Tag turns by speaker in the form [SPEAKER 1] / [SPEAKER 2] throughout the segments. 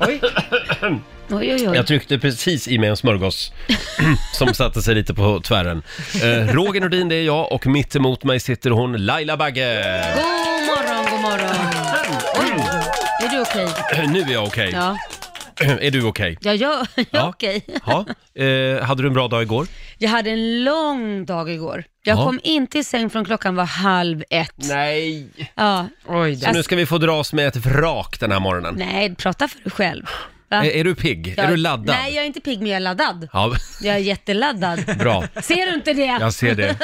[SPEAKER 1] Oj. Oj, oj, oj.
[SPEAKER 2] Jag tryckte precis i mig en smörgås som satte sig lite på tvären. Eh, Roger Nordin, det är jag och mitt emot mig sitter hon Laila Bagge.
[SPEAKER 1] God morgon, god morgon. Oj, är du okej?
[SPEAKER 2] Eh, Nu är jag okej.
[SPEAKER 1] Ja,
[SPEAKER 2] Är du okej?
[SPEAKER 1] ja jag jag är
[SPEAKER 2] Ja.
[SPEAKER 1] okej.
[SPEAKER 2] Ja. Eh, hade du en bra dag igår?
[SPEAKER 1] Jag hade en lång dag igår. Jag
[SPEAKER 2] Ja.
[SPEAKER 1] kom inte i säng från klockan var halv ett.
[SPEAKER 2] Nej.
[SPEAKER 1] Ja.
[SPEAKER 3] Oj
[SPEAKER 2] Så
[SPEAKER 3] då.
[SPEAKER 2] nu ska vi få dras med ett vrak den här morgonen.
[SPEAKER 1] Nej, prata för dig själv. Va?
[SPEAKER 2] Eh, Är du pigg?
[SPEAKER 1] Jag-
[SPEAKER 2] Är du laddad?
[SPEAKER 1] Nej, jag är inte pigg, men jag är laddad.
[SPEAKER 2] Ja,
[SPEAKER 1] Jag är jätteladdad.
[SPEAKER 2] bra.
[SPEAKER 1] Ser du inte det?
[SPEAKER 2] Jag ser det.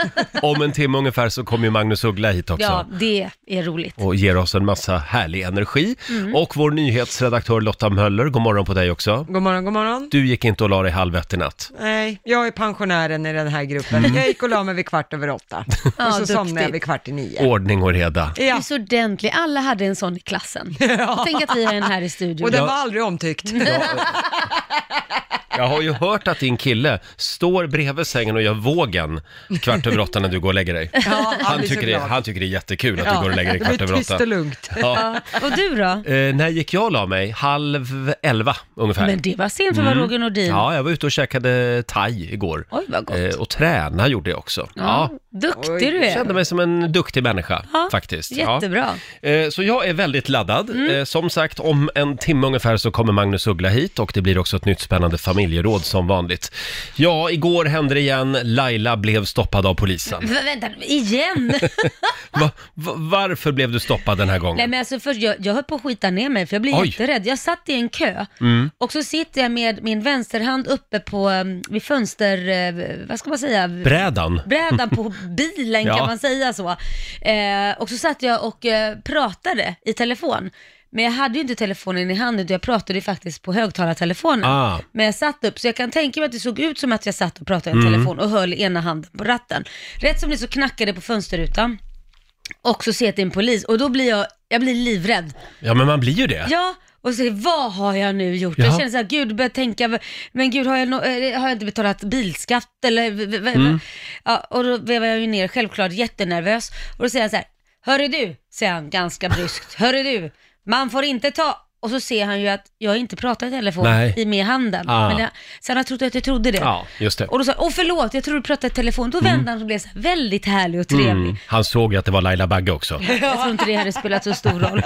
[SPEAKER 2] Om en timme ungefär så kommer ju Magnus Uggla hit också.
[SPEAKER 1] Ja, det är roligt.
[SPEAKER 2] och ger oss en massa härlig energi. Och vår nyhetsredaktör Lotta Möller, god morgon på dig också.
[SPEAKER 3] God morgon, god morgon.
[SPEAKER 2] Du gick inte och la dig halv ett i natt.
[SPEAKER 3] Nej, jag är pensionären i den här gruppen. Jag gick och la mig vid kvart över åtta.
[SPEAKER 1] Mm. Ja,
[SPEAKER 3] och så somnade jag
[SPEAKER 1] duktigt.
[SPEAKER 3] vid kvart i nio.
[SPEAKER 2] Ordning och reda.
[SPEAKER 1] Du är
[SPEAKER 3] Ja,
[SPEAKER 1] så ordentlig. Alla hade en sån i klassen. Tänk att vi har en här i studion.
[SPEAKER 3] och den
[SPEAKER 2] Ja.
[SPEAKER 3] var aldrig omtyckt.
[SPEAKER 1] Mm.
[SPEAKER 2] Jag har ju hört att din kille står bredvid sängen och gör vågen kvart över åtta när du går och lägger dig.
[SPEAKER 3] Ja,
[SPEAKER 2] Han
[SPEAKER 3] blir så
[SPEAKER 2] tycker, det,
[SPEAKER 3] glad.
[SPEAKER 2] han tycker det är jättekul att du
[SPEAKER 3] Ja,
[SPEAKER 2] går och lägger dig
[SPEAKER 3] det
[SPEAKER 2] kvart
[SPEAKER 3] blir
[SPEAKER 2] över
[SPEAKER 3] tyst
[SPEAKER 2] åtta.
[SPEAKER 3] och lugnt.
[SPEAKER 2] Ja.
[SPEAKER 1] Och du då?
[SPEAKER 2] Eh, när gick jag och la mig? Halv elva ungefär. Mm.
[SPEAKER 1] Men det var sent för att vara Roger Nordin.
[SPEAKER 2] Ja, jag var ute och käkade thai igår.
[SPEAKER 1] Oj, vad gott.
[SPEAKER 2] Eh, och träna gjorde jag också. Ja.
[SPEAKER 1] Duktig
[SPEAKER 3] Oj.
[SPEAKER 1] du
[SPEAKER 2] Jag
[SPEAKER 1] är.
[SPEAKER 2] kände mig som en duktig människa
[SPEAKER 1] Ja,
[SPEAKER 2] faktiskt. Ja.
[SPEAKER 1] Jättebra. Mm.
[SPEAKER 2] Eh, Så jag är väldigt laddad. Eh, Som sagt, om en timme ungefär så kommer Magnus Uggla hit och det blir också ett nytt spännande familjeråd som vanligt. Ja, igår hände det igen. Laila blev stoppad av polisen.
[SPEAKER 1] V- Vänta, igen?
[SPEAKER 2] Va, va, varför blev du stoppad den här
[SPEAKER 1] Nej
[SPEAKER 2] gången?
[SPEAKER 1] men alltså först, jag, jag höll på att skita ner mig för jag blev
[SPEAKER 2] Oj.
[SPEAKER 1] jätterädd. Jag satt i en kö
[SPEAKER 2] Mm.
[SPEAKER 1] och så sitter jag med min vänsterhand uppe på, um, vid fönster, eh, vad ska man säga?
[SPEAKER 2] Brädan?
[SPEAKER 1] brädan på bilen
[SPEAKER 2] Ja.
[SPEAKER 1] kan man säga så. Eh, och så satt jag och eh, pratade i telefon. Men jag hade ju inte telefonen i handen utan jag pratade ju faktiskt på högtalartelefonen.
[SPEAKER 2] Ah.
[SPEAKER 1] Men jag satt upp, så jag kan tänka mig att det såg ut som att jag satt och pratade i en
[SPEAKER 2] Mm.
[SPEAKER 1] telefon och höll ena handen på ratten. Rätt som det så knackade det på fönsterrutan. Och så ser jag att det är en polis och då blir jag, jag blir livrädd.
[SPEAKER 2] Ja, men man blir ju det.
[SPEAKER 1] Ja, och säger vad har jag nu gjort? Jag
[SPEAKER 2] Jaha.
[SPEAKER 1] känner så här, gud, börjar tänka, men gud har jag, no- eh, har jag inte betalat bilskatt eller? v- v- v-
[SPEAKER 2] Mm.
[SPEAKER 1] Ja, och då vevar jag ju ner, självklart jättenervös. Och då säger han så här, hörru du, säger han ganska bryskt, hörru du, man får inte ta och så ser han ju att jag inte pratar i telefon
[SPEAKER 2] Nej.
[SPEAKER 1] i med handen.
[SPEAKER 2] Ah.
[SPEAKER 1] Men det, så han har trott att jag trodde det.
[SPEAKER 2] Ja, typ. Mm. just det.
[SPEAKER 1] Och då sa han, åh förlåt, jag tror du pratade i telefon. Då vände han och blev så här, väldigt härlig och trevlig.
[SPEAKER 2] Mm. Han såg ju att det var Laila Bagge också.
[SPEAKER 1] Jag tror inte det hade spelat så stor roll.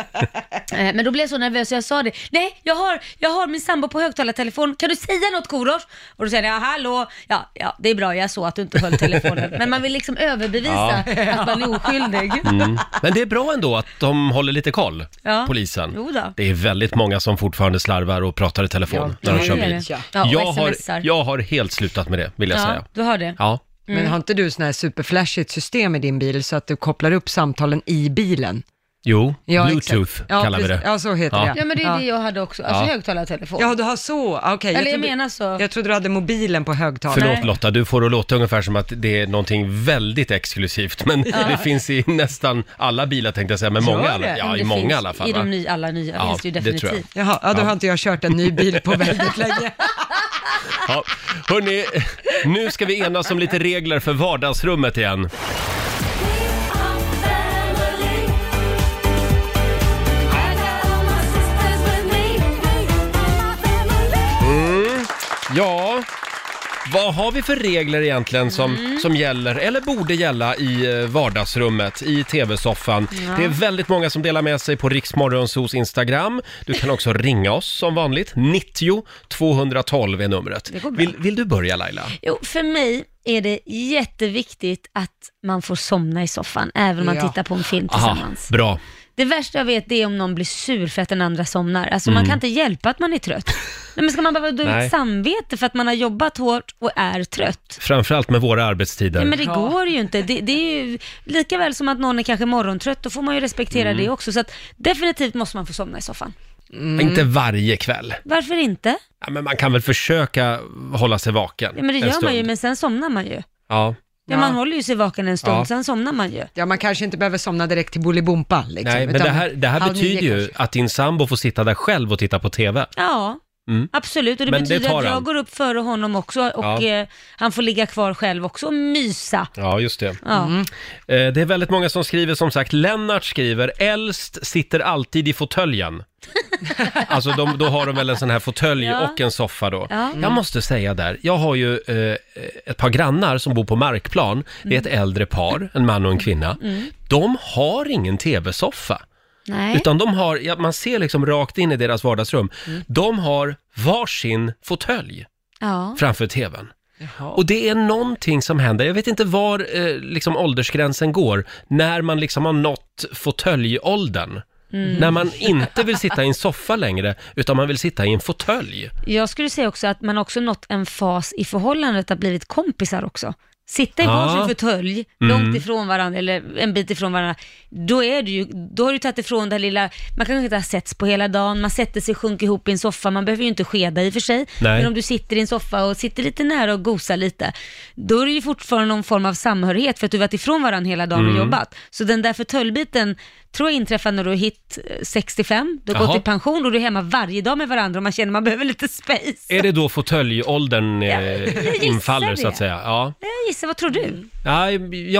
[SPEAKER 1] Eh, Men då blev jag så nervös så jag sa det. Nej, jag har, jag har min sambo på högtalartelefon. Kan du säga något Korosh? Och då säger jag hallå. Ja, ja, det är bra. Jag såg att du inte höll telefonen. Men man vill liksom överbevisa att man är oskyldig.
[SPEAKER 2] Mm. Men det är bra ändå att de håller lite koll,
[SPEAKER 1] Ja.
[SPEAKER 2] polisen.
[SPEAKER 1] Jo då.
[SPEAKER 2] Det är väldigt många som fortfarande slarvar och pratar i telefon
[SPEAKER 3] Ja,
[SPEAKER 2] när de kör
[SPEAKER 1] Det är
[SPEAKER 2] bil.
[SPEAKER 1] det. Ja, och
[SPEAKER 2] jag, har,
[SPEAKER 1] smsar.
[SPEAKER 2] jag har helt slutat med det, vill jag
[SPEAKER 1] ja,
[SPEAKER 2] säga.
[SPEAKER 1] du har det. Mm.
[SPEAKER 2] Ja.
[SPEAKER 3] Men har inte du sån här superflashigt system i din bil så att du kopplar upp samtalen i bilen?
[SPEAKER 2] Jo,
[SPEAKER 3] Ja,
[SPEAKER 2] bluetooth
[SPEAKER 3] exakt. ja,
[SPEAKER 2] kallar vi
[SPEAKER 3] precis.
[SPEAKER 2] det.
[SPEAKER 3] Ja, så heter
[SPEAKER 2] Ja.
[SPEAKER 3] det.
[SPEAKER 1] Ja, men det är
[SPEAKER 3] ja.
[SPEAKER 1] det jag hade också. Alltså
[SPEAKER 2] Ja.
[SPEAKER 1] högtalartelefon.
[SPEAKER 3] Ja, du har så, okej.
[SPEAKER 1] Eller jag
[SPEAKER 3] trodde-
[SPEAKER 1] menar så.
[SPEAKER 3] Jag trodde du hade mobilen på högtalare.
[SPEAKER 2] Förlåt
[SPEAKER 1] Nej.
[SPEAKER 2] Lotta, du får det att låta ungefär som att det är någonting väldigt exklusivt, men det finns i nästan alla bilar tänkte jag säga, men
[SPEAKER 3] Gör
[SPEAKER 2] många, i
[SPEAKER 3] det?
[SPEAKER 2] alla-
[SPEAKER 1] Men
[SPEAKER 2] ja,
[SPEAKER 1] det
[SPEAKER 2] i många
[SPEAKER 1] finns,
[SPEAKER 2] i alla fall.
[SPEAKER 1] I
[SPEAKER 2] va?
[SPEAKER 1] de nya, alla nya
[SPEAKER 2] Ja,
[SPEAKER 1] finns det ju
[SPEAKER 2] det tror jag.
[SPEAKER 1] definitivt.
[SPEAKER 3] Jaha, ja, då har inte jag kört en ny bil på väldigt länge.
[SPEAKER 2] Ja. Hörni, nu ska vi enas om lite regler för vardagsrummet igen. Mm. Ja, vad har vi för regler egentligen som, som gäller, eller borde gälla i eh, vardagsrummet, i tv-soffan? Det är väldigt många som delar med sig på Riksmorgonsos Instagram. Du kan också ringa oss som vanligt. 90 212 är numret.
[SPEAKER 1] Det går bra.
[SPEAKER 2] Vill, vill du börja Laila?
[SPEAKER 1] Jo, för mig är det jätteviktigt att man får somna i soffan, även om man
[SPEAKER 3] Ja.
[SPEAKER 1] tittar på en film
[SPEAKER 2] Aha,
[SPEAKER 1] tillsammans.
[SPEAKER 2] bra.
[SPEAKER 1] Det värsta jag vet det är om någon blir sur för att den andra somnar. Alltså man kan inte hjälpa att man är trött. Nej, men ska man behöva dra
[SPEAKER 2] Mm. Nej.
[SPEAKER 1] ut samvete för att man har jobbat hårt och är trött?
[SPEAKER 2] Framförallt med våra arbetstider.
[SPEAKER 1] Nej, men det går ju inte. Det, det är ju lika väl som att någon är kanske morgontrött, då får man ju respektera
[SPEAKER 2] Mm.
[SPEAKER 1] det också. Så att definitivt måste man få somna i soffan.
[SPEAKER 2] Inte varje kväll.
[SPEAKER 1] Varför inte?
[SPEAKER 2] Ja, men man kan väl försöka hålla sig vaken
[SPEAKER 1] Ja, men det
[SPEAKER 2] en
[SPEAKER 1] gör
[SPEAKER 2] stund.
[SPEAKER 1] man ju, men sen somnar man ju. Ja,
[SPEAKER 2] Ja.
[SPEAKER 1] man håller ju sig vaken en stund,
[SPEAKER 2] Ja.
[SPEAKER 1] sen somnar man ju.
[SPEAKER 3] Ja, man kanske inte behöver somna direkt till Bolibompa. Liksom,
[SPEAKER 2] Nej, men
[SPEAKER 3] utan
[SPEAKER 2] det här, det här
[SPEAKER 3] halv nio
[SPEAKER 2] betyder ju
[SPEAKER 3] kanske.
[SPEAKER 2] att din sambo får sitta där själv och titta på TV.
[SPEAKER 1] Ja, Absolut, och det
[SPEAKER 2] Men det
[SPEAKER 1] betyder
[SPEAKER 2] tar
[SPEAKER 1] att jag
[SPEAKER 2] han.
[SPEAKER 1] går upp före honom också och
[SPEAKER 2] Ja.
[SPEAKER 1] eh, han får ligga kvar själv också och mysa.
[SPEAKER 2] Ja, just det.
[SPEAKER 1] Ja.
[SPEAKER 2] Eh, Det är väldigt många som skriver, som sagt, Lennart skriver, äldst sitter alltid i fåtöljen. alltså de, då har de väl en sån här fåtölj
[SPEAKER 1] Ja.
[SPEAKER 2] och en soffa då.
[SPEAKER 1] Ja. Mm.
[SPEAKER 2] Jag måste säga där, jag har ju eh, ett par grannar som bor på markplan. Det är ett
[SPEAKER 1] Mm.
[SPEAKER 2] äldre par, en man och en kvinna. De har ingen tv-soffa.
[SPEAKER 1] Nej.
[SPEAKER 2] Utan de har, ja, man ser liksom rakt in i deras vardagsrum.
[SPEAKER 1] Mm.
[SPEAKER 2] De har varsin fåtölj
[SPEAKER 1] Ja.
[SPEAKER 2] framför tvn. Och det är någonting som händer, jag vet inte var eh, liksom åldersgränsen går, när man liksom har nått fåtöljåldern.
[SPEAKER 1] Mm.
[SPEAKER 2] När man inte vill sitta i en soffa längre, utan man vill sitta i en fåtölj.
[SPEAKER 1] Jag skulle säga också att man också nått en fas i förhållandet att blivit kompisar också. Sitta i
[SPEAKER 2] Ja. Mm.
[SPEAKER 1] varsin fåtölj, långt ifrån varandra eller en bit ifrån varandra, då, är du ju, då har du tagit ifrån det här lilla, man kanske inte har setts på hela dagen, man sätter sig och sjunker ihop i en soffa, man behöver ju inte skeda i och för sig,
[SPEAKER 2] Nej.
[SPEAKER 1] men om du sitter i en soffa och sitter lite nära och gosar lite, då är det ju fortfarande någon form av samhörighet för att du varit ifrån varandra hela dagen
[SPEAKER 2] Mm.
[SPEAKER 1] och jobbat. Så den där förtöljbiten tror jag inträffar när du är hit eh, 65, du har gått
[SPEAKER 2] Jaha.
[SPEAKER 1] i pension och du är hemma varje dag med varandra och man känner att man behöver lite space.
[SPEAKER 2] Är det då fåtöljåldern eh,
[SPEAKER 1] gissar
[SPEAKER 2] infaller så
[SPEAKER 1] det.
[SPEAKER 2] att säga? Ja.
[SPEAKER 3] Eh,
[SPEAKER 1] Jag gissar, vad tror du?
[SPEAKER 2] Ja,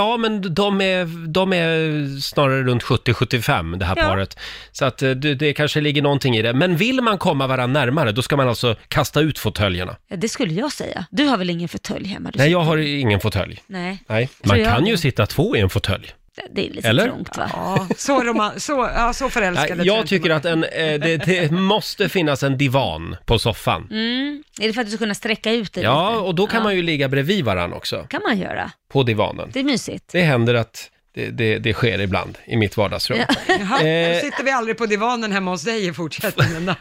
[SPEAKER 2] ja, men de är, de är snarare runt 70-75 det här
[SPEAKER 1] Ja.
[SPEAKER 2] paret. Så att eh, det, det kanske ligger någonting i det. Men vill man komma varandra närmare, då ska man alltså kasta ut fåtöljerna.
[SPEAKER 1] Ja, det skulle jag säga. Du har väl ingen fåtölj hemma? Du
[SPEAKER 2] Nej,
[SPEAKER 1] sitter-
[SPEAKER 2] jag har ingen fåtölj.
[SPEAKER 1] Nej,
[SPEAKER 2] Nej,
[SPEAKER 1] Så
[SPEAKER 2] man
[SPEAKER 1] jag-
[SPEAKER 2] kan ju sitta två i en fåtölj.
[SPEAKER 1] det är lite
[SPEAKER 2] Eller?
[SPEAKER 1] trångt va?
[SPEAKER 3] Ja, så, roman, så, ja, så förälskade
[SPEAKER 2] Nej,
[SPEAKER 3] tror
[SPEAKER 2] jag
[SPEAKER 3] inte
[SPEAKER 2] tycker
[SPEAKER 3] man.
[SPEAKER 2] att en, eh, det, det måste finnas en divan på soffan.
[SPEAKER 1] Mm. Är det för att du ska kunna sträcka ut dig
[SPEAKER 2] Ja,
[SPEAKER 1] lite?
[SPEAKER 2] och då kan man ju ligga bredvid varann också,
[SPEAKER 1] kan man göra.
[SPEAKER 2] på divanen.
[SPEAKER 1] Det är mysigt.
[SPEAKER 2] Det händer att det, det, det sker ibland i mitt vardagsrum.
[SPEAKER 3] Jaha,
[SPEAKER 2] Eh.
[SPEAKER 3] då sitter vi aldrig på divanen hemma hos dig i fortsättningen då.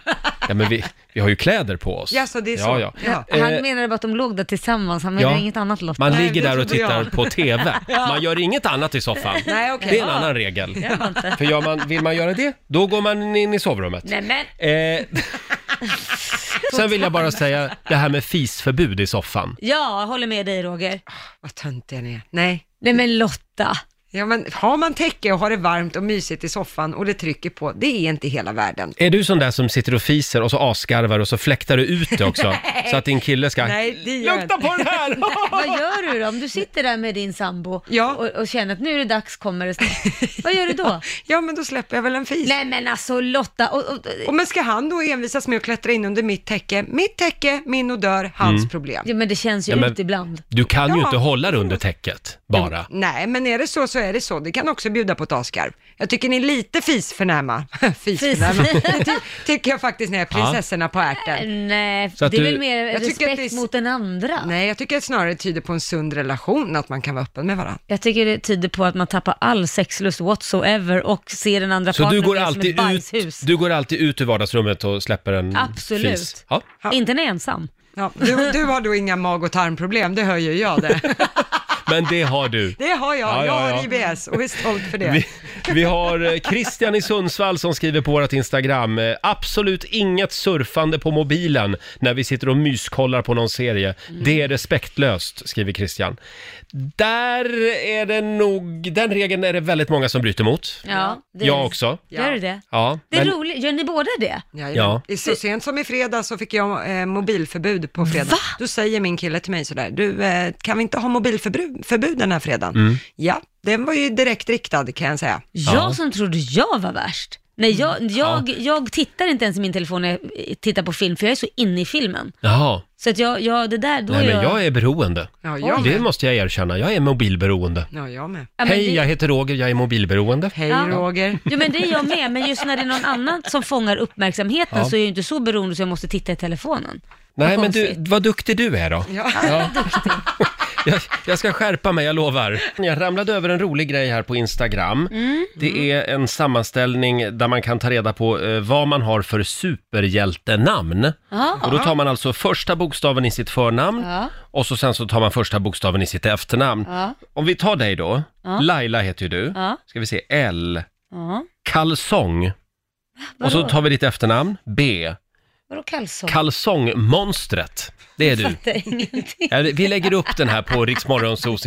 [SPEAKER 2] Ja, men vi, vi har ju kläder på oss.
[SPEAKER 3] Ja, så det är så.
[SPEAKER 2] Ja, ja.
[SPEAKER 3] Ja.
[SPEAKER 1] Han
[SPEAKER 2] Eh,
[SPEAKER 1] menade bara att de låg där tillsammans, han menade
[SPEAKER 2] ja.
[SPEAKER 1] inget annat Lotta.
[SPEAKER 2] Man
[SPEAKER 3] Nej,
[SPEAKER 2] ligger
[SPEAKER 3] det
[SPEAKER 2] där och
[SPEAKER 3] trodde
[SPEAKER 2] tittar
[SPEAKER 3] jag.
[SPEAKER 2] på TV. Man gör inget annat i soffan.
[SPEAKER 3] Nej, okej.
[SPEAKER 2] Det är en annan regel.
[SPEAKER 1] Det var inte.
[SPEAKER 2] För gör man, vill man göra det, då går man in i sovrummet.
[SPEAKER 1] Nej men,
[SPEAKER 2] Eh, sen vill jag bara säga det här med fisförbud i soffan.
[SPEAKER 1] ja, jag håller med dig Roger.
[SPEAKER 3] Ah, Vad töntiga ni är. Nej.
[SPEAKER 1] Nej men Lotta,
[SPEAKER 3] Ja, men har man täcke och har det varmt och mysigt i soffan och det trycker på, det är inte hela världen.
[SPEAKER 2] Är du sån där som sitter och fiser och så asgarvar och så fläktar du ut det också? så att din kille ska...
[SPEAKER 3] Nej, det gör jag
[SPEAKER 2] Lukta
[SPEAKER 3] inte.
[SPEAKER 2] på den här!
[SPEAKER 1] vad gör du då? Om du sitter där med din sambo
[SPEAKER 3] Ja.
[SPEAKER 1] och, och känner att nu är det dags, kommer det snart. Vad gör du då?
[SPEAKER 3] Ja, men då släpper jag väl en fis.
[SPEAKER 1] Nej men alltså Lotta, och, och,
[SPEAKER 3] Och men ska han då envisas med att klättra in under mitt täcke? Mitt täcke, min odör, hans problem.
[SPEAKER 1] ja, men det känns ju
[SPEAKER 2] Mm. Ja, men-
[SPEAKER 1] ut ibland.
[SPEAKER 2] Du kan ju
[SPEAKER 3] Ja.
[SPEAKER 2] inte hålla dig under täcket, bara.
[SPEAKER 3] Nej, men är det så så är det så. Det kan också bjuda på ett askarv. Jag tycker ni är lite fisförnäma. fisförnäma. Ty- tycker jag faktiskt ni är prinsessorna på ärten.
[SPEAKER 1] Nej,
[SPEAKER 2] Så att
[SPEAKER 1] det är
[SPEAKER 2] du-
[SPEAKER 1] väl mer
[SPEAKER 3] Jag tycker att
[SPEAKER 1] respekt
[SPEAKER 3] det är s-
[SPEAKER 1] mot den andra.
[SPEAKER 3] Nej, jag tycker det snarare tyder på en sund relation att man kan vara öppen med varandra.
[SPEAKER 1] Jag tycker det tyder på att man tappar all sexlust whatsoever och ser den andra
[SPEAKER 2] Så du
[SPEAKER 1] partnern
[SPEAKER 2] går,
[SPEAKER 1] mer
[SPEAKER 2] alltid
[SPEAKER 1] som ett
[SPEAKER 2] ut,
[SPEAKER 1] bajshus.
[SPEAKER 2] du går alltid ut ur vardagsrummet och släpper en
[SPEAKER 1] Absolut.
[SPEAKER 2] fis? Ja.
[SPEAKER 1] Inte när jag är ensam.
[SPEAKER 3] Ja, du, du har då inga mag och tarmproblem, det hör ju jag det.
[SPEAKER 2] Men det har du.
[SPEAKER 3] Det har jag,
[SPEAKER 2] Ja, ja,
[SPEAKER 3] jag har
[SPEAKER 2] ja.
[SPEAKER 3] IBS och är stolt för det.
[SPEAKER 2] Vi, vi har eh, Christian i Sundsvall som skriver på vårt Instagram. eh, Absolut inget surfande på mobilen när vi sitter och myskollar på någon serie.
[SPEAKER 1] Mm.
[SPEAKER 2] Det är respektlöst, skriver Christian. Där är det nog, den regeln är det väldigt många som bryter mot.
[SPEAKER 1] Ja, det är-
[SPEAKER 2] Jag också.
[SPEAKER 1] Gör du det?
[SPEAKER 2] Ja,
[SPEAKER 1] Det är
[SPEAKER 2] men,
[SPEAKER 1] roligt. Gör ni båda det?
[SPEAKER 3] Ja,
[SPEAKER 2] Ja.
[SPEAKER 3] I- Så sent som i fredag så fick jag eh, mobilförbud på fredag. Då säger min kille till mig sådär, du eh, kan vi inte ha mobilförbud förbud den här fredagen?
[SPEAKER 2] Mm.
[SPEAKER 3] Ja, den var ju direkt riktad kan jag säga.
[SPEAKER 1] Jag som trodde jag var värst. Nej, jag,
[SPEAKER 2] Mm.
[SPEAKER 1] jag, jag tittar inte ens i min telefon när jag tittar på film, för jag är så inne i filmen.
[SPEAKER 2] jaha.
[SPEAKER 1] Så att jag, jag det där, då
[SPEAKER 2] Nej,
[SPEAKER 1] är
[SPEAKER 2] men
[SPEAKER 1] jag...
[SPEAKER 2] jag är beroende.
[SPEAKER 3] Ja, jag
[SPEAKER 2] Det
[SPEAKER 3] med.
[SPEAKER 2] måste jag erkänna. Jag är mobilberoende.
[SPEAKER 3] Ja, jag med.
[SPEAKER 1] Ja, men
[SPEAKER 2] Hej,
[SPEAKER 1] det-
[SPEAKER 2] jag heter Roger, jag är mobilberoende.
[SPEAKER 3] Hej
[SPEAKER 1] Ja.
[SPEAKER 3] Roger.
[SPEAKER 1] Jo men det är jag med, men just när det är någon annan som fångar uppmärksamheten
[SPEAKER 2] Ja.
[SPEAKER 1] så är jag ju inte så beroende så jag måste titta i telefonen.
[SPEAKER 2] Nej,
[SPEAKER 1] Vad
[SPEAKER 2] men du,
[SPEAKER 1] konstigt.
[SPEAKER 2] vad duktig du är då.
[SPEAKER 3] Ja.
[SPEAKER 2] Jag, jag ska skärpa mig, jag lovar. Jag ramlade över en rolig grej här på Instagram.
[SPEAKER 1] Mm.
[SPEAKER 2] Det är en sammanställning där man kan ta reda på eh, vad man har för superhjältenamn.
[SPEAKER 1] Ja.
[SPEAKER 2] Och då tar man alltså första bokstaven i sitt förnamn
[SPEAKER 1] Ja.
[SPEAKER 2] och så sen så tar man första bokstaven i sitt efternamn.
[SPEAKER 1] Ja.
[SPEAKER 2] Om vi tar dig då, Laila heter ju du.
[SPEAKER 1] Ja.
[SPEAKER 2] Ska vi se, L.
[SPEAKER 1] Ja.
[SPEAKER 2] Kalsong. Och så tar vi ditt efternamn, B.
[SPEAKER 1] Vadå kalsong?
[SPEAKER 2] Kalsongmonstret, det är du.
[SPEAKER 1] Fattar ingenting.
[SPEAKER 2] Ja, Vi lägger upp den här på Riksmorgonsos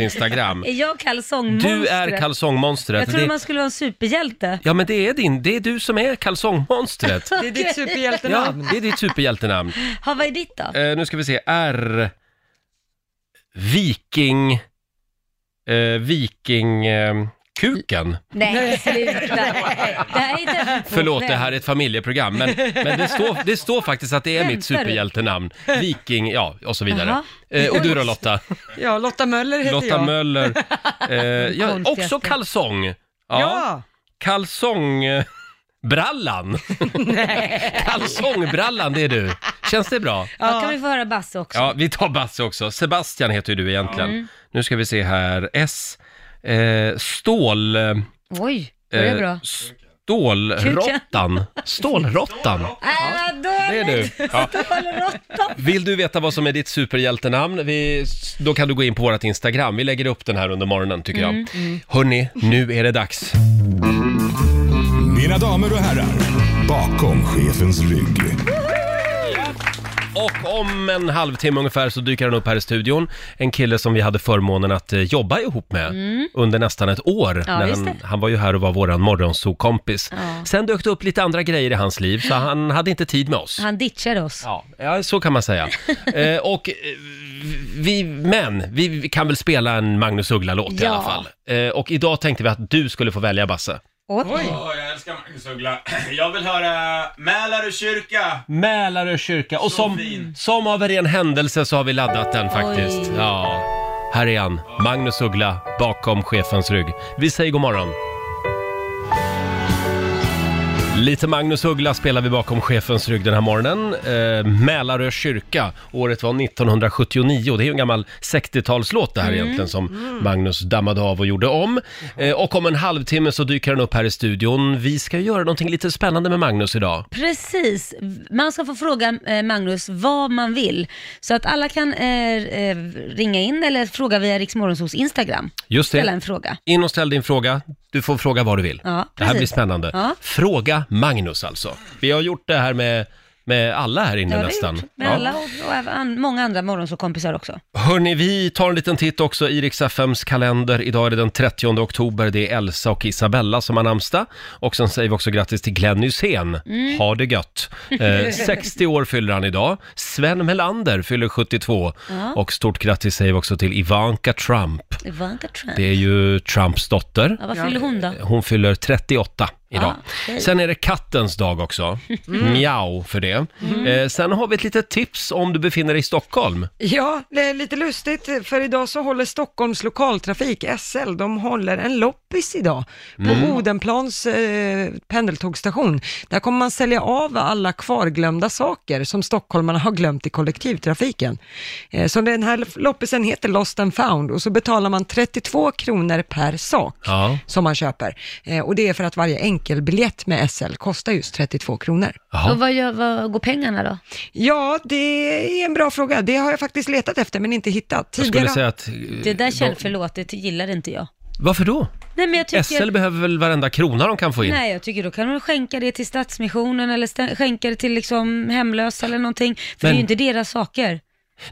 [SPEAKER 2] Instagram.
[SPEAKER 1] Är jag kalsongmonstret?
[SPEAKER 2] Du är
[SPEAKER 1] Jag
[SPEAKER 2] kalsongmonstret.
[SPEAKER 1] trodde
[SPEAKER 2] Det-
[SPEAKER 1] man skulle vara en superhjälte.
[SPEAKER 2] Ja, men det är din. Det är du som är kalsongmonstret.
[SPEAKER 3] Det är ditt
[SPEAKER 2] Ja,
[SPEAKER 3] superhjältenamn.
[SPEAKER 2] det är ditt superhjältenamn.
[SPEAKER 1] Ha, vad är ditt då?
[SPEAKER 2] Eh, nu ska vi se. R... Viking... Eh, viking... Eh, kuken.
[SPEAKER 1] Nej, sluta. Det här är inte
[SPEAKER 2] Förlåt, det här är ett familjeprogram, men, men det, står, det står faktiskt att det är mitt
[SPEAKER 1] Skämtar du?
[SPEAKER 2] superhjältenamn. Viking, ja, och så vidare.
[SPEAKER 1] Jaha.
[SPEAKER 2] Eh, och du då Lotta?
[SPEAKER 3] Ja, Lotta Möller heter
[SPEAKER 2] Lotta
[SPEAKER 3] jag.
[SPEAKER 2] Möller. Eh, ja,
[SPEAKER 1] Konstigaste.
[SPEAKER 2] också kalsong. Ja,
[SPEAKER 3] Ja,
[SPEAKER 2] kalsongbrallan. kalsongbrallan, det är du. Känns det bra?
[SPEAKER 1] Ja, kan vi få höra Basse också?
[SPEAKER 2] Ja, vi tar Basse också. Sebastian heter ju du egentligen.
[SPEAKER 3] Mm.
[SPEAKER 2] Nu ska vi se här. S. Eh, stål... eh,
[SPEAKER 1] Oj, var det bra?
[SPEAKER 2] Stålrottan. Stålrottan.
[SPEAKER 1] Nej, vad
[SPEAKER 2] Det är du.
[SPEAKER 1] Äh, dåligt!
[SPEAKER 2] Ja.
[SPEAKER 1] Stålråtta!
[SPEAKER 2] Vill du veta vad som är ditt superhjältenamn? Vi, då kan du gå in på vårt Instagram. Vi lägger upp den här under morgonen tycker jag.
[SPEAKER 3] Mm,
[SPEAKER 2] Hörni, nu är det dags.
[SPEAKER 4] Mina damer och herrar, bakom chefens rygg.
[SPEAKER 2] Och om en halvtimme ungefär så dyker han upp här i studion. En kille som vi hade förmånen att eh, jobba ihop med under nästan ett år.
[SPEAKER 1] Mm. Ja,
[SPEAKER 2] när
[SPEAKER 1] visst
[SPEAKER 2] han,
[SPEAKER 1] det.
[SPEAKER 2] han var ju här och var våran morgonsokompis.
[SPEAKER 1] Ja.
[SPEAKER 2] Sen dök det upp lite andra grejer i hans liv så han hade inte tid med oss.
[SPEAKER 1] Han ditchade oss.
[SPEAKER 2] Ja, ja, så kan man säga. eh, och eh, vi, men vi kan väl spela en Magnus Uggla-låt i
[SPEAKER 1] Ja.
[SPEAKER 2] alla fall. Eh, och idag tänkte vi att du skulle få välja Basse.
[SPEAKER 1] Oj.
[SPEAKER 5] Åh, jag älskar Magnus Uggla. Jag vill höra Mälare kyrka.
[SPEAKER 2] Mälarö kyrka. Och som,
[SPEAKER 5] fin.
[SPEAKER 2] som av en ren händelse så har vi laddat den faktiskt.
[SPEAKER 1] Oj.
[SPEAKER 2] Ja. Här är han, Magnus Uggla, bakom chefens rygg. Vi säger god morgon. Lite Magnus Uggla spelar vi bakom chefens rygg den här morgonen. Eh, Mälarö kyrka. Året var 1979. Det är ju en gammal 60-talslåt det här egentligen som Magnus dammade av och gjorde om. Eh, och om en halvtimme så dyker han upp här i studion. Vi ska göra någonting lite spännande med Magnus idag.
[SPEAKER 1] Precis. Man ska få fråga eh, Magnus vad man vill. Så att alla kan eh, eh, ringa in eller fråga via Riksmorgonsos Instagram.
[SPEAKER 2] Just det.
[SPEAKER 1] Ställa en fråga.
[SPEAKER 2] In och ställ din fråga. Du får fråga vad du vill.
[SPEAKER 1] Ja,
[SPEAKER 2] det här
[SPEAKER 1] precis.
[SPEAKER 2] blir spännande.
[SPEAKER 1] Ja.
[SPEAKER 2] Fråga Magnus alltså. Vi har gjort det här med, med alla här inne
[SPEAKER 1] Det har vi
[SPEAKER 2] nästan.
[SPEAKER 1] gjort. Med alla och, och även många andra morgonsåkompisar också.
[SPEAKER 2] Hörni, vi tar en liten titt också i Rix FMs kalender. Idag är det den 30 oktober. Det är Elsa och Isabella som har namnsdag. Och sen säger vi också grattis till Glenn Hysén.
[SPEAKER 1] Mm.
[SPEAKER 2] Ha det gött. Eh, 60 år fyller han idag. Sven Melander fyller 72. Och stort grattis säger vi också till Ivanka Trump.
[SPEAKER 1] Ivanka Trump.
[SPEAKER 2] Det är ju Trumps dotter.
[SPEAKER 1] Ja, vad fyller hon då?
[SPEAKER 2] Hon fyller 38 idag.
[SPEAKER 1] Ah, okej. Mm.
[SPEAKER 2] Sen är det kattens dag också. Mjau för det. Eh, sen har vi ett litet tips om du befinner dig i Stockholm.
[SPEAKER 3] ja, det är lite lustigt för idag så håller Stockholms lokaltrafik, SL, de håller en loppis idag på
[SPEAKER 2] Mm.
[SPEAKER 3] Odenplans eh, pendeltågsstation. Där kommer man sälja av alla kvarglömda saker som stockholmarna har glömt i kollektivtrafiken. Eh, så den här loppisen heter Lost and found och så betalar man 32 kronor per sak.
[SPEAKER 2] Ja.
[SPEAKER 3] som man köper. Eh, och det är för att varje enkelbiljett med SL kostar just 32 kronor.
[SPEAKER 2] Jaha.
[SPEAKER 1] Och vad, gör, vad går pengarna då?
[SPEAKER 3] Ja, det är en bra fråga. Det har jag faktiskt letat efter men inte hittat.
[SPEAKER 2] Jag skulle
[SPEAKER 3] Tidigare...
[SPEAKER 2] säga att... eh,
[SPEAKER 1] Det där känns förlåt, det gillar inte jag.
[SPEAKER 2] Varför då?
[SPEAKER 1] Nej, men jag tycker...
[SPEAKER 2] SL behöver väl varenda krona de kan få in?
[SPEAKER 1] Nej, jag tycker då kan de skänka det till Stadsmissionen eller stä- skänka det till liksom hemlösa eller någonting. För det är
[SPEAKER 2] Men-
[SPEAKER 1] ju inte deras saker.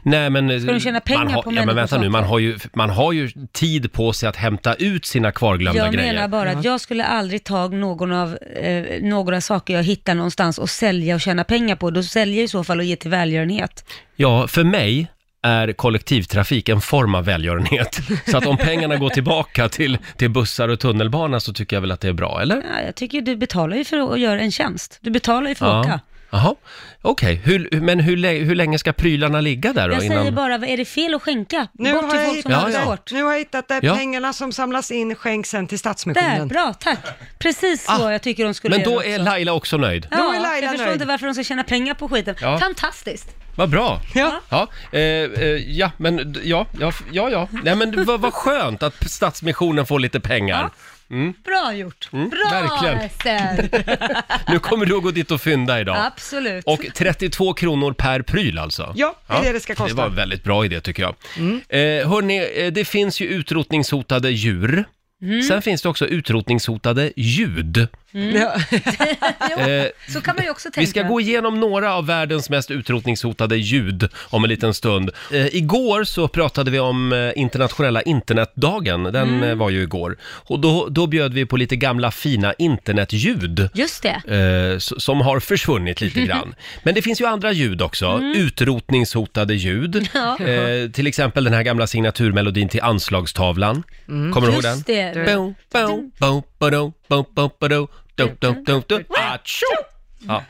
[SPEAKER 2] Nej men... eh,
[SPEAKER 1] de tjäna pengar
[SPEAKER 2] man har,
[SPEAKER 1] på
[SPEAKER 2] ja, men
[SPEAKER 1] människors
[SPEAKER 2] vänta nu, man
[SPEAKER 1] saker?
[SPEAKER 2] har, ju, man har ju tid på sig att hämta ut sina kvarglömda
[SPEAKER 1] Jag
[SPEAKER 2] grejer.
[SPEAKER 1] menar bara att jag skulle aldrig ta någon av, eh, några saker jag hittar någonstans och sälja och tjäna pengar på. Då säljer jag i så fall och ger till välgörenhet.
[SPEAKER 2] Ja, för mig är kollektivtrafik en form av välgörenhet. Så att om pengarna går tillbaka till, till bussar och tunnelbana så tycker jag väl att det är bra, eller?
[SPEAKER 1] Ja, jag tycker du betalar ju för att göra en tjänst. Du betalar ju för att åka.
[SPEAKER 2] Jaha, okej. Hur- Men hur, lä- hur länge ska prylarna ligga där då?
[SPEAKER 1] Jag
[SPEAKER 2] innan...
[SPEAKER 1] säger bara, vad är det fel att skänka?
[SPEAKER 3] Nu
[SPEAKER 1] Bort
[SPEAKER 3] har,
[SPEAKER 1] till
[SPEAKER 3] jag
[SPEAKER 1] folk
[SPEAKER 3] hittat,
[SPEAKER 1] som har
[SPEAKER 2] Ja,
[SPEAKER 1] det
[SPEAKER 2] ja.
[SPEAKER 1] svårt.
[SPEAKER 3] nu har jag hittat där
[SPEAKER 2] Ja.
[SPEAKER 3] pengarna som samlas in skänks sen till
[SPEAKER 1] Där,
[SPEAKER 3] Stadsmissionen.
[SPEAKER 1] bra, tack. Precis så
[SPEAKER 2] Ah,
[SPEAKER 1] jag tycker de skulle
[SPEAKER 2] Men då
[SPEAKER 1] göra
[SPEAKER 2] är
[SPEAKER 1] också.
[SPEAKER 2] Laila också nöjd.
[SPEAKER 1] Ja,
[SPEAKER 3] Då är Laila
[SPEAKER 1] jag förstår
[SPEAKER 3] nöjd.
[SPEAKER 1] inte varför de ska tjäna pengar på skiten.
[SPEAKER 2] Ja.
[SPEAKER 1] Fantastiskt.
[SPEAKER 2] Vad bra!
[SPEAKER 3] Ja.
[SPEAKER 2] Ja, eh, eh, ja men d- ja, ja, ja. ja. Nej, men vad, vad skönt att Stadsmissionen får lite pengar. Mm.
[SPEAKER 1] Bra gjort. Bra
[SPEAKER 2] verkligen.
[SPEAKER 1] Esther.
[SPEAKER 2] Nu kommer du att gå dit och fynda idag.
[SPEAKER 1] Absolut.
[SPEAKER 2] Och 32 kronor per pryl alltså?
[SPEAKER 3] Ja, det är det det ska kosta. Mm.
[SPEAKER 2] Det var en väldigt bra idé tycker jag. Eh, hörni, eh, det
[SPEAKER 3] Mm.
[SPEAKER 2] finns ju utrotningshotade djur. Sen finns det också utrotningshotade ljud.
[SPEAKER 3] Ja.
[SPEAKER 1] jo,
[SPEAKER 2] Eh,
[SPEAKER 1] Mm. så kan man ju också tänka.
[SPEAKER 2] Vi ska gå igenom några av världens mest utrotningshotade ljud om en liten stund. Eh, igår så pratade vi om eh, internationella internetdagen, den
[SPEAKER 3] Mm.
[SPEAKER 2] eh, var ju igår. Och då, då bjöd vi på lite gamla fina internetljud.
[SPEAKER 1] Just det.
[SPEAKER 2] Eh, s- som har försvunnit lite grann. Men det finns ju andra ljud också, utrotningshotade ljud.
[SPEAKER 1] Mm. Ja.
[SPEAKER 2] Eh, till exempel den här gamla signaturmelodin till anslagstavlan. Mm. Kommer du ihåg den?
[SPEAKER 1] Mm. Just det.
[SPEAKER 2] Bo, bo, bo, bo, bo, bo, bo, do, do, do, do, do. Atjo! Ja,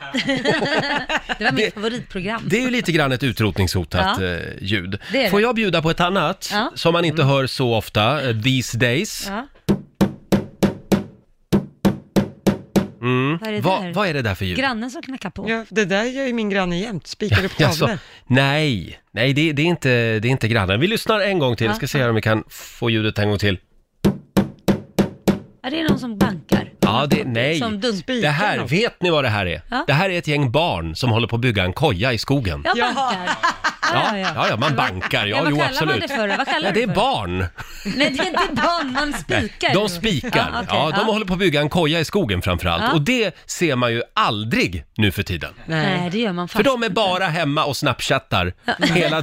[SPEAKER 1] Det var mitt favoritprogram.
[SPEAKER 2] det är ju lite grann ett utrotningshotat
[SPEAKER 1] Ja.
[SPEAKER 2] eh, ljud.
[SPEAKER 1] Det är det.
[SPEAKER 2] Får jag bjuda på ett annat
[SPEAKER 1] Ja. Mm.
[SPEAKER 2] som man inte hör så ofta, eh, these days?
[SPEAKER 1] Ja.
[SPEAKER 2] Mm.
[SPEAKER 1] Vad är det där?
[SPEAKER 2] Vad, vad är det där för ljud?
[SPEAKER 1] Grannen som knackar på.
[SPEAKER 3] Ja, det där gör ju min granne jämt, spikar upp tavlor.
[SPEAKER 2] Jaså? nej, nej det, det, är inte, det är inte grannen. Vi lyssnar en gång till,
[SPEAKER 1] Ja.
[SPEAKER 2] ska se om vi kan få ljudet en gång till.
[SPEAKER 1] Ja, det är någon som bankar.
[SPEAKER 2] Ja, det, nej.
[SPEAKER 1] Som dunk.
[SPEAKER 2] Det här, vet ni vad det här är?
[SPEAKER 1] Ja.
[SPEAKER 2] Det här är ett gäng barn som håller på att bygga en koja i skogen.
[SPEAKER 1] Ja,
[SPEAKER 3] Ja.
[SPEAKER 1] bankar.
[SPEAKER 2] Ja,
[SPEAKER 1] Ja, ja.
[SPEAKER 2] ja, ja man bankar.
[SPEAKER 1] Ja,
[SPEAKER 2] Ja,
[SPEAKER 1] vad
[SPEAKER 2] jo,
[SPEAKER 1] kallar man
[SPEAKER 2] absolut.
[SPEAKER 1] det för då? Vad kallar
[SPEAKER 2] Ja, det är
[SPEAKER 1] du för?
[SPEAKER 2] barn.
[SPEAKER 1] Nej, det är inte barn, man spikar.
[SPEAKER 2] De spikar. Ja,
[SPEAKER 1] okej,
[SPEAKER 2] de håller på att bygga en koja i skogen framförallt.
[SPEAKER 1] Ja.
[SPEAKER 2] Och det ser man ju aldrig nu för tiden.
[SPEAKER 1] Nej, det gör man
[SPEAKER 2] För
[SPEAKER 1] fast.
[SPEAKER 2] de är bara hemma och snapchattar hela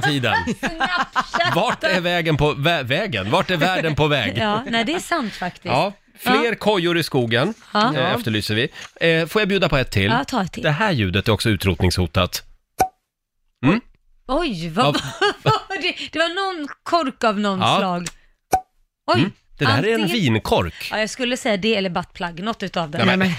[SPEAKER 2] tiden.
[SPEAKER 1] Snapchat.
[SPEAKER 2] Vart är vägen på vä- vägen? Vart är världen på väg?
[SPEAKER 1] Ja, nej det är sant faktiskt.
[SPEAKER 2] Ja, fler kojor i skogen
[SPEAKER 1] Ja.
[SPEAKER 2] eh, efterlyser vi. Eh, får jag bjuda på ett till?
[SPEAKER 1] Ja, ta ett till.
[SPEAKER 2] Det här ljudet är också utrotningshotat. Mm?
[SPEAKER 1] Oj, vad
[SPEAKER 2] Ja.
[SPEAKER 1] vad- det, det var någon kork av någon
[SPEAKER 2] Ja. Mm.
[SPEAKER 1] slag. Oj,
[SPEAKER 2] Det där är en
[SPEAKER 1] antingen-
[SPEAKER 2] vinkork,
[SPEAKER 1] Ja, jag skulle säga det eller buttplug, något utav det.
[SPEAKER 2] Nej, men-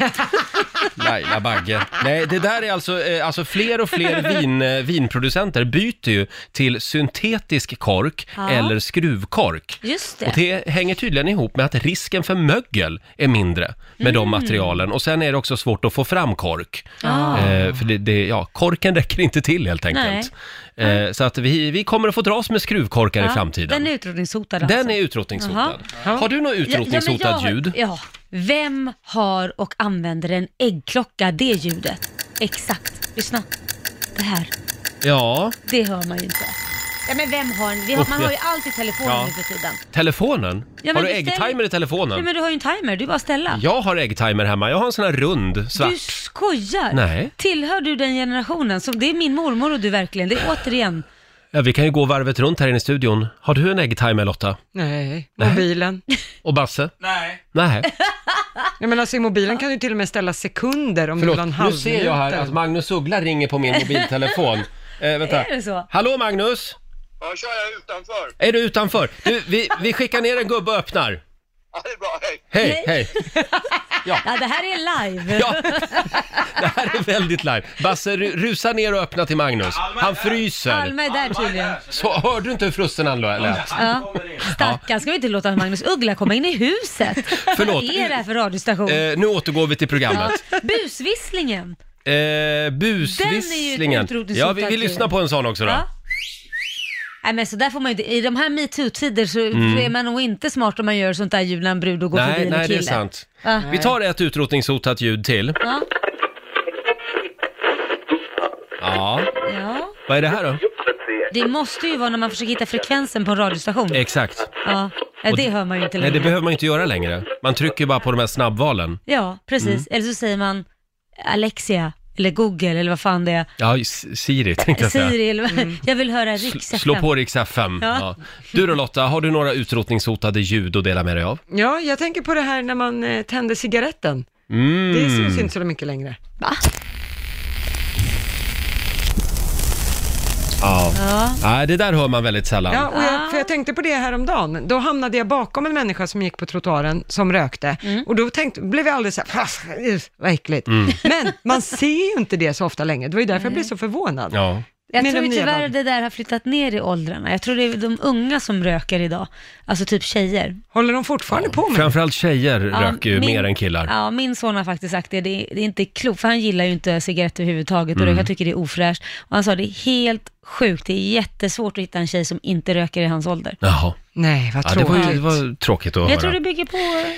[SPEAKER 2] Laila Bagge. Nej, det där är alltså, eh, alltså fler och fler vin, eh, vinproducenter byter ju till syntetisk kork
[SPEAKER 1] Ja.
[SPEAKER 2] eller skruvkork.
[SPEAKER 1] Just
[SPEAKER 2] Och
[SPEAKER 1] det.
[SPEAKER 2] det hänger tydligen ihop med att risken för mögel är mindre med
[SPEAKER 1] Mm.
[SPEAKER 2] de materialen. Och sen är det också svårt att få fram kork.
[SPEAKER 1] Ah.
[SPEAKER 2] Eh, för det, det, ja, korken räcker inte till helt
[SPEAKER 1] Nej.
[SPEAKER 2] enkelt. Eh, så att vi, vi kommer att få dras med skruvkorkar i
[SPEAKER 1] Ja,
[SPEAKER 2] framtiden.
[SPEAKER 1] Den är utrotningshotad alltså.
[SPEAKER 2] Den är utrotningshotad.
[SPEAKER 3] Jaha.
[SPEAKER 2] Har du något
[SPEAKER 1] Ja, ja, men jag
[SPEAKER 2] utrotningshotat
[SPEAKER 1] har-
[SPEAKER 2] ljud?
[SPEAKER 1] Ja. Vem har och använder en äggklocka, det ljudet? Exakt, lyssna. Det här,
[SPEAKER 2] Ja,
[SPEAKER 1] det hör man ju inte. Ja men vem har en? Vi har,
[SPEAKER 2] Oh,
[SPEAKER 1] man har ju
[SPEAKER 2] ja.
[SPEAKER 1] allt i telefonen
[SPEAKER 2] Ja. Mm.
[SPEAKER 1] nu för tiden.
[SPEAKER 2] telefonen.
[SPEAKER 1] Ja, men
[SPEAKER 2] har du
[SPEAKER 1] vi ställer-
[SPEAKER 2] äggtimer i telefonen?
[SPEAKER 1] Ja men du har ju en timer, du bara att ställa.
[SPEAKER 2] Jag har äggtimer hemma. Jag har en sån här rund, svart.
[SPEAKER 1] Du skojar!
[SPEAKER 2] Nej.
[SPEAKER 1] Tillhör du den generationen? Som, det är min mormor och du verkligen, det är återigen.
[SPEAKER 2] Ja, vi kan ju gå varvet runt här inne i studion. Har du en äggtimer Lotta?
[SPEAKER 3] Nej, mobilen.
[SPEAKER 2] Och Basse?
[SPEAKER 5] Nej.
[SPEAKER 2] Nej.
[SPEAKER 3] Jag menar, alltså, i mobilen kan du till och med ställa sekunder om du vill ha en
[SPEAKER 2] Förlåt, nu
[SPEAKER 3] halv
[SPEAKER 2] ser jag här
[SPEAKER 3] minut.
[SPEAKER 2] att Magnus Uggla ringer på min mobiltelefon. Eh, vänta.
[SPEAKER 1] Är det så?
[SPEAKER 2] Hallå Magnus!
[SPEAKER 6] Ja, kör jag utanför.
[SPEAKER 2] Är du utanför? Du, vi, vi skickar ner en gubbe och öppnar.
[SPEAKER 6] Ja, det är bra. Hej.
[SPEAKER 2] Hej, hej!
[SPEAKER 1] Ja, det här är live.
[SPEAKER 2] Ja, det här är väldigt live. Basse, ru- rusa ner och öppna till Magnus. Han fryser.
[SPEAKER 1] Alma är där tydligen.
[SPEAKER 2] Så hörde du inte hur frusten han lät?
[SPEAKER 5] Ja. kommer in.
[SPEAKER 1] Stackarn, ska vi inte låta Magnus Uggla komma in i huset?
[SPEAKER 2] Förlåt.
[SPEAKER 1] Vad är det här för radiostation?
[SPEAKER 2] Eh, nu återgår vi till programmet.
[SPEAKER 1] Busvisslingen.
[SPEAKER 2] Eh,
[SPEAKER 1] Den är ju
[SPEAKER 2] busvisslingen.
[SPEAKER 1] ett otroligt
[SPEAKER 2] Ja, vi, vi
[SPEAKER 1] stort
[SPEAKER 2] lyssnar
[SPEAKER 1] aktiv.
[SPEAKER 2] på en sån också då.
[SPEAKER 1] Ja. Nej men så där får man ju inte, i de här metoo-tider så är man nog inte smart om man gör sånt där ljud när en brud och går förbi
[SPEAKER 2] Mm. Nej,
[SPEAKER 1] en
[SPEAKER 2] nej, det
[SPEAKER 1] kille.
[SPEAKER 2] är sant.
[SPEAKER 1] Va?
[SPEAKER 2] Vi tar ett utrotningshotat ljud till.
[SPEAKER 1] Ja,
[SPEAKER 2] Ja,
[SPEAKER 1] ja.
[SPEAKER 2] vad är det här då?
[SPEAKER 1] Det måste ju vara när man försöker hitta frekvensen på en radiostation.
[SPEAKER 2] Exakt.
[SPEAKER 1] Ja, Nej, det hör man ju inte
[SPEAKER 2] Nej,
[SPEAKER 1] längre.
[SPEAKER 2] det behöver man ju inte göra längre. Man trycker ju bara på de här snabbvalen.
[SPEAKER 1] Ja,
[SPEAKER 2] Mm.
[SPEAKER 1] precis. Eller så säger man Alexia, eller Google, eller vad fan det är.
[SPEAKER 2] Ja, s- Siri tänkte jag säga.
[SPEAKER 1] Siri, eller vad-
[SPEAKER 3] Mm.
[SPEAKER 1] jag vill höra riks
[SPEAKER 2] Slå
[SPEAKER 1] FM.
[SPEAKER 2] på Rix FM.
[SPEAKER 1] Ja.
[SPEAKER 2] Ja. Du då Lotta, har du några utrotningshotade ljud att dela med dig av?
[SPEAKER 3] Ja, jag tänker på det här när man eh, tänder cigaretten.
[SPEAKER 2] Mm.
[SPEAKER 3] Det syns ju inte så mycket längre.
[SPEAKER 2] Ja. Nej, det där hör man väldigt sällan.
[SPEAKER 3] Ja, och
[SPEAKER 1] Ah.
[SPEAKER 3] jag, för jag tänkte på det häromdagen. Då hamnade jag bakom en människa som gick på trottoaren som rökte.
[SPEAKER 1] Mm.
[SPEAKER 3] Och då tänkte, blev jag alldeles så här, "Fast, uff, vad äckligt.
[SPEAKER 2] Mm.
[SPEAKER 3] Men man ser ju inte det så ofta längre. Det var ju därför jag blev så förvånad.
[SPEAKER 2] Ja.
[SPEAKER 1] Jag
[SPEAKER 3] Med
[SPEAKER 1] tror
[SPEAKER 3] de
[SPEAKER 1] ju
[SPEAKER 3] nya
[SPEAKER 1] tyvärr
[SPEAKER 3] banden.
[SPEAKER 1] det där har flyttat ner i åldrarna. Jag tror det är de unga som röker idag, alltså typ tjejer.
[SPEAKER 3] Håller de fortfarande på med det?
[SPEAKER 2] Framförallt tjejer röker ju
[SPEAKER 1] min-
[SPEAKER 2] mer än killar.
[SPEAKER 1] Ja, min son har faktiskt sagt det. Det är, det är inte klokt, för han gillar ju inte cigaretter överhuvudtaget
[SPEAKER 2] Mm.
[SPEAKER 1] och jag tycker det är ofräscht. Och han sa det är helt sjukt, det är jättesvårt att hitta en tjej som inte röker i hans ålder.
[SPEAKER 2] Jaha.
[SPEAKER 3] Nej, vad
[SPEAKER 2] Ja, det,
[SPEAKER 3] tråkigt.
[SPEAKER 2] var ju, det var tråkigt att
[SPEAKER 1] Men jag
[SPEAKER 2] höra.
[SPEAKER 1] tror det bygger på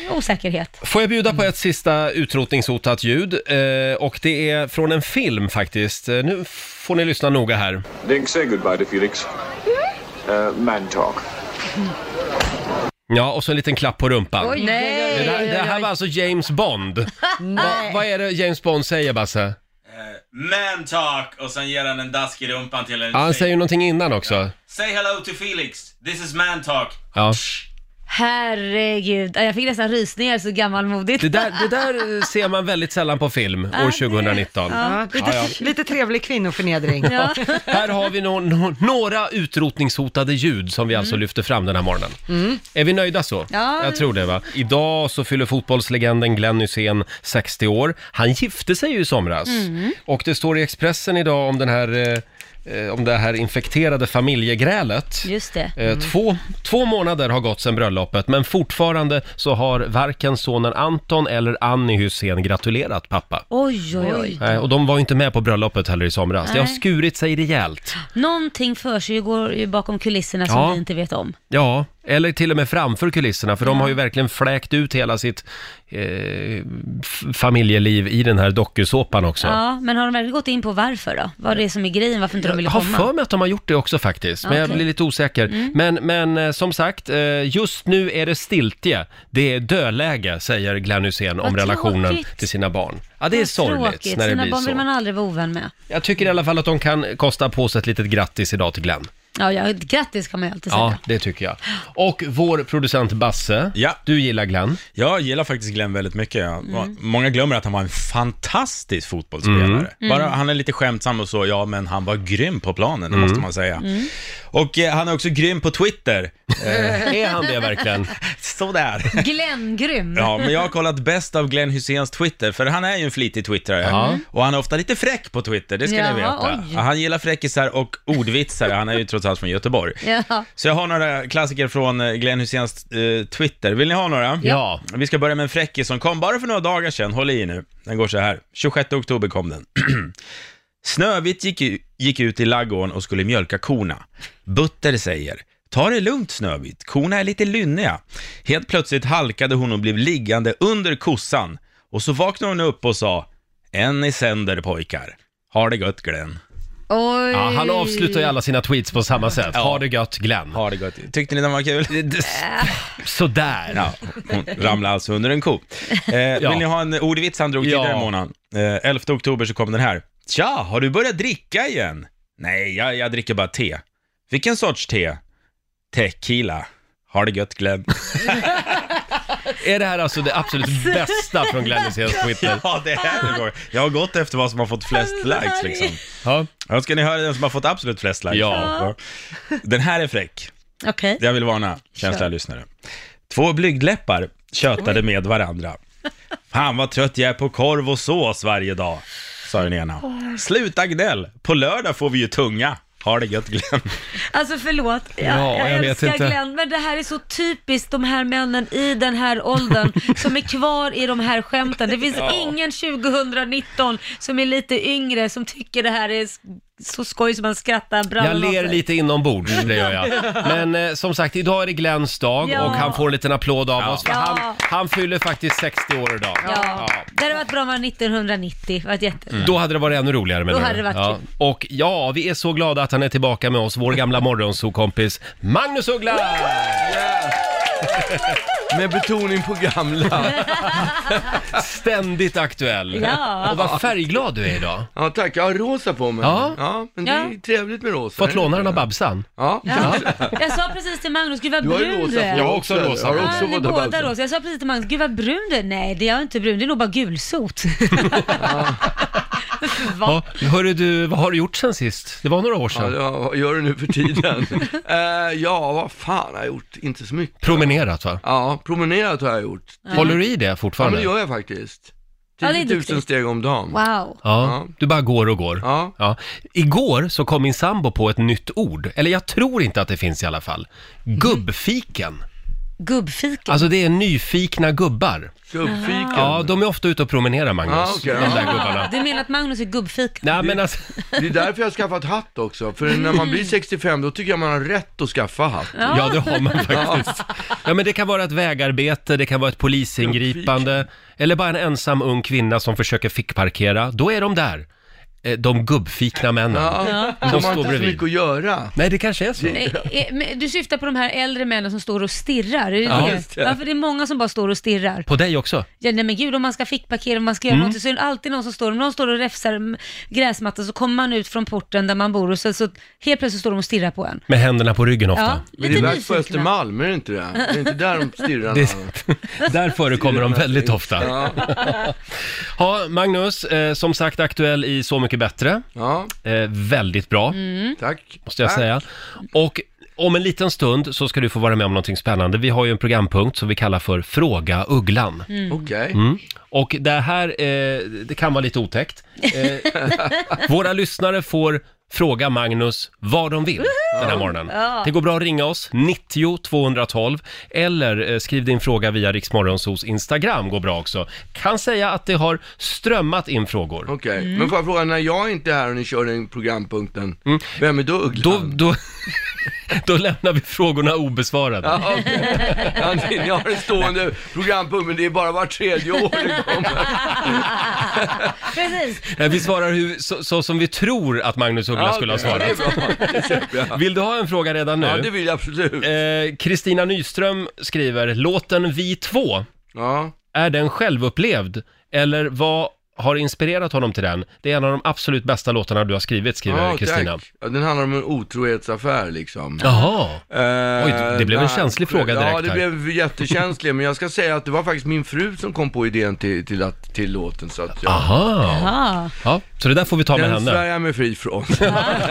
[SPEAKER 1] eh, osäkerhet.
[SPEAKER 2] Får jag bjuda på ett sista utrotningshotat ljud? Eh, och det är från en film faktiskt. Eh, Nu får ni lyssna noga här.
[SPEAKER 7] Link, say goodbye to Felix. Uh, man talk.
[SPEAKER 2] Ja, och så en liten klapp på rumpan.
[SPEAKER 7] Oj,
[SPEAKER 1] Nej.
[SPEAKER 7] oj,
[SPEAKER 2] Det,
[SPEAKER 7] oj,
[SPEAKER 2] där,
[SPEAKER 7] oj, oj,
[SPEAKER 2] det här
[SPEAKER 7] oj.
[SPEAKER 2] var alltså James Bond. Va,
[SPEAKER 7] Nej.
[SPEAKER 2] vad är det James Bond säger, Basse?
[SPEAKER 5] Eh, Men tack! Och sen ger han en dask i rumpan till en
[SPEAKER 2] Ja, han
[SPEAKER 5] tjej.
[SPEAKER 2] säger ju någonting innan också.
[SPEAKER 5] Say hello to Felix. This is man talk.
[SPEAKER 2] Ja.
[SPEAKER 1] Herregud, jag fick nästan rysningar så gammalmodigt.
[SPEAKER 2] Det, där, det där eh, ser man väldigt sällan på film år 2019.
[SPEAKER 3] Ja, lite,
[SPEAKER 2] Ja,
[SPEAKER 3] lite trevlig kvinnoförnedring.
[SPEAKER 1] Ja.
[SPEAKER 2] Här har vi no no några utrotningshotade ljud som vi
[SPEAKER 7] Mm.
[SPEAKER 2] alltså lyfter fram den här morgonen.
[SPEAKER 3] Mm.
[SPEAKER 2] Är vi nöjda så?
[SPEAKER 1] Ja.
[SPEAKER 2] Jag tror det va. Idag så fyller fotbollslegenden Glenn Hysén 60 år. Han gifte sig ju i somras.
[SPEAKER 7] Mm.
[SPEAKER 1] Mm.
[SPEAKER 2] Och det står i Expressen idag om den här eh, eh, om det här infekterade familjegrälet.
[SPEAKER 1] Just det. Mm.
[SPEAKER 2] Eh, Två, två månader har gått sedan bröllopet, men fortfarande så har varken sonen Anton eller Annie Hysén gratulerat pappa.
[SPEAKER 1] Oj, oj, oj.
[SPEAKER 2] Nej, och de var ju inte med på bröllopet heller i somras. Det har
[SPEAKER 1] Nej.
[SPEAKER 2] skurit sig rejält.
[SPEAKER 1] Någonting för sig går ju bakom kulisserna som
[SPEAKER 2] Ja.
[SPEAKER 1] vi inte vet om.
[SPEAKER 2] Ja, eller till och med framför kulisserna, för de har ju verkligen fläkt ut hela sitt eh, f- familjeliv i den här dokusåpan också.
[SPEAKER 1] Ja, men har de verkligen gått in på varför då? Vad det är som är grejen, varför inte de vill
[SPEAKER 2] Jag har
[SPEAKER 1] komma?
[SPEAKER 2] för mig att de har gjort det också faktiskt, men jag
[SPEAKER 1] Okej. Mm.
[SPEAKER 2] blir lite osäker. Men, men eh, som sagt, eh, just nu är det stiltje. Det är döläge, säger Glenn Hysén om
[SPEAKER 1] Vad
[SPEAKER 2] relationen
[SPEAKER 1] tråkigt.
[SPEAKER 2] till sina barn. Ja, det är
[SPEAKER 1] Vad
[SPEAKER 2] sorgligt
[SPEAKER 1] tråkigt.
[SPEAKER 2] när det
[SPEAKER 1] Sina
[SPEAKER 2] blir
[SPEAKER 1] barn
[SPEAKER 2] så.
[SPEAKER 1] vill man aldrig vara ovän med.
[SPEAKER 2] Jag tycker i alla fall att de kan kosta på sig ett litet grattis idag till Glenn.
[SPEAKER 1] Ja, ja, ett grattis kan man ju alltid säga.
[SPEAKER 2] Ja, det tycker jag. Och vår producent Basse,
[SPEAKER 5] Ja.
[SPEAKER 2] du gillar Glenn.
[SPEAKER 5] Jag gillar faktiskt Glenn väldigt mycket. Ja.
[SPEAKER 1] Mm.
[SPEAKER 5] Många glömmer att han var en fantastisk
[SPEAKER 2] Mm.
[SPEAKER 5] fotbollsspelare. Mm.
[SPEAKER 1] Mm.
[SPEAKER 5] Bara, han är lite skämtsam och så, ja men han var grym på planen,
[SPEAKER 2] Mm.
[SPEAKER 5] det måste man säga. Och eh, han är också grym på Twitter. Eh,
[SPEAKER 2] Är han det verkligen?
[SPEAKER 5] Sådär.
[SPEAKER 1] Glenn, grym.
[SPEAKER 5] Ja, men jag har kollat bäst av Glenn Hyséns Twitter, för han är ju en flitig twittrare.
[SPEAKER 2] Ja.
[SPEAKER 5] Och han är ofta lite fräck på Twitter, det ska
[SPEAKER 1] Jaha,
[SPEAKER 5] ni veta.
[SPEAKER 1] oj.
[SPEAKER 5] Han gillar fräckisar och ordvitsare, han är ju trots allt från Göteborg.
[SPEAKER 1] Ja.
[SPEAKER 5] Så jag har några klassiker från eh, Glenn Hyséns eh, Twitter. Vill ni ha några?
[SPEAKER 2] Ja.
[SPEAKER 5] Vi ska börja med en fräckis som kom bara för några dagar sedan. Håll i nu. Den går så här. 26 oktober kom den. Snövit gick, u- gick ut i laggården och skulle mjölka korna. Butter säger, ta det lugnt Snövit, korna är lite lynniga. Helt plötsligt halkade hon och blev liggande under kossan. Och så vaknade hon upp och sa, en i sänder pojkar. Har det gött Glenn.
[SPEAKER 1] Oj.
[SPEAKER 2] Ja, han avslutar ju alla sina tweets på samma sätt. Ha det gött, Glenn.
[SPEAKER 5] Har det gött. Tyckte ni den var kul?
[SPEAKER 2] Sådär.
[SPEAKER 5] Ja, hon ramlade alltså under en ko. Eh, Vill ni ha en ordvits han drog
[SPEAKER 2] Ja.
[SPEAKER 5] tidigare i månaden? Eh, 11 oktober så kom den här. Tja, har du börjat dricka igen? Nej, jag, jag dricker bara te. Vilken sorts te? Tequila. Har det gött Glenn.
[SPEAKER 2] Är det här alltså det absolut bästa från Glenn Hyséns Twitter?
[SPEAKER 5] Ja, det här går. Jag har gått efter vad som har fått flest
[SPEAKER 2] Alltså,
[SPEAKER 5] likes liksom.
[SPEAKER 2] Ja.
[SPEAKER 5] Ja, ska ni höra den som har fått absolut flest likes?
[SPEAKER 2] Ja. Eh?
[SPEAKER 5] Den här är fräck.
[SPEAKER 1] Okej.
[SPEAKER 5] Jag vill varna känsliga lyssnare. Två blygdläppar tjötade med varandra. Fan vad trött jag är på korv och sås varje dag, sa den ena. Sluta gnäll, på lördag får vi ju tunga. Har det gött Glenn.
[SPEAKER 1] Alltså förlåt, jag,
[SPEAKER 2] Ja,
[SPEAKER 1] jag,
[SPEAKER 2] jag vet
[SPEAKER 1] älskar
[SPEAKER 2] inte.
[SPEAKER 1] Glenn, men det här är så typiskt de här männen i den här åldern som är kvar i de här skämten. Det finns ingen 2019 som är lite yngre som tycker det här är s- så skoj som man skrattar
[SPEAKER 2] Jag
[SPEAKER 1] brallan av
[SPEAKER 2] ler
[SPEAKER 1] sig.
[SPEAKER 2] lite inombords, det gör jag. Men eh, som sagt, idag är det Glens dag
[SPEAKER 1] Ja.
[SPEAKER 2] och han får en liten applåd av oss. För
[SPEAKER 1] Ja.
[SPEAKER 2] han, han fyller faktiskt 60 år idag.
[SPEAKER 1] Ja. det hade varit bra om det var 1990, det var ett jätte...
[SPEAKER 2] Mm. Då hade det varit ännu roligare
[SPEAKER 1] Då
[SPEAKER 2] menar du?
[SPEAKER 1] hade det varit
[SPEAKER 2] ja.
[SPEAKER 1] kul.
[SPEAKER 2] Och ja, vi är så glada att han är tillbaka med oss, vår gamla morgonsokompis Magnus Uggla!
[SPEAKER 8] Med betoning på gamla.
[SPEAKER 2] Ständigt aktuell.
[SPEAKER 1] Ja.
[SPEAKER 2] Och vad färgglad du är idag.
[SPEAKER 8] Ja tack, jag har rosa på mig.
[SPEAKER 2] Ja.
[SPEAKER 8] men
[SPEAKER 1] Ja.
[SPEAKER 8] det är trevligt med rosa.
[SPEAKER 2] Fått låna den av Babsan?
[SPEAKER 8] Ja.
[SPEAKER 1] Ja. Jag sa precis till Magnus, gud vad
[SPEAKER 8] Du har ju
[SPEAKER 1] brun
[SPEAKER 8] rosa
[SPEAKER 1] du är.
[SPEAKER 8] på
[SPEAKER 2] Jag har
[SPEAKER 8] dig
[SPEAKER 2] också rosa.
[SPEAKER 8] Jag har
[SPEAKER 2] Ja,
[SPEAKER 8] också
[SPEAKER 1] Ja, ni
[SPEAKER 8] fått av
[SPEAKER 1] båda
[SPEAKER 8] Babsen.
[SPEAKER 1] rosa. Jag sa precis till Magnus, gud vad brun du är. Nej, det är jag inte brun, det är nog bara gulsot.
[SPEAKER 2] Ja. Hörru du, vad har du gjort sen sist? Det var några år
[SPEAKER 8] Ja,
[SPEAKER 2] sedan.
[SPEAKER 8] ja, vad gör du nu för tiden? Eh, ja, vad fan har jag gjort? Inte så mycket.
[SPEAKER 2] Promenerat va?
[SPEAKER 8] Ja, promenerat har jag gjort.
[SPEAKER 2] Håller du i det
[SPEAKER 8] Ja,
[SPEAKER 2] fortfarande?
[SPEAKER 8] men det gör jag faktiskt.
[SPEAKER 1] Ja, det är
[SPEAKER 8] 10 000
[SPEAKER 1] duktigt.
[SPEAKER 8] steg om dagen.
[SPEAKER 1] Wow.
[SPEAKER 2] Ja,
[SPEAKER 8] Ja.
[SPEAKER 2] du bara går och går.
[SPEAKER 8] Ja.
[SPEAKER 2] Igår så kom min sambo på ett nytt ord, eller jag tror inte att det finns i alla fall. Gubbfiken.
[SPEAKER 1] Gubbfika.
[SPEAKER 2] Alltså det är nyfikna gubbar.
[SPEAKER 8] Gubbfiken.
[SPEAKER 2] Ja, de är ofta ute och promenerar Magnus,
[SPEAKER 8] Ja, Ah, okej,
[SPEAKER 2] de
[SPEAKER 8] ja.
[SPEAKER 2] där gubbarna.
[SPEAKER 1] Du menar att Magnus är gubbfika?
[SPEAKER 2] Nej men alltså,
[SPEAKER 8] Det är därför jag har skaffat hatt också. För när man blir 65 då tycker jag man har rätt att skaffa hatt.
[SPEAKER 2] ja det har man faktiskt. Ja men det kan vara ett vägarbete, det kan vara ett polisingripande, eller bara en ensam ung kvinna som försöker fickparkera. Då är de där. eh, de gubbfikna männen.
[SPEAKER 8] Ja,
[SPEAKER 2] De
[SPEAKER 8] de
[SPEAKER 2] står
[SPEAKER 8] har inte så
[SPEAKER 2] bredvid.
[SPEAKER 8] mycket att göra.
[SPEAKER 2] Nej, det kanske är så.
[SPEAKER 1] Nej, eh, men Du syftar på de här äldre männen som står och stirrar, är det
[SPEAKER 2] Ja,
[SPEAKER 1] det? Ja, för det är många som bara står och stirrar.
[SPEAKER 2] På dig också?
[SPEAKER 1] Ja, nej men gud, om man ska fickparkera, om man
[SPEAKER 2] Mm.
[SPEAKER 1] ska göra något, så är det alltid någon som står, om någon står och räfsar mm, gräsmattan så kommer man ut från porten där man bor och så, så helt plötsligt står de och stirrar på en.
[SPEAKER 2] Med händerna på ryggen
[SPEAKER 1] Ja,
[SPEAKER 2] ofta.
[SPEAKER 8] Men det är
[SPEAKER 1] lite
[SPEAKER 8] värst på
[SPEAKER 1] nyfikna.
[SPEAKER 8] Östermalm, är det inte det? Det är inte där de stirrar.
[SPEAKER 2] Det, där förekommer de väldigt ofta. Ja,
[SPEAKER 8] Ja,
[SPEAKER 2] Magnus, eh, som sagt aktuell i Så mycket bättre.
[SPEAKER 8] ja
[SPEAKER 2] Eh, väldigt bra,
[SPEAKER 1] Mm.
[SPEAKER 8] tack.
[SPEAKER 2] måste jag
[SPEAKER 8] tack.
[SPEAKER 2] säga. Och om en liten stund så ska du få vara med om någonting spännande. Vi har ju en programpunkt som vi kallar för Fråga Ugglan.
[SPEAKER 1] Mm.
[SPEAKER 8] Okej.
[SPEAKER 2] Mm. Och det här, eh, det kan vara lite otäckt. Eh, våra lyssnare får fråga Magnus vad de vill den här morgonen. Det går bra att ringa oss, 90 212, eller eh, skriv din fråga via Riksmorgonsos Instagram går bra också. Kan säga att det har strömmat in frågor.
[SPEAKER 8] Okej, men får jag fråga, när jag inte är här och ni kör den programpunkten, vem är då
[SPEAKER 2] Då,
[SPEAKER 8] Ugglan?
[SPEAKER 2] Mm. då, då lämnar vi frågorna obesvarade.
[SPEAKER 8] Ja, okej. ja, ni, ni har en stående programpunkt, men det är bara var tredje år det kommer.
[SPEAKER 1] Precis.
[SPEAKER 2] Nej, Eh, Vi svarar hur, så, så som vi tror att Magnus Uggla skulle ha
[SPEAKER 8] Ja, det är
[SPEAKER 2] svarat.
[SPEAKER 8] bra. Det köper jag.
[SPEAKER 2] Vill du ha en fråga redan nu?
[SPEAKER 8] Ja, det vill jag absolut.
[SPEAKER 2] Eh, Kristina Nyström skriver, låten Vi två,
[SPEAKER 8] Ja.
[SPEAKER 2] är den självupplevd? Eller vad har inspirerat honom till den? Det är en av de absolut bästa låtarna du har skrivit, skriver
[SPEAKER 8] Ja,
[SPEAKER 2] Kristina.
[SPEAKER 8] tack. Ja, den handlar om en otrohetsaffär liksom.
[SPEAKER 2] Jaha,
[SPEAKER 8] Eh,
[SPEAKER 2] Oj, det blev en
[SPEAKER 8] nej.
[SPEAKER 2] känslig fråga direkt
[SPEAKER 8] Ja, det
[SPEAKER 2] här.
[SPEAKER 8] blev jättekänslig, men jag ska säga att det var faktiskt min fru som kom på idén till, till, att, till låten, så att jag,
[SPEAKER 2] aha.
[SPEAKER 1] Ja.
[SPEAKER 2] Ja, så det där får vi ta med
[SPEAKER 8] den
[SPEAKER 2] henne.
[SPEAKER 8] svär jag mig fri från.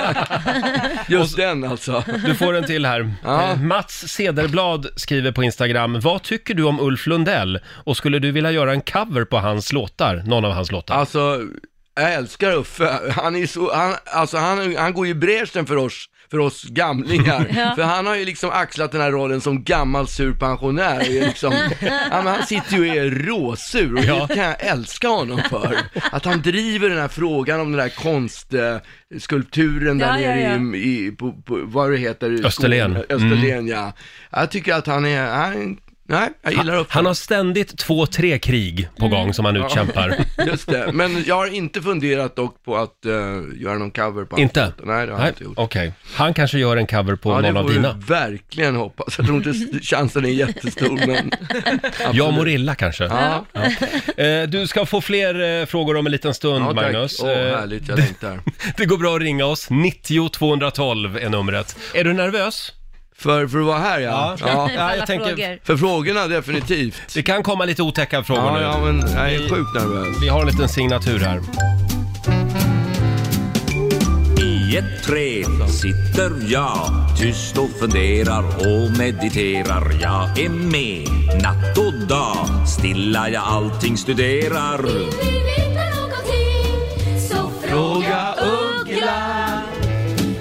[SPEAKER 8] Just den alltså.
[SPEAKER 2] Du får en till här.
[SPEAKER 8] Ja.
[SPEAKER 2] Eh, Mats Cederblad skriver på Instagram, vad tycker du om Ulf Lundell? Och skulle du vilja göra en cover på hans låtar, någon av hans låtar?
[SPEAKER 8] Alltså, jag älskar Uffe. Han, är så, han, alltså, han, han går ju i bräschen för oss, för oss gamlingar. För han har ju liksom axlat den här rollen som gammal sur pensionär. Och är liksom, han, han sitter ju och är råsur och
[SPEAKER 2] Ja.
[SPEAKER 8] det kan jag älska honom för. Att han driver den här frågan om den där konstskulpturen där
[SPEAKER 1] Ja, ja,
[SPEAKER 8] nere
[SPEAKER 1] ja.
[SPEAKER 8] i, i på, på, vad det heter,
[SPEAKER 2] Österlen.
[SPEAKER 8] Skåne. Österlen,
[SPEAKER 1] Mm.
[SPEAKER 8] ja. Jag tycker att han är, han, nej, jag gillar Uffe.
[SPEAKER 2] Han har ständigt två, tre krig på gång som han utkämpar.
[SPEAKER 8] Just det, men jag har inte funderat dock på att eh, göra någon cover på
[SPEAKER 2] Inte?
[SPEAKER 8] hans låtar. Nej, det har jag inte gjort.
[SPEAKER 2] Okej. Han kanske gör en cover på
[SPEAKER 8] Ja, det
[SPEAKER 2] någon av
[SPEAKER 8] får
[SPEAKER 2] dina.
[SPEAKER 8] du verkligen hoppas. Jag tror inte chansen är jättestor, men...
[SPEAKER 2] Ja, Morilla kanske.
[SPEAKER 8] Ja, ja,
[SPEAKER 2] Eh, du ska få fler eh, frågor om en liten stund,
[SPEAKER 8] tack.
[SPEAKER 2] Magnus.
[SPEAKER 8] Åh,
[SPEAKER 2] Eh,
[SPEAKER 8] härligt, jag längtar.
[SPEAKER 2] det går bra att ringa oss. 90 212 är numret. Är du nervös?
[SPEAKER 8] För, för att vara här, ja. ja.
[SPEAKER 1] Alla
[SPEAKER 2] jag tänker-
[SPEAKER 1] frågor.
[SPEAKER 8] För frågorna, definitivt.
[SPEAKER 2] Det kan komma lite otäcka frågor
[SPEAKER 8] Ja,
[SPEAKER 2] nu.
[SPEAKER 8] ja, men jag är sjukt nervös.
[SPEAKER 2] Vi har en liten signatur här.
[SPEAKER 7] I ett träd sitter jag tyst och funderar och mediterar. Jag är med natt och dag, stilla jag allting studerar.
[SPEAKER 9] Vill ni veta någonting? Så fråga Uggla.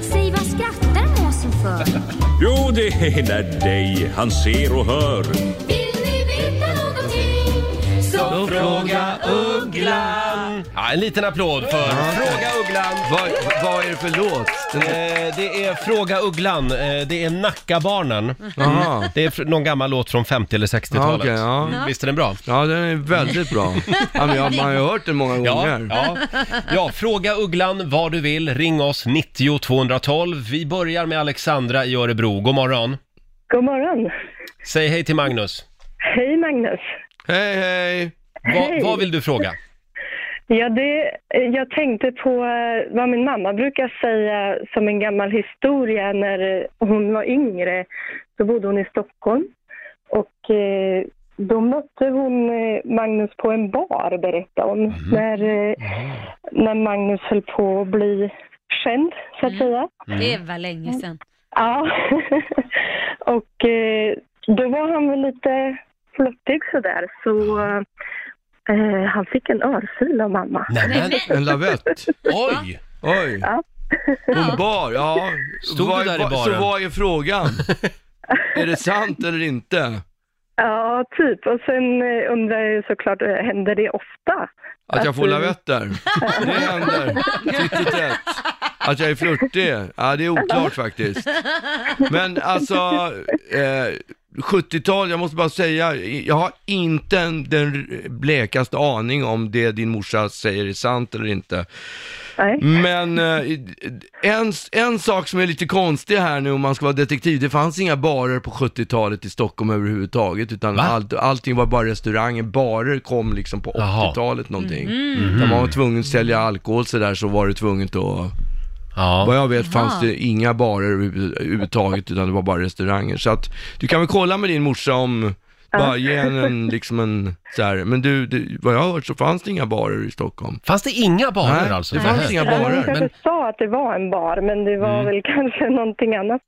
[SPEAKER 9] Säg, vad skrattar måsen för?
[SPEAKER 7] Jo, det är när dig han ser och hör.
[SPEAKER 9] Vill ni veta någonting? Så fråga
[SPEAKER 2] Ja, en liten applåd för Fråga Ugglan.
[SPEAKER 8] Vad, vad är det för låt? Den...
[SPEAKER 2] Eh, det är Fråga Ugglan. Eh, det är Nackabarnen. Mm.
[SPEAKER 8] Aha.
[SPEAKER 2] Det är fr- någon gammal låt från 50 eller 60-talet.
[SPEAKER 8] Ja, okej, ja.
[SPEAKER 2] Mm, Visst är den bra?
[SPEAKER 8] Ja, den är väldigt bra. Ja, men jag, man har ju hört den många
[SPEAKER 2] Ja,
[SPEAKER 8] gånger.
[SPEAKER 2] ja. ja, fråga Ugglan vad du vill. Ring oss 90 212. Vi börjar med Alexandra i Örebro. God morgon.
[SPEAKER 10] God morgon.
[SPEAKER 2] Säg hej till Magnus.
[SPEAKER 10] Hej Magnus.
[SPEAKER 8] Hej, hej!
[SPEAKER 2] Va, vad vill du fråga?
[SPEAKER 10] Ja, det, eh, jag tänkte på eh, vad min mamma brukar säga som en gammal historia. När eh, hon var yngre så bodde hon i Stockholm. Och eh, då mötte hon eh, Magnus på en bar, berättade hon. När, eh, när Magnus höll på att bli känd, så att säga.
[SPEAKER 2] Mm.
[SPEAKER 1] Det var länge sedan.
[SPEAKER 10] Ja. och eh, då var han väl lite flottig sådär. Så eh, han fick en örfil av mamma.
[SPEAKER 2] Nämen,
[SPEAKER 8] En lavett.
[SPEAKER 2] oj!
[SPEAKER 8] Oj!
[SPEAKER 10] Ja.
[SPEAKER 8] Hon bar, ja.
[SPEAKER 2] Stod du där i
[SPEAKER 8] vad-
[SPEAKER 2] baren?
[SPEAKER 8] Så vad är frågan? är det sant eller inte?
[SPEAKER 10] Ja, typ. Och sen eh, undrar jag ju såklart, eh, händer det ofta?
[SPEAKER 8] Att jag får
[SPEAKER 10] Att du-
[SPEAKER 8] lavetter? Det händer. Tittigt rätt. Att jag är flörtig? Ja, det är oklart faktiskt. Men alltså, eh, 70-tal, jag måste bara säga, jag har inte en, den blekaste aning om det din morsa säger är sant eller inte.
[SPEAKER 10] Nej.
[SPEAKER 8] Men eh, en, en sak som är lite konstig här nu om man ska vara detektiv, det fanns inga barer på 70-talet i Stockholm överhuvudtaget, utan
[SPEAKER 2] Va?
[SPEAKER 8] allt, allting var bara restauranger. Barer kom liksom på
[SPEAKER 2] Jaha.
[SPEAKER 8] 80-talet någonting.
[SPEAKER 2] Mhm.
[SPEAKER 8] När man var tvungen att sälja alkohol så där så var det tvunget att Vad jag vet fanns
[SPEAKER 1] Jaha.
[SPEAKER 8] det inga barer överhu- överhuvudtaget utan det var bara restauranger. Så att du kan väl kolla med din morsa om, bara ge henne en, liksom en så här. men du, du, vad jag har hört så fanns det inga barer i Stockholm.
[SPEAKER 2] Fanns det inga barer
[SPEAKER 8] Nej,
[SPEAKER 2] alltså?
[SPEAKER 8] det fanns
[SPEAKER 2] Nej.
[SPEAKER 8] inga
[SPEAKER 10] Ja, de
[SPEAKER 8] barer.
[SPEAKER 10] kanske
[SPEAKER 2] Men-
[SPEAKER 10] sa att det var en bar, men det var väl kanske någonting annat.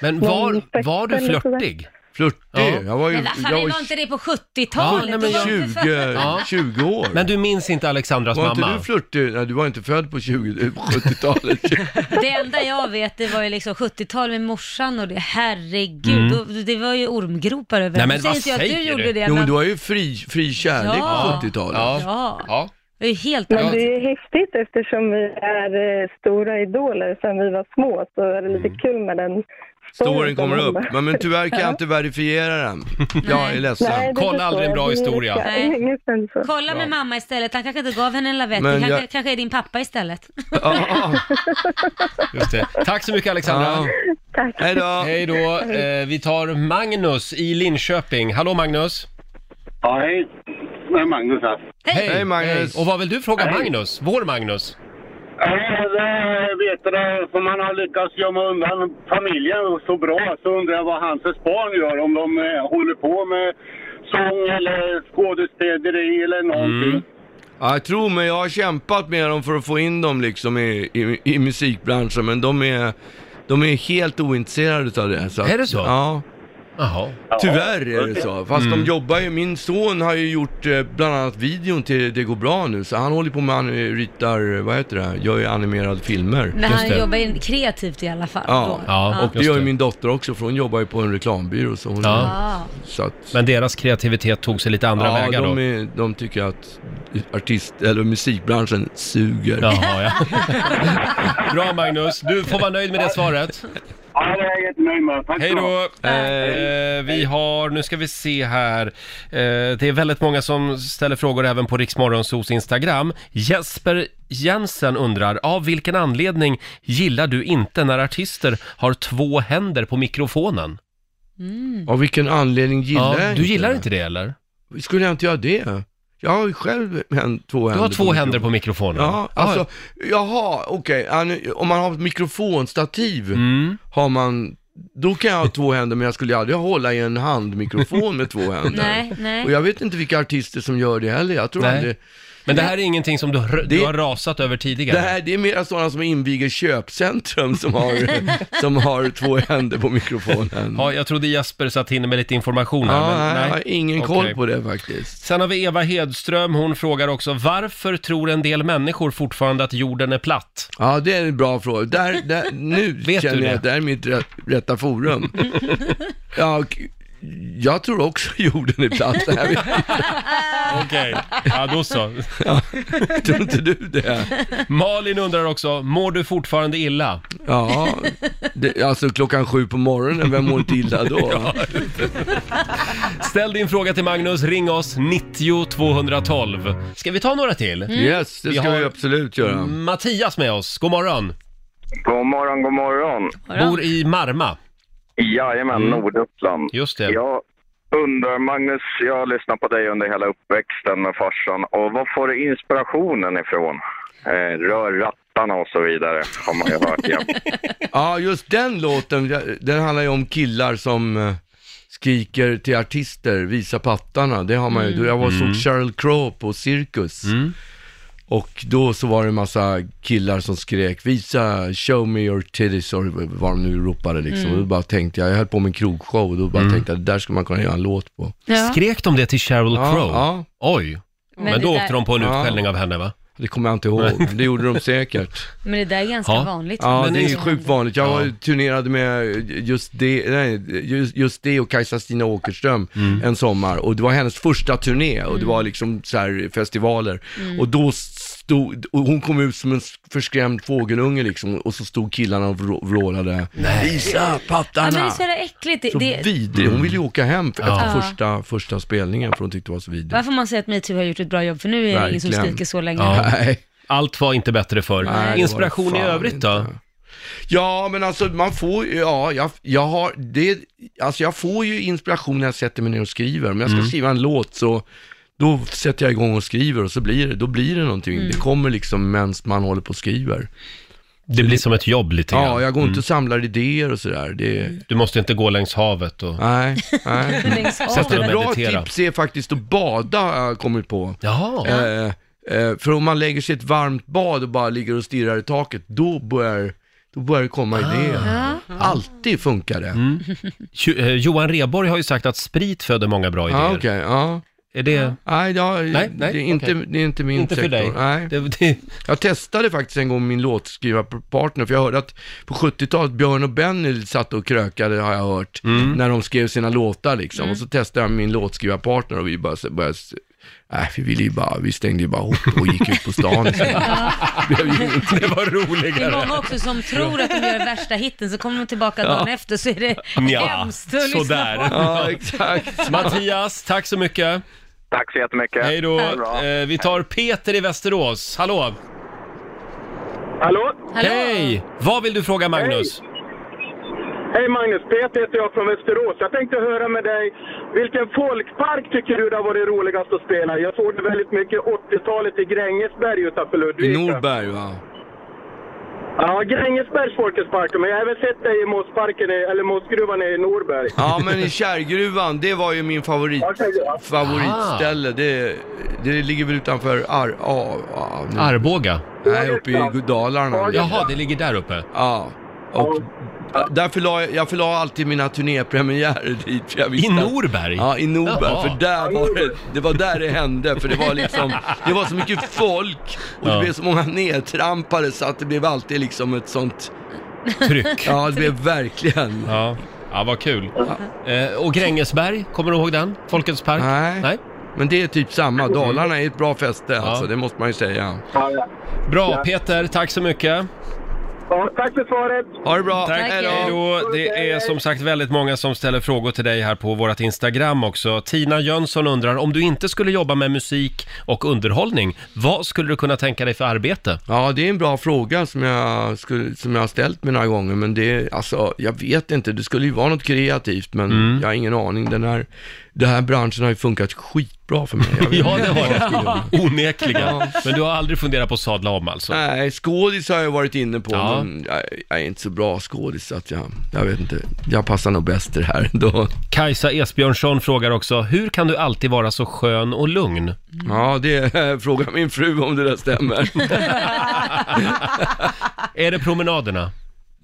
[SPEAKER 2] Men
[SPEAKER 10] Någon
[SPEAKER 2] Mm. var,
[SPEAKER 10] fest
[SPEAKER 2] var du
[SPEAKER 10] eller sådär.
[SPEAKER 2] flörtig?
[SPEAKER 8] Flörtig,
[SPEAKER 2] Ja.
[SPEAKER 8] jag var ju,
[SPEAKER 1] Men vad fan,
[SPEAKER 8] jag
[SPEAKER 1] vi
[SPEAKER 8] var
[SPEAKER 1] var inte det på
[SPEAKER 2] Ja,
[SPEAKER 1] 70-talet?
[SPEAKER 2] nej, men
[SPEAKER 1] Det var ju för fan-
[SPEAKER 8] 20, 20
[SPEAKER 2] Ja.
[SPEAKER 8] år.
[SPEAKER 2] Men du minns inte Alexandras
[SPEAKER 8] var inte
[SPEAKER 2] mamma?
[SPEAKER 8] du flörtig? Nej, du var inte född på 20, på 70-talet.
[SPEAKER 1] Det enda jag vet, det var ju liksom 70-tal med morsan och det, herregud, då, det var ju ormgropar överallt.
[SPEAKER 2] Mm. Nej, men
[SPEAKER 1] Nu
[SPEAKER 2] vad
[SPEAKER 1] inte jag att
[SPEAKER 2] säger
[SPEAKER 1] du
[SPEAKER 2] du?
[SPEAKER 1] gjorde det,
[SPEAKER 8] jo, men
[SPEAKER 1] men...
[SPEAKER 8] du var ju fri, fri kärlek
[SPEAKER 1] Ja.
[SPEAKER 8] på 70-talet.
[SPEAKER 2] Ja.
[SPEAKER 1] Ja,
[SPEAKER 2] Ja.
[SPEAKER 1] det är ju helt
[SPEAKER 10] Men
[SPEAKER 1] annat.
[SPEAKER 10] det är ju häftigt eftersom vi är eh, stora idoler sedan vi var små, så är det lite kul med den
[SPEAKER 8] Mm. Storyn kommer
[SPEAKER 10] som
[SPEAKER 8] upp,
[SPEAKER 10] händer.
[SPEAKER 8] men, men tyvärr kan jag inte verifiera den. Jag är ledsen.
[SPEAKER 10] Nej, det
[SPEAKER 2] Kolla
[SPEAKER 10] förstår
[SPEAKER 2] aldrig en
[SPEAKER 10] jag.
[SPEAKER 2] bra
[SPEAKER 10] Det är
[SPEAKER 2] historia.
[SPEAKER 10] lite-
[SPEAKER 1] Nej.
[SPEAKER 10] Ingen sens så.
[SPEAKER 1] Kolla med mamma istället, han kanske inte gav henne en lavett,
[SPEAKER 8] Men
[SPEAKER 1] det kanske,
[SPEAKER 8] jag-
[SPEAKER 1] kanske är din pappa istället.
[SPEAKER 8] Ja.
[SPEAKER 2] Just det. Tack så mycket Alexandra.
[SPEAKER 8] Ja. Hej då.
[SPEAKER 2] Hej då. Eh, vi tar Magnus i Linköping. Hallå Magnus.
[SPEAKER 6] Ja, hej. Det är Magnus här.
[SPEAKER 2] Hej.
[SPEAKER 8] Hej, Magnus.
[SPEAKER 2] Och vad vill du fråga Magnus? Vår Magnus?
[SPEAKER 6] Ja, det vet du, eftersom man har lyckats gömma undan familjen så bra så undrar jag vad hans barn gör. Om de eh, håller på med sång eller skådespeleri eller någonting.
[SPEAKER 8] Mm. Ja, tro mig, jag har kämpat med dem för att få in dem liksom i, i, i musikbranschen, men de är, de är helt ointresserade av det. Så att-
[SPEAKER 2] Är det så?
[SPEAKER 8] Ja, Mm.
[SPEAKER 2] Jaha.
[SPEAKER 8] tyvärr är det så. Fast de jobbar ju, min son har ju gjort eh, bland annat videon till Det går bra nu, så han håller på med, han eh, ritar, vad heter det, gör ju animerade filmer.
[SPEAKER 1] Men
[SPEAKER 2] Just
[SPEAKER 1] han
[SPEAKER 2] det.
[SPEAKER 1] jobbar ju kreativt i alla fall.
[SPEAKER 8] Ja.
[SPEAKER 1] då.
[SPEAKER 2] Ja,
[SPEAKER 8] Och det
[SPEAKER 2] Just
[SPEAKER 8] gör ju
[SPEAKER 2] det.
[SPEAKER 8] min dotter också, för hon jobbar ju på en reklambyrå. Så hon
[SPEAKER 2] Ja.
[SPEAKER 1] Ja.
[SPEAKER 8] så att,
[SPEAKER 2] Men deras kreativitet tog sig lite andra
[SPEAKER 8] ja,
[SPEAKER 2] vägar
[SPEAKER 8] de,
[SPEAKER 2] då?
[SPEAKER 8] är, de tycker att artist, eller musikbranschen suger.
[SPEAKER 2] Jaha, ja. Bra Magnus. Du får vara nöjd med det svaret.
[SPEAKER 6] Ja, det är jag jättenöjd med. Tack
[SPEAKER 2] Hej
[SPEAKER 6] ska du ha.
[SPEAKER 2] då! Eh, vi har, nu ska vi se här. Eh, det är väldigt många som ställer frågor även på Riksmorgonsos Instagram. Jesper Jensen undrar, av vilken anledning gillar du inte när artister har två händer på mikrofonen? Mm.
[SPEAKER 8] Av vilken anledning gillar jag
[SPEAKER 2] du gillar inte det eller?
[SPEAKER 8] Skulle jag inte göra det? Jag har ju själv hän- två händer.
[SPEAKER 2] Du har två
[SPEAKER 8] mikrofonen.
[SPEAKER 2] händer på mikrofonen.
[SPEAKER 8] Ja, alltså, jaha, okej. Ja, nu- Om man har ett mikrofonstativ,
[SPEAKER 2] Mm.
[SPEAKER 8] har man, då kan jag ha två händer, men jag skulle aldrig hålla i en handmikrofon med två händer.
[SPEAKER 1] Nej, nej.
[SPEAKER 8] Och jag vet inte vilka artister som gör det heller. Jag tror
[SPEAKER 2] Nej.
[SPEAKER 8] aldrig...
[SPEAKER 2] Men det här är ingenting som du, har- du
[SPEAKER 8] Det-
[SPEAKER 2] har rasat över
[SPEAKER 8] Det
[SPEAKER 2] tidigare?
[SPEAKER 8] här, det är mera sådana som inviger köpcentrum som har, som har två händer på mikrofonen.
[SPEAKER 2] Ja, jag trodde Jesper satt inne med lite information här,
[SPEAKER 8] ja,
[SPEAKER 2] men nej.
[SPEAKER 8] jag har ingen koll
[SPEAKER 2] Okej.
[SPEAKER 8] på det faktiskt.
[SPEAKER 2] Sen har vi Eva Hedström, hon frågar också varför tror en del människor fortfarande att jorden är platt?
[SPEAKER 8] Ja, det är en bra fråga. Där, där, nu
[SPEAKER 2] Vet du
[SPEAKER 8] känner
[SPEAKER 2] det?
[SPEAKER 8] jag att det här är mitt rätt, rätta forum. ja, och jag tror också jorden är platt. Det här-
[SPEAKER 2] Okej, ja då så.
[SPEAKER 8] Tror inte du det?
[SPEAKER 2] Malin undrar också, mår du fortfarande illa?
[SPEAKER 8] Ja, det, alltså klockan sju på morgonen, vem mår inte illa då?
[SPEAKER 2] Ställ din fråga till Magnus, ring oss 90 212. Ska vi ta några till?
[SPEAKER 11] Mm.
[SPEAKER 8] Yes, det
[SPEAKER 2] Vi
[SPEAKER 8] ska vi
[SPEAKER 2] har-
[SPEAKER 8] absolut göra.
[SPEAKER 2] Mattias med oss, god morgon.
[SPEAKER 11] God morgon, god morgon.
[SPEAKER 2] Bor i Marma.
[SPEAKER 11] Jajamän, Norduppland.
[SPEAKER 2] Mm. Just det.
[SPEAKER 11] Jag undrar, Magnus, jag har lyssnat på dig under hela uppväxten med farsan. Och var får du inspirationen ifrån? Eh, rör rattarna och så vidare, har man ju hört jämt.
[SPEAKER 8] Ja, just den låten, den handlar ju om killar som eh, skriker till artister, visa pattarna. Det har man ju. Jag var och såg Sheryl Crow på Cirkus. Och då så var det en massa killar som skrek, visa, show me your titties, och vad de nu ropade liksom. Och då bara tänkte jag, jag höll på med en krogshow, och då bara tänkte jag, det där skulle man kunna göra en låt på.
[SPEAKER 1] Ja.
[SPEAKER 2] Skrek de det till Sheryl
[SPEAKER 8] Ja,
[SPEAKER 2] Crow?
[SPEAKER 8] ja.
[SPEAKER 2] Oj. Men,
[SPEAKER 1] Men det
[SPEAKER 2] då
[SPEAKER 1] där-
[SPEAKER 2] åkte de på en
[SPEAKER 8] Ja.
[SPEAKER 2] utskällning av henne va?
[SPEAKER 8] Det kommer jag inte ihåg, det gjorde de säkert.
[SPEAKER 1] Men det där är ganska
[SPEAKER 2] Ja.
[SPEAKER 1] vanligt.
[SPEAKER 8] Ja,
[SPEAKER 2] Men
[SPEAKER 8] det är
[SPEAKER 2] i-
[SPEAKER 8] ju sjukt vanligt. Jag var- turnerade med just det, nej, just, just det och Kajsa-Stina Åkerström
[SPEAKER 2] Mm.
[SPEAKER 8] en sommar och det var hennes första turné och det
[SPEAKER 1] Mm.
[SPEAKER 8] var liksom så här festivaler. Och då stod, och hon kom ut som en förskrämd fågelunge liksom och så stod killarna och vrå- vrålade Visa
[SPEAKER 1] Ja, men det
[SPEAKER 8] pattarna!
[SPEAKER 1] är så jävla äckligt. Det,
[SPEAKER 8] så
[SPEAKER 1] det,
[SPEAKER 8] vidrig. Hon ville
[SPEAKER 2] Mm.
[SPEAKER 8] ju åka hem för- efter
[SPEAKER 1] Ja.
[SPEAKER 8] första, första spelningen för hon tyckte det var så vidrigt.
[SPEAKER 1] varför man säger att metoo har gjort ett bra jobb, för nu är det ingen som
[SPEAKER 8] Verkligen.
[SPEAKER 1] skriker så länge.
[SPEAKER 2] Ja.
[SPEAKER 8] Nej.
[SPEAKER 2] Allt var inte bättre
[SPEAKER 8] Nej, det var
[SPEAKER 2] förr.
[SPEAKER 8] det
[SPEAKER 2] Inspiration i
[SPEAKER 8] fan
[SPEAKER 2] övrigt då?
[SPEAKER 8] Ja, men alltså man får ju- ja, jag, jag har, det, alltså jag får ju inspiration när jag sätter mig ner och skriver. Om jag ska
[SPEAKER 2] Mm.
[SPEAKER 8] skriva en låt så, då sätter jag igång och skriver och så blir det, då blir det någonting.
[SPEAKER 1] Mm.
[SPEAKER 8] Det kommer liksom medan man håller på och skriver.
[SPEAKER 2] Det blir som ett jobb lite Mm.
[SPEAKER 8] Ja, jag går inte och samlar idéer och sådär.
[SPEAKER 1] Mm.
[SPEAKER 8] Det...
[SPEAKER 2] Du måste inte gå längs havet och...
[SPEAKER 8] Nej, nej.
[SPEAKER 1] Längs havet.
[SPEAKER 8] Fast ett
[SPEAKER 2] Och
[SPEAKER 8] bra
[SPEAKER 2] meditera.
[SPEAKER 8] tips är faktiskt att bada, har jag kommit på.
[SPEAKER 2] Jaha.
[SPEAKER 8] Eh, eh, för om man lägger sig i ett varmt bad och bara ligger och stirrar i taket, då börjar, då börjar det komma
[SPEAKER 2] Ah.
[SPEAKER 8] idéer. Alltid funkar
[SPEAKER 2] Mm.
[SPEAKER 8] det.
[SPEAKER 2] Jo- eh, Johan Rheborg har ju sagt att sprit föder många bra idéer.
[SPEAKER 8] Ja, okej. ja.
[SPEAKER 2] Är det...
[SPEAKER 8] Nej, ja,
[SPEAKER 2] Nej, nej,
[SPEAKER 8] det, är inte,
[SPEAKER 2] okej.
[SPEAKER 8] det är inte min
[SPEAKER 2] Inte för
[SPEAKER 8] sektor.
[SPEAKER 2] dig.
[SPEAKER 8] Nej.
[SPEAKER 2] Det, det...
[SPEAKER 8] Jag testade faktiskt en gång min låtskrivarpartner, för jag hörde att på 70-talet Björn och Benny satt och krökade, har jag hört,
[SPEAKER 2] Mm.
[SPEAKER 8] när de skrev sina låtar liksom.
[SPEAKER 1] Mm.
[SPEAKER 8] Och så testade jag min låtskrivarpartner och vi bara så- började s- Nej, vi ville ju bara, vi stängde ju bara ihop och gick ut på stan. istället. Det blev ju ingenting.
[SPEAKER 2] det var
[SPEAKER 1] Det är många
[SPEAKER 2] roligare.
[SPEAKER 1] också som tror att de gör värsta hitten, så kommer de tillbaka dagen efter så är det hemskt att lyssna
[SPEAKER 2] sådär.
[SPEAKER 1] på.
[SPEAKER 8] Ja, exakt.
[SPEAKER 2] Mattias, tack så mycket.
[SPEAKER 11] Tack så jättemycket.
[SPEAKER 2] Hej då.
[SPEAKER 11] Ha det bra.
[SPEAKER 2] Eh, vi tar Peter i Västerås. Hallå.
[SPEAKER 6] Hallå?
[SPEAKER 1] Hallå?
[SPEAKER 2] Hej! Vad vill du fråga Magnus?
[SPEAKER 6] Hej Magnus, Peter heter jag från Västerås. Jag tänkte höra med dig, vilken folkpark tycker du det har varit roligast att spela i? Jag såg det väldigt mycket 80-talet i Grängesberg utanför
[SPEAKER 8] I
[SPEAKER 6] Ludvika.
[SPEAKER 8] Norberg va?
[SPEAKER 6] Ja, Grängesbergs Folkets park. Men jag har även sett dig i Mossparken, i- eller Mossgruvan i Norberg.
[SPEAKER 8] Ja, men i Kärrgruvan, det var ju min favorit, favoritställe. Det, det ligger väl utanför Ar... Ah, ah, nu-
[SPEAKER 2] Arboga.
[SPEAKER 8] Nej, uppe i Dalarna.
[SPEAKER 2] Jaha, det ligger där uppe.
[SPEAKER 8] Ja, och därför la jag, jag förla alltid mina turnépremiärer dit. För jag visste
[SPEAKER 2] I
[SPEAKER 8] att-
[SPEAKER 2] Norberg?
[SPEAKER 8] Ja, i Norberg,
[SPEAKER 2] Jaha.
[SPEAKER 8] för där var det, det var där det hände, för det var liksom, det var så mycket folk och det
[SPEAKER 2] Ja.
[SPEAKER 8] blev så många nedtrampade så att det blev alltid liksom ett sånt,
[SPEAKER 2] Tryck. Ja.
[SPEAKER 8] ja det blev verkligen.
[SPEAKER 2] ja. vad kul. Eh, och Grängesberg, kommer du ihåg den? Folkets park?
[SPEAKER 8] Nej.
[SPEAKER 2] Nej?
[SPEAKER 8] Men det är typ samma, Dalarna är ett bra fäste alltså,
[SPEAKER 2] Ja.
[SPEAKER 8] det måste man ju säga.
[SPEAKER 6] Ja, ja.
[SPEAKER 2] Bra, Peter. Tack så mycket.
[SPEAKER 6] Ja, tack för svaret!
[SPEAKER 8] Ha det bra,
[SPEAKER 2] Tack,
[SPEAKER 8] Hej då.
[SPEAKER 2] hej då. Det är som sagt väldigt många som ställer frågor till dig här på vårt Instagram också. Tina Jönsson undrar, om du inte skulle jobba med musik och underhållning, vad skulle du kunna tänka dig för arbete?
[SPEAKER 8] Ja, det är en bra fråga som jag, skulle, som jag har ställt mig några gånger, men det, alltså, jag vet inte, det skulle ju vara något kreativt, men
[SPEAKER 2] Mm.
[SPEAKER 8] jag har ingen aning. Den här, den här branschen har ju funkat skitbra för mig. Jag vet
[SPEAKER 2] Ja,
[SPEAKER 8] inte
[SPEAKER 2] det har
[SPEAKER 8] vad jag skulle göra.
[SPEAKER 2] du. Onekligen.
[SPEAKER 8] Ja.
[SPEAKER 2] Men du har aldrig funderat på att sadla om alltså?
[SPEAKER 8] Nej, skådis har jag varit inne på,
[SPEAKER 2] Ja.
[SPEAKER 8] men jag, jag är inte så bra skådis, så att jag, jag vet inte, jag passar nog bäst i det här ändå.
[SPEAKER 2] Kajsa Esbjörnsson frågar också, hur kan du alltid vara så skön och lugn?
[SPEAKER 8] Ja, det eh, frågar min fru om det där stämmer,
[SPEAKER 2] Är det promenaderna?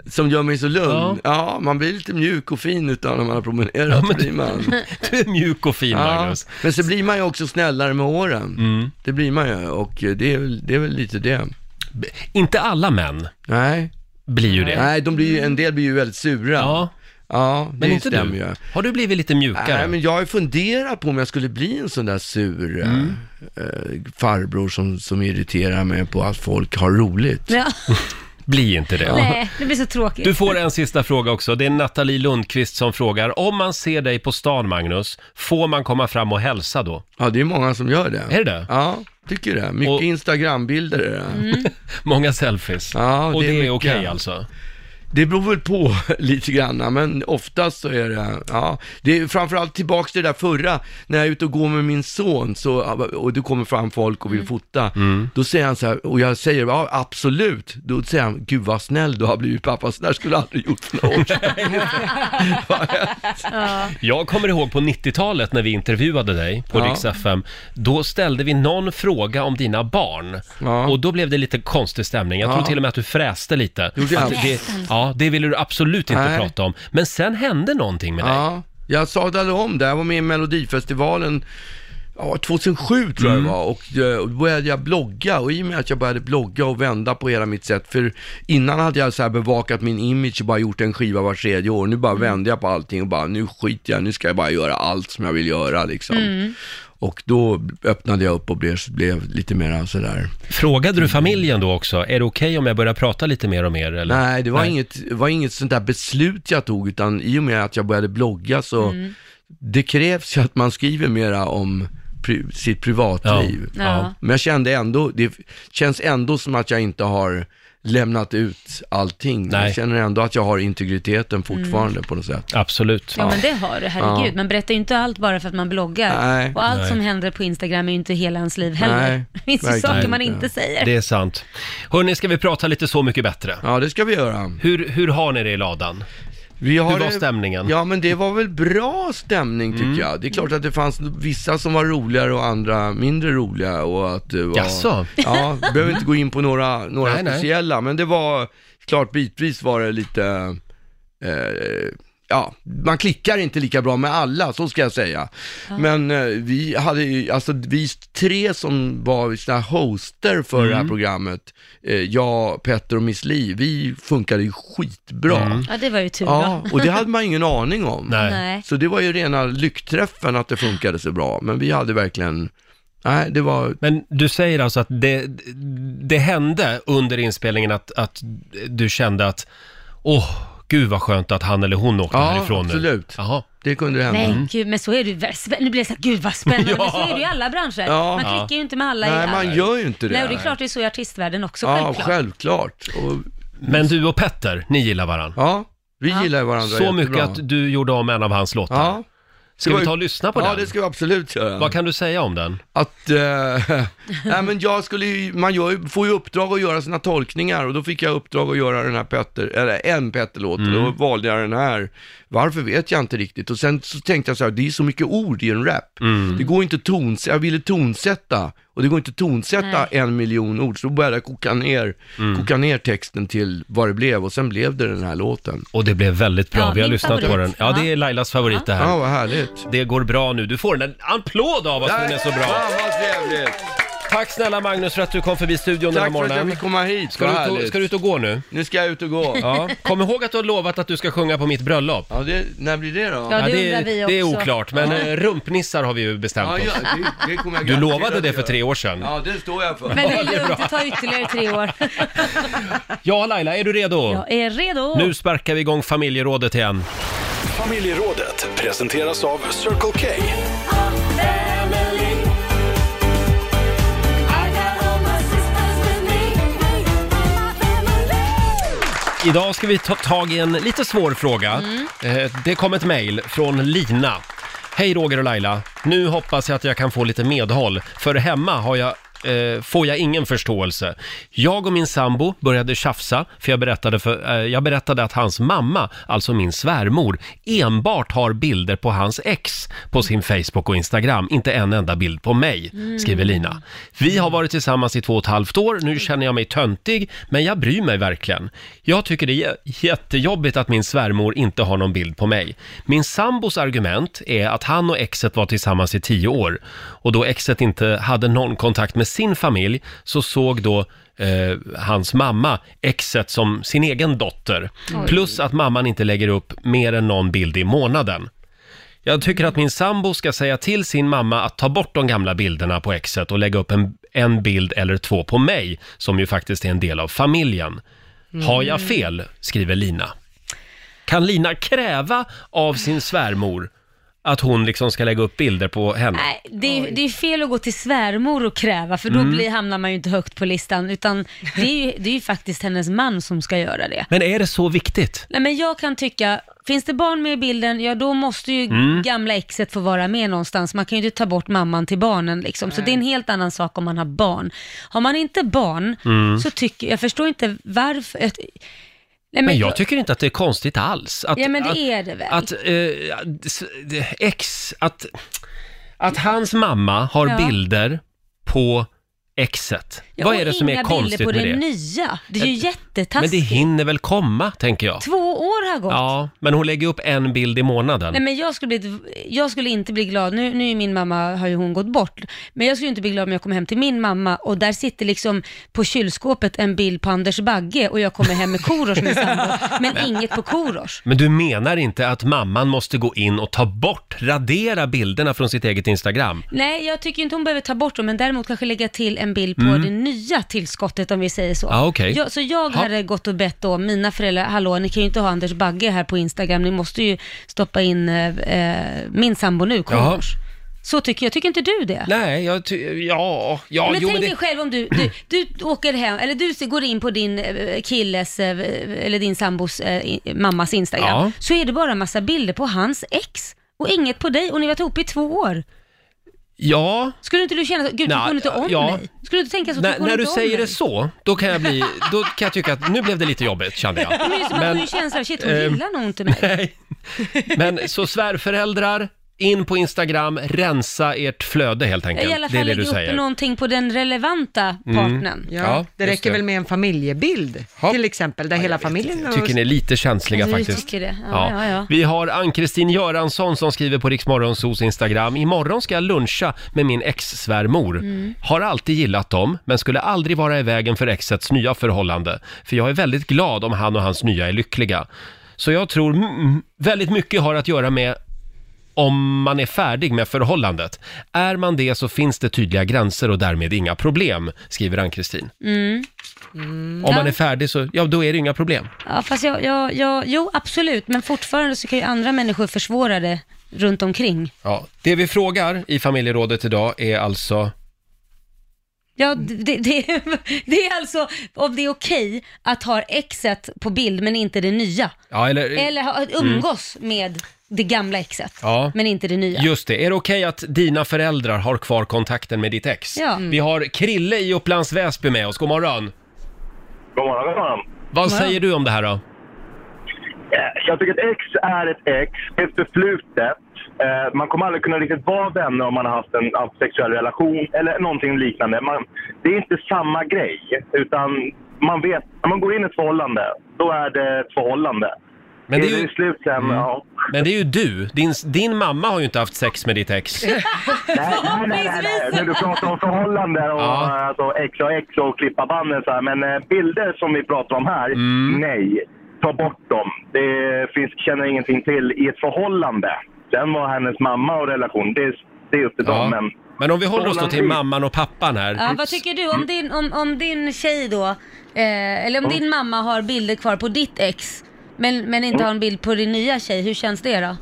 [SPEAKER 8] som gör mig så
[SPEAKER 2] Ja.
[SPEAKER 8] lugn. Ja, man blir lite mjuk och fin utan när man har promenerat,
[SPEAKER 2] men
[SPEAKER 8] blir man.
[SPEAKER 2] Du är mjuk och fin Magnus. Mm.
[SPEAKER 8] men så blir man ju också snällare med åren. Det blir man ju och eh, det är, väl- det är väl lite det.
[SPEAKER 2] B- Inte alla män
[SPEAKER 8] Nej,
[SPEAKER 2] blir ju det.
[SPEAKER 8] Nej de blir ju, en del blir ju väldigt sura.
[SPEAKER 2] Ja,
[SPEAKER 8] ja det
[SPEAKER 2] men inte
[SPEAKER 8] stämmer
[SPEAKER 2] du.
[SPEAKER 8] ju.
[SPEAKER 2] Har du blivit lite mjukare?
[SPEAKER 8] Nej, men jag har ju funderat på om jag skulle bli en sån där sur
[SPEAKER 2] Mm.
[SPEAKER 8] eh, eh, farbror som, som irriterar mig på att folk har roligt.
[SPEAKER 1] Ja,
[SPEAKER 2] Bli inte det.
[SPEAKER 1] nej, det blir så tråkigt.
[SPEAKER 2] Du får en sista fråga också. Det är Nathalie Lundqvist som frågar. Om man ser dig på stan, Magnus, får man komma fram och hälsa då?
[SPEAKER 8] Ja, det är många som gör det.
[SPEAKER 2] Är det det?
[SPEAKER 8] Ja, tycker det. Mycket
[SPEAKER 2] Och-
[SPEAKER 8] Instagrambilder är det.
[SPEAKER 2] Många selfies.
[SPEAKER 8] Ja,
[SPEAKER 2] och det
[SPEAKER 8] det är
[SPEAKER 2] är,
[SPEAKER 8] mycket.
[SPEAKER 2] okej alltså?
[SPEAKER 8] Det beror väl på lite grann, men oftast så är det, ja. Det är framförallt tillbaks till det där förra, när jag är ute och går med min son så, och det kommer fram folk och vill fota,
[SPEAKER 2] Mm.
[SPEAKER 8] då säger han så här, och jag säger ja absolut, då säger han, gud vad snäll du har blivit pappa, så där skulle jag aldrig gjort för några år sedan.
[SPEAKER 2] Jag kommer ihåg på 90-talet när vi intervjuade dig på
[SPEAKER 8] Ja.
[SPEAKER 2] Rix FM. Då ställde vi någon fråga om dina barn.
[SPEAKER 8] Ja.
[SPEAKER 2] Och då blev det lite konstig stämning. Jag tror
[SPEAKER 8] Ja.
[SPEAKER 2] till och med att du fräste lite.
[SPEAKER 8] Gjorde jag?
[SPEAKER 2] Att det, ja, det ville du absolut inte
[SPEAKER 8] Nej.
[SPEAKER 2] prata om. Men sen hände någonting med dig.
[SPEAKER 8] Ja, jag sadlade om det. Jag var med i Melodifestivalen Ja, 2007 tror jag
[SPEAKER 2] Mm.
[SPEAKER 8] det var och eh, och då började jag blogga och i och med att jag började blogga och vända på hela mitt sätt, för innan hade jag så här bevakat min image och bara gjort en skiva var tredje år, nu bara
[SPEAKER 2] Mm.
[SPEAKER 8] vände jag på allting och bara nu skiter jag, nu ska jag bara göra allt som jag vill göra liksom.
[SPEAKER 2] Mm.
[SPEAKER 8] Och då öppnade jag upp och blev, blev lite mer sådär.
[SPEAKER 2] Frågade du familjen då också? Är det okej om jag börjar prata lite mer om er? Eller?
[SPEAKER 8] Nej, det var, Inget, det var inget sånt där beslut jag tog, utan i och med att jag började blogga så det krävs ju att man skriver mera om pri, sitt privatliv.
[SPEAKER 1] Ja. Ja.
[SPEAKER 8] Men jag kände ändå, det känns ändå som att jag inte har lämnat ut allting.
[SPEAKER 2] Nej.
[SPEAKER 8] Jag känner ändå att jag har integriteten fortfarande på något sätt.
[SPEAKER 2] Absolut.
[SPEAKER 1] Ja, men det har du, herregud.
[SPEAKER 8] Ja.
[SPEAKER 1] Man berättar ju inte allt bara för att man bloggar.
[SPEAKER 8] Nej.
[SPEAKER 1] Och allt
[SPEAKER 2] Nej.
[SPEAKER 1] som händer på Instagram är ju inte hela ens liv heller.
[SPEAKER 8] Nej,
[SPEAKER 1] det finns ju
[SPEAKER 8] verkligen
[SPEAKER 1] saker man
[SPEAKER 8] inte.
[SPEAKER 1] inte säger.
[SPEAKER 2] Det är sant. Hörni, ska vi prata lite Så mycket bättre?
[SPEAKER 8] Ja, det ska vi göra.
[SPEAKER 2] Hur, hur har ni det i ladan?
[SPEAKER 8] Vi har
[SPEAKER 2] Hur var
[SPEAKER 8] det-
[SPEAKER 2] stämningen? Mm.
[SPEAKER 8] Ja, men det var väl bra stämning tycker jag. Det är klart att det fanns vissa som var roligare och andra mindre roliga och att det var...
[SPEAKER 2] Jaså?
[SPEAKER 8] Ja, vi behöver inte gå in på några, några
[SPEAKER 2] Nej, nej.
[SPEAKER 8] speciella, men det var klart bitvis var det lite... Eh, Ja, man klickar inte lika bra med alla, så ska jag säga. Men eh, vi hade ju, alltså vi tre som var sina hoster för det
[SPEAKER 2] Mm.
[SPEAKER 8] här programmet, eh, jag, Petter och Miss Li, vi funkade ju skitbra.
[SPEAKER 2] Mm.
[SPEAKER 1] Ja, det var ju tur
[SPEAKER 8] Ja,
[SPEAKER 1] då.
[SPEAKER 8] och det hade man ingen aning om.
[SPEAKER 2] Nej.
[SPEAKER 1] Nej.
[SPEAKER 8] Så det var ju rena lyckträffen att det funkade så bra, men vi hade verkligen, nej det var,
[SPEAKER 2] Men du säger alltså att det, det hände under inspelningen att, att du kände att åh, gud vad skönt att han eller hon åkte
[SPEAKER 8] Ja,
[SPEAKER 2] härifrån
[SPEAKER 8] absolut.
[SPEAKER 2] nu. Jaha. Mm.
[SPEAKER 8] det kunde hända.
[SPEAKER 1] Nej, gud, men så är det ju. Spä- Nu blir det så här, gud vad spännande.
[SPEAKER 2] Ja.
[SPEAKER 1] Men så är det ju i alla branscher.
[SPEAKER 8] Ja.
[SPEAKER 1] Man klickar ju inte med alla. i
[SPEAKER 8] Nej,
[SPEAKER 1] allt.
[SPEAKER 8] man gör ju inte det.
[SPEAKER 1] Nej, och det är klart det är så i artistvärlden också,
[SPEAKER 8] Ja,
[SPEAKER 1] självklart.
[SPEAKER 8] självklart. Och,
[SPEAKER 2] Men du och Petter, ni gillar varandra.
[SPEAKER 8] ja, vi gillar ju varandra
[SPEAKER 2] Så mycket
[SPEAKER 8] jättebra.
[SPEAKER 2] att du gjorde om en av hans låtar.
[SPEAKER 8] Ja,
[SPEAKER 2] Ska
[SPEAKER 8] Det var
[SPEAKER 2] vi
[SPEAKER 8] ju-
[SPEAKER 2] ta och lyssna på
[SPEAKER 8] ja
[SPEAKER 2] den?
[SPEAKER 8] det ska vi absolut göra.
[SPEAKER 2] Vad kan du säga om den?
[SPEAKER 8] Att, eh, nej men jag skulle ju, man gör, ju- får ju uppdrag att göra sina tolkningar och då fick jag uppdrag att göra den här Petter, eller en Petter-låt och
[SPEAKER 2] Mm.
[SPEAKER 8] då valde jag den här. Varför vet jag inte riktigt och sen så tänkte jag så här, det är så mycket ord i en rap.
[SPEAKER 2] Mm.
[SPEAKER 8] Det går inte tons, jag ville tonsätta och det går inte tonsätta en miljon ord så då började jag koka ner,
[SPEAKER 2] Mm.
[SPEAKER 8] koka ner texten till vad det blev och sen blev det den här låten.
[SPEAKER 2] Och det blev väldigt bra,
[SPEAKER 1] Ja,
[SPEAKER 2] vi har
[SPEAKER 1] min
[SPEAKER 2] lyssnat på den.
[SPEAKER 1] favorit.
[SPEAKER 2] Ja,
[SPEAKER 1] Ja.
[SPEAKER 2] det är Lailas favorit det här.
[SPEAKER 8] Ja, vad härligt.
[SPEAKER 2] Det går bra nu. Du får en applåd av oss för den är så bra.
[SPEAKER 8] Ja, vad trevligt.
[SPEAKER 2] Tack snälla Magnus för att du kom förbi studion den här
[SPEAKER 8] Tack för att jag
[SPEAKER 2] morgonen.
[SPEAKER 8] fick komma hit,
[SPEAKER 2] Ska
[SPEAKER 8] vad
[SPEAKER 2] du, ut och,
[SPEAKER 8] härligt.
[SPEAKER 2] ska du ut och gå nu?
[SPEAKER 8] Nu ska jag ut och gå.
[SPEAKER 2] Ja. Kom ihåg att du har lovat att du ska sjunga på mitt bröllop.
[SPEAKER 8] Ja, det, när blir det då?
[SPEAKER 1] Ja, det
[SPEAKER 2] är-
[SPEAKER 1] undrar vi
[SPEAKER 2] det är
[SPEAKER 1] också.
[SPEAKER 2] oklart, men eh, rumpnissar har vi ju bestämt
[SPEAKER 8] Ja,
[SPEAKER 2] oss.
[SPEAKER 8] ja, det, det kommer jag
[SPEAKER 2] Du
[SPEAKER 8] garanterat
[SPEAKER 2] lovade
[SPEAKER 8] att
[SPEAKER 2] det för
[SPEAKER 8] göra.
[SPEAKER 2] tre år sedan.
[SPEAKER 8] Ja, det står jag för.
[SPEAKER 1] Men det är lugnt, det tar ytterligare tre år.
[SPEAKER 2] Ja, Laila, är du redo?
[SPEAKER 1] Jag är redo.
[SPEAKER 2] Nu sparkar vi igång familjerådet igen.
[SPEAKER 4] Familjerådet presenteras av Circle K.
[SPEAKER 2] Idag ska vi ta tag i en lite svår fråga. Eh, Det kom ett mejl från Lina. Hej Roger och Laila. Nu hoppas jag att jag kan få lite medhåll, för hemma har jag eh, får jag ingen förståelse. Jag och min sambo började tjafsa för jag berättade, för, eh, jag berättade att hans mamma, alltså min svärmor, enbart har bilder på hans ex på sin Facebook och Instagram. Inte en enda bild på mig, skriver Lina. Vi har varit tillsammans i två och ett halvt år, nu känner jag mig töntig, men jag bryr mig verkligen. Jag tycker det är jättejobbigt att min svärmor inte har någon bild på mig. Min sambos argument är att han och exet var tillsammans i tio år och då exet inte hade någon kontakt med sin familj så såg då eh, hans mamma exet som sin egen dotter. Plus att mamman inte lägger upp mer än någon bild i månaden. Jag tycker att min sambo ska säga till sin mamma att ta bort de gamla bilderna på exet och lägga upp en, en bild eller två på mig, som ju faktiskt är en del av familjen. Har jag
[SPEAKER 1] Mm.
[SPEAKER 2] fel? skriver Lina. Kan Lina kräva av sin svärmor att hon liksom ska lägga upp bilder på henne?
[SPEAKER 1] Nej, det är, det är fel att gå till svärmor och kräva, för då
[SPEAKER 2] Mm.
[SPEAKER 1] blir, hamnar man ju inte högt på listan, utan det är, ju, det är ju faktiskt hennes man som ska göra det.
[SPEAKER 2] Men är det så viktigt?
[SPEAKER 1] Nej, men jag kan tycka, finns det barn med i bilden, ja då måste ju
[SPEAKER 2] Mm.
[SPEAKER 1] gamla exet få vara med någonstans. Man kan ju inte ta bort mamman till barnen liksom. Så det är en helt annan sak om man har barn. Har man inte barn,
[SPEAKER 2] Mm.
[SPEAKER 1] så tycker jag, förstår inte varför. Jag, nej, men,
[SPEAKER 2] Men jag tycker inte att det är konstigt alls. Att,
[SPEAKER 1] Ja, men det
[SPEAKER 2] att,
[SPEAKER 1] är det väl.
[SPEAKER 2] Att, eh, att s- det- ex, att, att hans mamma har
[SPEAKER 1] Ja.
[SPEAKER 2] bilder på exet.
[SPEAKER 1] Ja,
[SPEAKER 2] Vad
[SPEAKER 1] och
[SPEAKER 2] är det som är
[SPEAKER 1] inga
[SPEAKER 2] konstigt
[SPEAKER 1] bilder på
[SPEAKER 2] med
[SPEAKER 1] det?
[SPEAKER 2] det?
[SPEAKER 1] nya. Det är ju
[SPEAKER 2] Men
[SPEAKER 1] jättetaskigt.
[SPEAKER 2] det hinner väl komma, tänker jag.
[SPEAKER 1] Två år har gått.
[SPEAKER 2] Ja, men hon lägger upp en bild i månaden.
[SPEAKER 1] Nej, men jag, skulle bli, jag skulle inte bli glad, nu, nu är min mamma, har ju hon gått bort, men jag skulle inte bli glad om jag kom hem till min mamma och där sitter liksom på kylskåpet en bild på Anders Bagge och jag kommer hem med Korosh min sambo, men inget på Korosh.
[SPEAKER 2] Men du menar inte att mamman måste gå in och ta bort, radera bilderna från sitt eget Instagram?
[SPEAKER 1] Nej, jag tycker inte hon behöver ta bort dem, men däremot kanske lägga till en bild på det nya tillskottet om vi säger så.
[SPEAKER 2] Ja, Mm. Ah, okej.
[SPEAKER 1] jag, så jag
[SPEAKER 2] Ja.
[SPEAKER 1] hade gått och bett då mina föräldrar, hallå ni kan ju inte ha Anders Bagge här på Instagram, ni måste ju stoppa in eh, eh, min sambo nu,
[SPEAKER 2] Jaha.
[SPEAKER 1] Korosh. Så tycker jag. Tycker inte du det?
[SPEAKER 2] Nej, jag ty- ja, ja,
[SPEAKER 1] men
[SPEAKER 2] jo,
[SPEAKER 1] tänk
[SPEAKER 2] men
[SPEAKER 1] dig
[SPEAKER 2] det...
[SPEAKER 1] själv om du, du, du åker hem, eller du går in på din eh, killes, eh, eller din sambos eh, i- mammas Instagram,
[SPEAKER 2] Ja.
[SPEAKER 1] så är det bara en massa bilder på hans ex och inget på dig och ni har varit ihop i två år.
[SPEAKER 2] Ja.
[SPEAKER 1] Skulle inte du känna så, gud
[SPEAKER 2] Nej,
[SPEAKER 1] tycker hon inte om
[SPEAKER 2] ja.
[SPEAKER 1] mig? Skulle du inte tänka så,
[SPEAKER 2] När,
[SPEAKER 1] tycker hon
[SPEAKER 2] när du
[SPEAKER 1] Alltså, inte om
[SPEAKER 2] säger
[SPEAKER 1] mig?
[SPEAKER 2] det så, då kan jag bli, då kan jag tycka att nu blev det lite jobbigt kände jag.
[SPEAKER 1] Men det är ju som att man får en känsla av, shit hon
[SPEAKER 2] ehm,
[SPEAKER 1] gillar nog inte mig.
[SPEAKER 2] Nej. Men så svärföräldrar, in på Instagram, rensa ert flöde helt enkelt.
[SPEAKER 1] I alla
[SPEAKER 2] det
[SPEAKER 1] fall
[SPEAKER 2] är det
[SPEAKER 1] lägga
[SPEAKER 2] du
[SPEAKER 1] upp
[SPEAKER 2] säger.
[SPEAKER 1] någonting på den relevanta partnern.
[SPEAKER 3] Ja,
[SPEAKER 2] Ja,
[SPEAKER 3] det
[SPEAKER 2] just
[SPEAKER 3] räcker
[SPEAKER 2] det.
[SPEAKER 3] väl med en familjebild till exempel, där hela familjen...
[SPEAKER 2] Jag tycker ni är lite känsliga
[SPEAKER 3] Ja, vi
[SPEAKER 2] faktiskt.
[SPEAKER 3] tycker det. Ja, ja, ja.
[SPEAKER 2] Vi har Ann-Kristin Göransson som skriver på Riksmorgonsos Instagram. Imorgon ska jag luncha med min ex-svärmor.
[SPEAKER 12] Mm.
[SPEAKER 2] Har alltid gillat dem, men skulle aldrig vara i vägen för exets nya förhållande. För jag är väldigt glad om han och hans nya är lyckliga. Så jag tror mm, väldigt mycket har att göra med om man är färdig med förhållandet. Är man det så finns det tydliga gränser och därmed inga problem, skriver Ann-Kristin.
[SPEAKER 1] Mm.
[SPEAKER 2] Om man
[SPEAKER 1] Ja.
[SPEAKER 2] är färdig så, ja då är det inga problem.
[SPEAKER 1] Ja, fast jag, jag, jag, jo absolut, men fortfarande så kan ju andra människor försvåra det runt omkring.
[SPEAKER 2] Ja, det vi frågar i familjerådet idag är alltså...
[SPEAKER 1] Ja, d- det, det, det är alltså om det är okej att ha exet på bild men inte det nya.
[SPEAKER 2] Ja, eller...
[SPEAKER 1] Eller ha- att
[SPEAKER 2] Mm.
[SPEAKER 1] umgås med det gamla exet
[SPEAKER 2] Ja.
[SPEAKER 1] men inte det nya.
[SPEAKER 2] Just det, är det okej att dina föräldrar har kvar kontakten med ditt ex?
[SPEAKER 1] Ja. Mm.
[SPEAKER 2] Vi har Krille i Upplands Väsby med oss, god morgon.
[SPEAKER 13] God morgon, god morgon.
[SPEAKER 2] Vad
[SPEAKER 13] God morgon.
[SPEAKER 2] säger du om det här då?
[SPEAKER 13] Eh, Jag tycker ett ex är ett ex, ett förflutet. Eh, Man kommer aldrig kunna riktigt vara vänner om man har haft en sexuell relation eller någonting liknande. Man, det är inte samma grej, utan man vet, när man går in i ett förhållande, då är det ett förhållande.
[SPEAKER 2] Men det är
[SPEAKER 13] är
[SPEAKER 2] ju- Mm.
[SPEAKER 13] det slut sen, ja.
[SPEAKER 2] Men det är ju du, din, din mamma har ju inte haft sex med ditt ex.
[SPEAKER 13] Nej, nej, nej, nej, nej. När du pratar om förhållanden liksom och eh, alltså, ex och ex och klippa banden så här. Men eh, bilder som vi pratar om här,
[SPEAKER 2] Mm.
[SPEAKER 13] nej. Ta bort dem. Det finns, känner ingenting till i ett förhållande. Sen var hennes mamma och relation, det, är- det är upp till dem. Men,
[SPEAKER 2] Men om vi håller oss då till mamman och pappan här.
[SPEAKER 1] Ja, vad tycker du om din, om, om din tjej då, eh, eller om
[SPEAKER 2] Mm.
[SPEAKER 1] din mamma har bilder kvar på ditt ex men, men inte har en bild på din nya tjej, hur känns det då?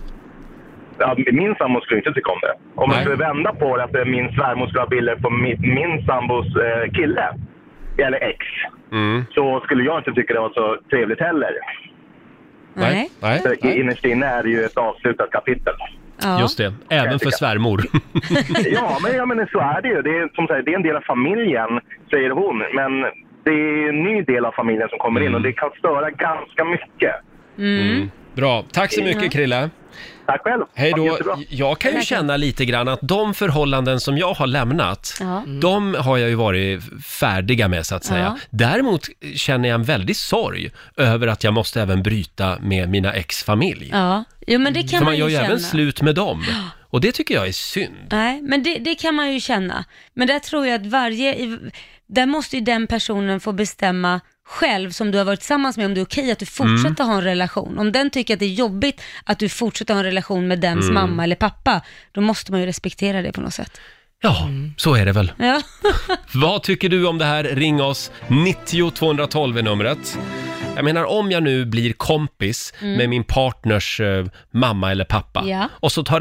[SPEAKER 13] Ja, min sambo skulle inte tycka om det. Om man skulle vända på det, att eh, min svärmor skulle ha bilder på min, min sambos eh, kille, eller ex,
[SPEAKER 2] Mm.
[SPEAKER 13] så skulle jag inte tycka det var så trevligt heller.
[SPEAKER 1] Nej.
[SPEAKER 13] För i- Innerst inne är det ju ett avslutat kapitel.
[SPEAKER 2] Just det, även för svärmor.
[SPEAKER 13] Ja, men, ja, men så är det ju. Det är, som sagt, det är en del av familjen, säger hon. Men det är en ny del av familjen som kommer in och det kan störa ganska mycket.
[SPEAKER 2] Mm. Bra, tack så
[SPEAKER 13] Ja.
[SPEAKER 2] mycket Krille.
[SPEAKER 13] Tack själv.
[SPEAKER 2] Hej
[SPEAKER 13] Ha det
[SPEAKER 2] då.
[SPEAKER 13] jättebra.
[SPEAKER 2] Jag kan ju
[SPEAKER 13] Tack.
[SPEAKER 2] känna lite grann att de förhållanden som jag har lämnat,
[SPEAKER 1] Ja. Mm.
[SPEAKER 2] de har jag ju varit färdiga med så att säga.
[SPEAKER 1] Ja.
[SPEAKER 2] Däremot känner jag en väldig sorg över att jag måste även bryta med mina ex-familj.
[SPEAKER 1] Ja, jo, men det kan
[SPEAKER 2] För
[SPEAKER 1] man,
[SPEAKER 2] man gör
[SPEAKER 1] ju
[SPEAKER 2] ju
[SPEAKER 1] känna.
[SPEAKER 2] även slut med dem. Och det tycker jag är synd.
[SPEAKER 1] Nej, men det, det kan man ju känna. Men där tror jag att varje, i- där måste ju den personen få bestämma själv som du har varit tillsammans med om det är okej att du
[SPEAKER 2] Mm.
[SPEAKER 1] fortsätter ha en relation. Om den tycker att det är jobbigt att du fortsätter ha en relation med dens
[SPEAKER 2] Mm.
[SPEAKER 1] mamma eller pappa, då måste man ju respektera det på något sätt.
[SPEAKER 2] Ja, så är det väl.
[SPEAKER 1] Ja.
[SPEAKER 2] Vad tycker du om det här? Ring oss, 90 212 är numret. Jag menar om jag nu blir kompis
[SPEAKER 1] Mm.
[SPEAKER 2] med min partners eh, mamma eller pappa
[SPEAKER 1] Ja.
[SPEAKER 2] och så tar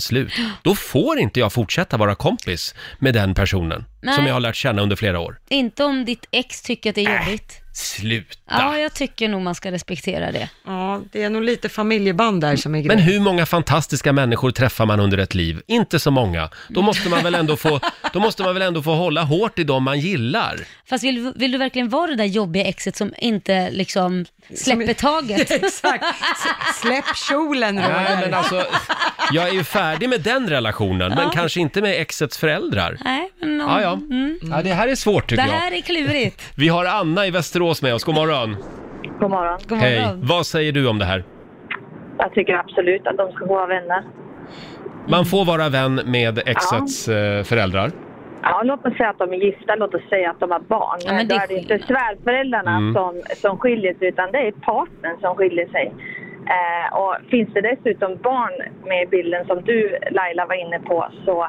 [SPEAKER 2] slut, då får inte jag fortsätta vara kompis med den personen som
[SPEAKER 1] Nej.
[SPEAKER 2] jag har lärt känna under flera år.
[SPEAKER 1] Inte om ditt ex tycker att det
[SPEAKER 2] Äh.
[SPEAKER 1] är jobbigt.
[SPEAKER 2] Slut.
[SPEAKER 1] Ja, jag tycker nog man ska respektera det.
[SPEAKER 3] Ja, det är nog lite familjeband där som är
[SPEAKER 2] Men
[SPEAKER 3] grejen.
[SPEAKER 2] hur många fantastiska människor träffar man under ett liv? Inte så många. Då måste man väl ändå få, då måste man väl ändå få hålla hårt i dem man gillar.
[SPEAKER 1] Fast vill, vill du verkligen vara det där jobbiga exet som inte liksom släpper taget?
[SPEAKER 3] Exakt. S- Släpp kjolen Roger.
[SPEAKER 2] Nej, men alltså, jag är ju färdig med den relationen, men
[SPEAKER 1] Ja.
[SPEAKER 2] kanske inte med exets föräldrar.
[SPEAKER 1] Nej, men om,
[SPEAKER 2] Ja, ja.
[SPEAKER 1] Mm.
[SPEAKER 2] Ja, det här är svårt
[SPEAKER 1] Det
[SPEAKER 2] tycker jag.
[SPEAKER 1] här är klurigt.
[SPEAKER 2] Vi har Anna i Västerås med oss, god morgon.
[SPEAKER 14] God morgon.
[SPEAKER 2] Hej, vad säger du om det här?
[SPEAKER 14] Jag tycker absolut att de ska få vara vänner.
[SPEAKER 2] Man får vara vän med exets eh, föräldrar.
[SPEAKER 14] Ja, låt oss säga att de är gifta, låt oss säga att de har barn.
[SPEAKER 1] Ja, men det
[SPEAKER 14] Då
[SPEAKER 1] är
[SPEAKER 14] är det inte svärföräldrarna
[SPEAKER 2] Mm.
[SPEAKER 14] som, som skiljer sig, utan det är partnern som skiljer sig. Eh, och finns det dessutom barn med i bilden, som du Laila var inne på, så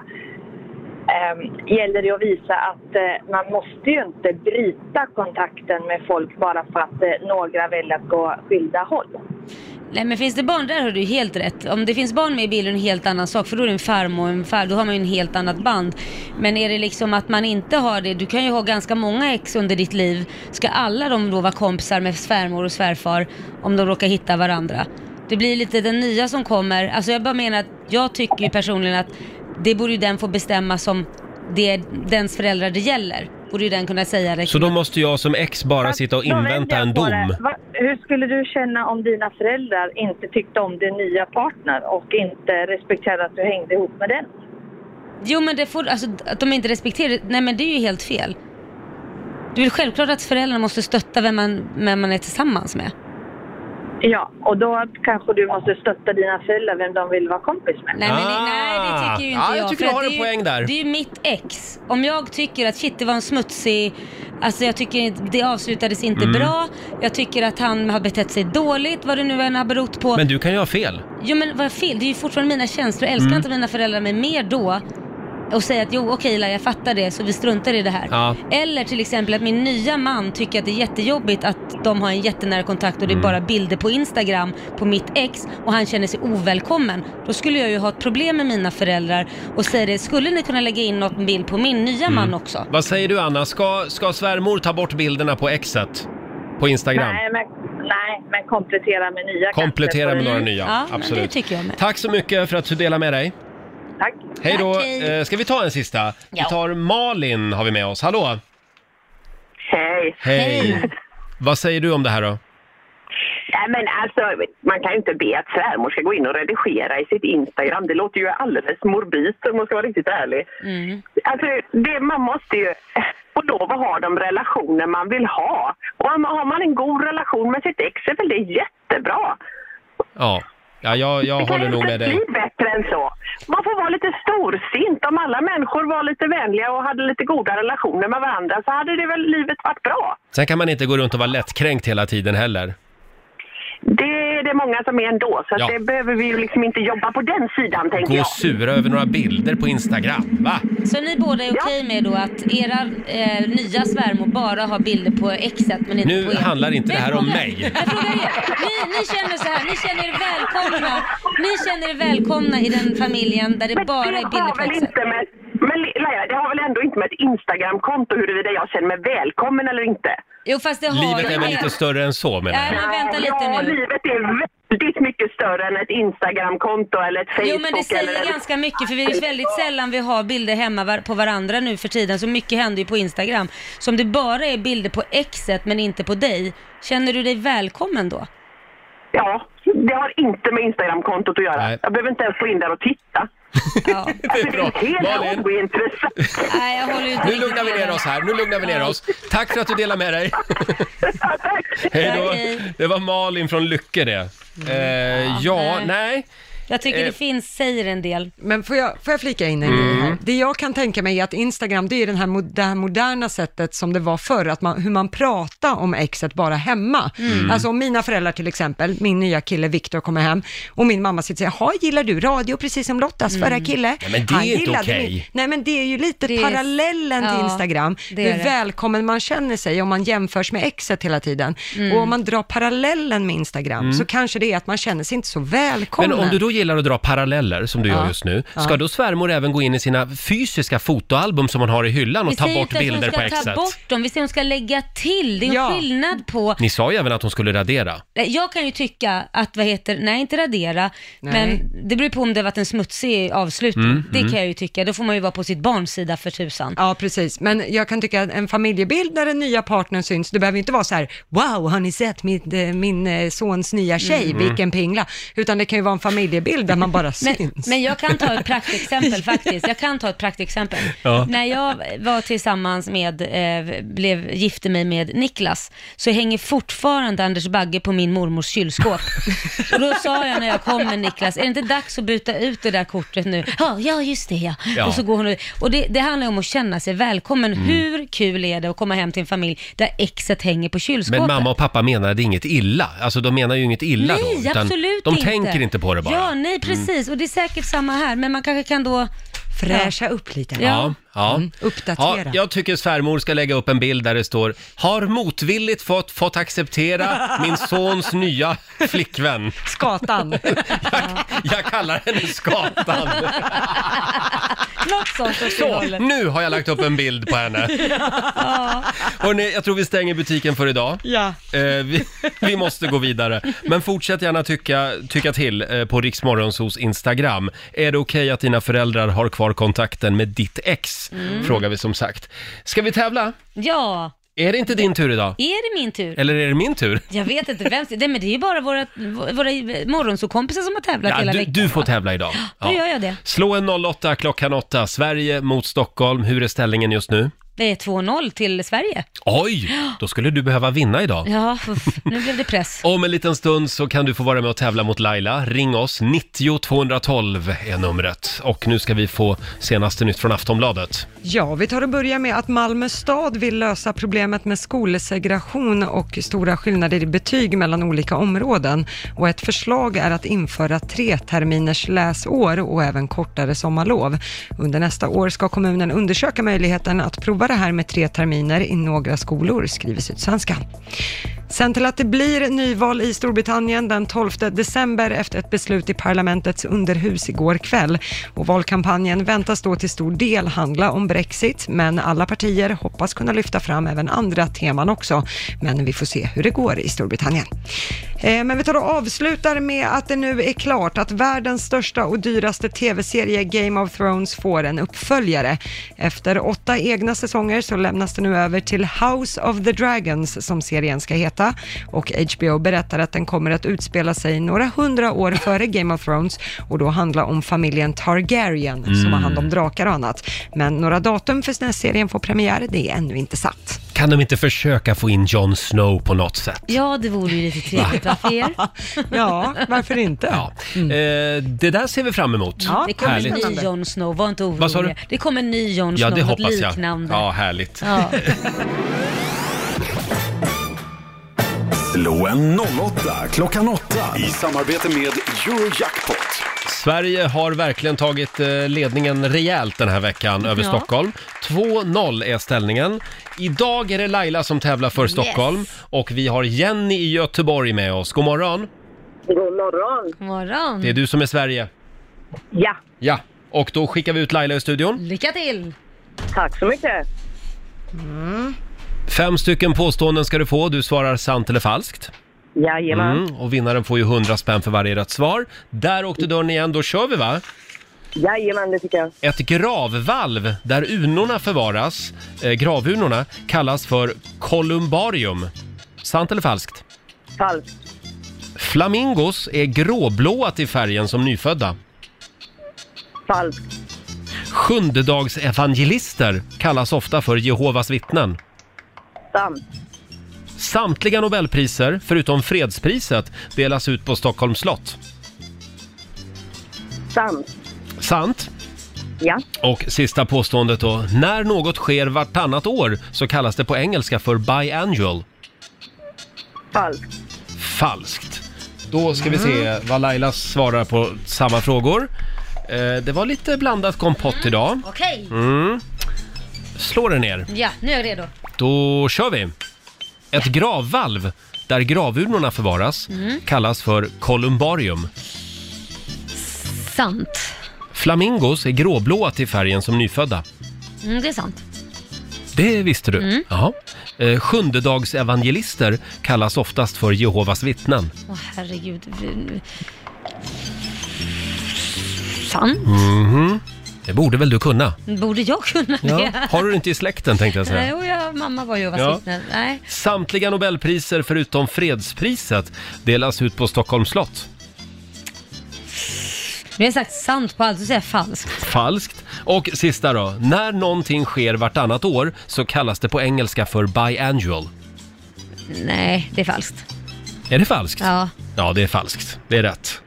[SPEAKER 14] ehm, gäller det att visa att eh, man måste ju inte bryta kontakten med folk bara för att eh, några väljer att gå skilda håll.
[SPEAKER 1] Nej men finns det barn, där har du helt rätt. Om det finns barn med i bilden är det en helt annan sak för då är det en farmor och en far, då har man ju en helt annat band. Men är det liksom att man inte har det, du kan ju ha ganska många ex under ditt liv. Ska alla de då vara kompisar med svärmor och svärfar om de råkar hitta varandra? Det blir lite den nya som kommer, alltså jag bara menar att jag tycker ju personligen att det borde ju den få bestämma som det är dens föräldrar det gäller. Borde ju den kunna säga det.
[SPEAKER 2] Så då måste jag som ex bara sitta och
[SPEAKER 14] Då vänder
[SPEAKER 2] invänta
[SPEAKER 14] jag
[SPEAKER 2] en
[SPEAKER 14] på det.
[SPEAKER 2] dom?
[SPEAKER 14] Va, hur skulle du känna om dina föräldrar inte tyckte om din nya partner och inte respekterade att du hängde ihop med den?
[SPEAKER 1] Jo men det får, alltså att de inte respekterar det, nej men det är ju helt fel. Det är väl självklart att föräldrarna måste stötta vem man, vem man är tillsammans med.
[SPEAKER 14] Ja, och då kanske du måste stötta dina föräldrar vem de vill vara kompis med.
[SPEAKER 1] Nej, men, nej, nej det tycker ju inte
[SPEAKER 2] Ah, jag
[SPEAKER 1] jag. för
[SPEAKER 2] tycker du
[SPEAKER 1] att
[SPEAKER 2] har
[SPEAKER 1] det
[SPEAKER 2] en
[SPEAKER 1] är ju-
[SPEAKER 2] poäng där.
[SPEAKER 1] Det är ju mitt ex. Om jag tycker att shit det var en smutsig, alltså jag tycker inte- det avslutades inte
[SPEAKER 2] Mm.
[SPEAKER 1] bra, jag tycker att han har betett sig dåligt, vad det nu än har berott på.
[SPEAKER 2] Men du kan ju ha fel.
[SPEAKER 1] Jo men vad fel, det är ju fortfarande mina känslor. Älskar
[SPEAKER 2] Mm.
[SPEAKER 1] inte mina föräldrar mig mer då och säga att jo okej Laila jag fattar det så vi struntar i det här.
[SPEAKER 2] Ja.
[SPEAKER 1] Eller till exempel att min nya man tycker att det är jättejobbigt att de har en jättenära kontakt och det är
[SPEAKER 2] Mm.
[SPEAKER 1] bara bilder på Instagram på mitt ex och han känner sig ovälkommen. Då skulle jag ju ha ett problem med mina föräldrar och säga det, skulle ni kunna lägga in något bild på min
[SPEAKER 2] Mm.
[SPEAKER 1] nya man också?
[SPEAKER 2] Vad säger du Anna, ska, ska svärmor ta bort bilderna på exet? På Instagram?
[SPEAKER 14] Nej, men, nej, men komplettera med nya kanske.
[SPEAKER 2] Komplettera med några
[SPEAKER 14] Mm.
[SPEAKER 2] nya, absolut.
[SPEAKER 1] jag med.
[SPEAKER 2] Tack så mycket för att du delade med dig.
[SPEAKER 14] Tack.
[SPEAKER 2] Hej då. Eh, Ska vi ta en sista? Vi
[SPEAKER 14] Ja.
[SPEAKER 2] tar Malin har vi med oss. Hallå!
[SPEAKER 12] Hej.
[SPEAKER 2] Hej! Vad säger du om det här då?
[SPEAKER 12] Nej, men alltså, man kan ju inte be att svärmor ska gå in och redigera i sitt Instagram. Det låter ju alldeles morbidt om man ska vara riktigt ärlig. Alltså, det, man måste ju få lov att ha de relationer man vill ha. Och om- har man en god relation med sitt ex är väl det jättebra.
[SPEAKER 2] Ja, ja jag, jag
[SPEAKER 12] det kan
[SPEAKER 2] håller
[SPEAKER 12] ju
[SPEAKER 2] nog
[SPEAKER 12] inte
[SPEAKER 2] med
[SPEAKER 12] bli
[SPEAKER 2] dig.
[SPEAKER 12] bättre än så. Man får vara lite storsint. Om alla människor var lite vänliga och hade lite goda relationer med varandra så hade det väl livet varit bra.
[SPEAKER 2] Sen kan man inte gå runt och vara lättkränkt hela tiden heller.
[SPEAKER 12] Det är det många som är ändå, så att
[SPEAKER 2] Ja.
[SPEAKER 12] det behöver vi ju liksom inte jobba på den sidan, tänker
[SPEAKER 2] Gå
[SPEAKER 12] jag.
[SPEAKER 2] och sura över några bilder på Instagram, va?
[SPEAKER 1] Så ni båda är okej med då att era eh, nya svärmor bara har bilder på exet men inte på
[SPEAKER 2] Nu
[SPEAKER 1] er?
[SPEAKER 2] handlar inte det här om mig.
[SPEAKER 1] Jag frågar er, ni, ni känner så här, ni känner er välkomna, ni känner er välkomna i den familjen där det bara är bilder på
[SPEAKER 12] väl
[SPEAKER 1] exet.
[SPEAKER 12] inte med, men Laila, det har väl ändå inte med ett Instagramkonto huruvida jag känner mig välkommen eller inte?
[SPEAKER 1] Jo fast det har
[SPEAKER 2] Livet
[SPEAKER 1] ju
[SPEAKER 2] är väl
[SPEAKER 1] det.
[SPEAKER 2] lite större än så menar
[SPEAKER 1] Nej
[SPEAKER 2] jag.
[SPEAKER 1] men vänta lite
[SPEAKER 12] Ja,
[SPEAKER 1] nu.
[SPEAKER 12] livet är väldigt mycket större än ett Instagramkonto eller ett Facebook.
[SPEAKER 1] Jo men det
[SPEAKER 12] eller
[SPEAKER 1] säger
[SPEAKER 12] ett-
[SPEAKER 1] ganska mycket för vi är ju väldigt sällan vi har bilder hemma var- på varandra nu för tiden så mycket händer ju på Instagram. Så om det bara är bilder på exet men inte på dig, känner du dig välkommen då?
[SPEAKER 12] Ja, det har inte med Instagramkontot att göra. Jag behöver inte ens gå in där och titta. alltså, det är helt
[SPEAKER 2] Malin.
[SPEAKER 12] ointressant.
[SPEAKER 1] Nej jag håller ju inte
[SPEAKER 2] Nu lugnar vi ner oss här, nu lugnar vi ner oss. Tack för att du delade med dig. Hej då.
[SPEAKER 1] Tack.
[SPEAKER 2] Det var Malin från Lycke det.
[SPEAKER 3] Mm.
[SPEAKER 2] Eh, ja, nej.
[SPEAKER 1] Jag tycker det
[SPEAKER 3] Eh.
[SPEAKER 1] finns, säger en del.
[SPEAKER 3] Men får jag, får jag flika in en grej här?
[SPEAKER 2] Mm.
[SPEAKER 3] Det jag kan tänka mig är att Instagram, det är den här, mo- det här moderna sättet som det var förr, att man, hur man pratar om exet bara hemma.
[SPEAKER 15] Mm.
[SPEAKER 3] Alltså om mina föräldrar till exempel, min nya kille Viktor kommer hem och min mamma sitter och säger, jaha, gillar du radio precis som Lottas förra kille?
[SPEAKER 15] Nej, men det är
[SPEAKER 3] Han
[SPEAKER 15] inte
[SPEAKER 3] gillade
[SPEAKER 15] okej.
[SPEAKER 3] min-" Nej, men det är ju lite
[SPEAKER 15] är-
[SPEAKER 3] parallellen till
[SPEAKER 15] ja,
[SPEAKER 3] Instagram,
[SPEAKER 15] det är
[SPEAKER 3] hur
[SPEAKER 15] det.
[SPEAKER 3] välkommen man känner sig om man jämförs med exet hela tiden.
[SPEAKER 2] Mm.
[SPEAKER 3] Och om man drar parallellen med Instagram
[SPEAKER 2] Mm.
[SPEAKER 3] så kanske det är att man känner sig inte så välkommen.
[SPEAKER 2] Men om du då gillar att dra paralleller, som du gör
[SPEAKER 3] Ja.
[SPEAKER 2] just nu, ska
[SPEAKER 3] Ja.
[SPEAKER 2] då svärmor även gå in i sina fysiska fotoalbum som hon har i hyllan och ta
[SPEAKER 1] säger
[SPEAKER 2] bort
[SPEAKER 1] inte att
[SPEAKER 2] bilder på
[SPEAKER 1] hon ska ta
[SPEAKER 2] exet?
[SPEAKER 1] bort dem, vi säger hon ska lägga till. Det är en skillnad på...
[SPEAKER 2] Ni sa ju även att hon skulle radera.
[SPEAKER 1] Nej, Jag kan ju tycka att, vad heter, nej inte radera,
[SPEAKER 2] Nej.
[SPEAKER 1] men det beror på om det har varit en smutsig avslutning.
[SPEAKER 3] Mm,
[SPEAKER 1] det
[SPEAKER 3] mm.
[SPEAKER 1] kan jag ju tycka, då får man ju vara på sitt barns sida för tusan.
[SPEAKER 3] Ja, precis. Men jag kan tycka att en familjebild när den nya partnern syns, det behöver inte vara så här, wow, har ni sett min, eh, min eh, sons nya tjej,
[SPEAKER 1] Mm.
[SPEAKER 3] vilken pingla, utan det kan ju vara en familjebild där man bara
[SPEAKER 1] Men,
[SPEAKER 3] syns.
[SPEAKER 1] men jag kan ta ett praktexempel faktiskt. Jag kan ta ett praktexempel.
[SPEAKER 3] Ja.
[SPEAKER 1] När jag var tillsammans med, eh, blev, gifte mig med Niklas, så hänger fortfarande Anders Bagge på min mormors kylskåp. Och då sa jag när jag kom med Niklas, är det inte dags att byta ut det där kortet nu? Ja, ja just det ja.
[SPEAKER 15] Ja.
[SPEAKER 1] Och, så går hon, ut. och det, det handlar ju om att känna sig välkommen.
[SPEAKER 3] Mm.
[SPEAKER 1] Hur kul är det att komma hem till en familj där exet hänger på kylskåpet?
[SPEAKER 2] Men mamma och pappa menade inget illa. Alltså de menar ju inget illa
[SPEAKER 1] nej,
[SPEAKER 2] då. utan
[SPEAKER 1] absolut
[SPEAKER 2] de
[SPEAKER 1] inte.
[SPEAKER 2] tänker inte på det bara.
[SPEAKER 1] Ja, nej
[SPEAKER 2] Mm.
[SPEAKER 1] precis. Och det är säkert samma här, men man kanske kan då
[SPEAKER 3] Fräscha upp lite.
[SPEAKER 2] Ja, ja.
[SPEAKER 3] Mm,
[SPEAKER 2] Ja,
[SPEAKER 3] uppdatera.
[SPEAKER 2] jag tycker svärmor ska lägga upp en bild där det står “Har motvilligt fått, fått acceptera min sons nya flickvän”.
[SPEAKER 3] Skatan.
[SPEAKER 2] Jag kallar henne Skatan.
[SPEAKER 1] Något sånt åt det
[SPEAKER 2] Så,
[SPEAKER 1] hållet.
[SPEAKER 2] nu har jag lagt upp en bild på henne.
[SPEAKER 1] Ja.
[SPEAKER 2] Hörrni, jag tror vi stänger butiken för idag.
[SPEAKER 3] Ja.
[SPEAKER 2] Eh, vi, vi måste gå vidare. Men fortsätt gärna tycka, tycka till eh, på Riksmorgonsos Instagram. Är det okej att dina föräldrar har kvar kontakten med ditt ex?
[SPEAKER 1] Mm.
[SPEAKER 2] Frågar vi som sagt. Ska vi tävla?
[SPEAKER 1] Ja,
[SPEAKER 2] Är det inte din tur idag?
[SPEAKER 1] är det min tur?
[SPEAKER 2] Eller är det min tur?
[SPEAKER 1] Jag vet inte vem det är, men det är ju bara våra, våra morgonsåkompisar som har tävlat
[SPEAKER 2] Ja,
[SPEAKER 1] hela
[SPEAKER 2] du,
[SPEAKER 1] veckan.
[SPEAKER 2] du får tävla idag.
[SPEAKER 1] Då gör jag det.
[SPEAKER 2] Slå en 08 klockan 8. Sverige mot Stockholm. Hur är ställningen just nu?
[SPEAKER 1] Det är 2-0 till Sverige.
[SPEAKER 2] Oj, då skulle du behöva vinna idag.
[SPEAKER 1] Ja, uff, nu blev det press.
[SPEAKER 2] Om en liten stund så kan du få vara med och tävla mot Laila. Ring oss, 90 212 är numret. Och nu ska vi få senaste nytt från Aftonbladet.
[SPEAKER 3] Ja, vi tar och börjar med att Malmö stad vill lösa problemet med skolsegregation och stora skillnader i betyg mellan olika områden. Och ett förslag är att införa tre terminers läsår och även kortare sommarlov. Under nästa år ska kommunen undersöka möjligheten att prova det här med tre terminer i några skolor, skriver Sydsvenskan. Sen till att det blir nyval i Storbritannien den 12 december efter ett beslut i parlamentets underhus igår kväll. Och valkampanjen väntas då till stor del handla om Brexit, men alla partier hoppas kunna lyfta fram även andra teman också. Men vi får se hur det går i Storbritannien. Eh, Men vi tar och avslutar med att det nu är klart att världens största och dyraste tv-serie Game of Thrones får en uppföljare. Efter åtta egna säsonger så lämnas det nu över till House of the Dragons som serien ska heta och HBO berättar att den kommer att utspela sig några hundra år före Game of Thrones och då handla om familjen Targaryen som
[SPEAKER 2] Mm.
[SPEAKER 3] har hand om drakar och annat. Men några datum för när serien får premiär, det är ännu inte satt.
[SPEAKER 2] Kan de inte försöka få in Jon Snow på något sätt?
[SPEAKER 1] Ja, det vore ju lite trevligt, va, för er?
[SPEAKER 3] Ja, varför inte?
[SPEAKER 2] Ja. Eh, det där ser vi fram emot.
[SPEAKER 1] det kommer en ny Jon Snow, var inte orolig.
[SPEAKER 2] Vad sa du?
[SPEAKER 1] Det kommer en ny Jon
[SPEAKER 2] Ja,
[SPEAKER 1] Snow,
[SPEAKER 2] det
[SPEAKER 1] något
[SPEAKER 2] hoppas jag.
[SPEAKER 1] liknande.
[SPEAKER 2] Ja, härligt.
[SPEAKER 1] Ja.
[SPEAKER 4] Slå en 08 klockan 8 i samarbete med Eurojackpot.
[SPEAKER 2] Sverige har verkligen tagit eh, ledningen rejält den här veckan över
[SPEAKER 4] Ja.
[SPEAKER 2] Stockholm. 2-0 är ställningen. Idag är det Laila som tävlar för Stockholm och vi har Jenny i Göteborg med oss. God morgon!
[SPEAKER 15] God morgon.
[SPEAKER 1] morgon.
[SPEAKER 2] Det är du som är Sverige.
[SPEAKER 15] Ja.
[SPEAKER 2] Ja, och då skickar vi ut Laila i studion.
[SPEAKER 1] Lycka till!
[SPEAKER 15] Tack så mycket.
[SPEAKER 2] Fem stycken påståenden ska du få. Du svarar sant eller falskt.
[SPEAKER 15] Jajamän.
[SPEAKER 2] Mm, och vinnaren får ju 100 spänn för varje rätt svar. Där åkte dörren igen. Då kör vi va?
[SPEAKER 15] Jajamän, det tycker jag.
[SPEAKER 2] Ett gravvalv där urnorna förvaras, eh, gravurnorna, kallas för kolumbarium. Sant eller falskt?
[SPEAKER 15] Falskt.
[SPEAKER 2] Flamingos är gråblåa till färgen som nyfödda.
[SPEAKER 15] Falskt.
[SPEAKER 2] Sjundedagsevangelister kallas ofta för Jehovas vittnen.
[SPEAKER 15] Sant.
[SPEAKER 2] Samtliga Nobelpriser, förutom fredspriset, delas ut på Stockholms slott.
[SPEAKER 15] Sant.
[SPEAKER 2] Sant?
[SPEAKER 15] Ja.
[SPEAKER 2] Och sista påståendet då. När något sker vartannat år så kallas det på engelska för biannual.
[SPEAKER 15] Falskt.
[SPEAKER 2] Falskt. Då ska vi
[SPEAKER 1] Mm.
[SPEAKER 2] se vad Laila svarar på samma frågor. Eh, det var lite blandat kompott idag.
[SPEAKER 1] Okej,
[SPEAKER 2] Mm. Slå den ner.
[SPEAKER 1] ja, nu är jag redo.
[SPEAKER 2] Då kör vi! Ett gravvalv där gravurnorna förvaras
[SPEAKER 1] Mm.
[SPEAKER 2] kallas för kolumbarium.
[SPEAKER 1] Sant.
[SPEAKER 2] Flamingos är gråblåa till färgen som nyfödda.
[SPEAKER 1] Mm, det är sant.
[SPEAKER 2] Det visste du?
[SPEAKER 1] Mm.
[SPEAKER 2] Jaha. Eh, sjundedagsevangelister kallas oftast för Jehovas vittnen.
[SPEAKER 1] Åh herregud. Vi- Sant.
[SPEAKER 2] Mhm. Det borde väl du kunna?
[SPEAKER 1] Borde jag kunna det?
[SPEAKER 2] Ja. Har du det inte i släkten tänkte jag säga.
[SPEAKER 1] Nej, och jag, mamma var ju
[SPEAKER 2] Ja.
[SPEAKER 1] ja. Nej,
[SPEAKER 2] Samtliga Nobelpriser förutom fredspriset delas ut på Stockholms slott.
[SPEAKER 1] nu har jag sagt sant på allt, så säger jag falskt.
[SPEAKER 2] Falskt. Och sista då. När någonting sker vartannat år så kallas det på engelska för biannual.
[SPEAKER 1] Nej, det är falskt.
[SPEAKER 2] Är det falskt?
[SPEAKER 1] Ja.
[SPEAKER 2] Ja, det är falskt. Det är rätt.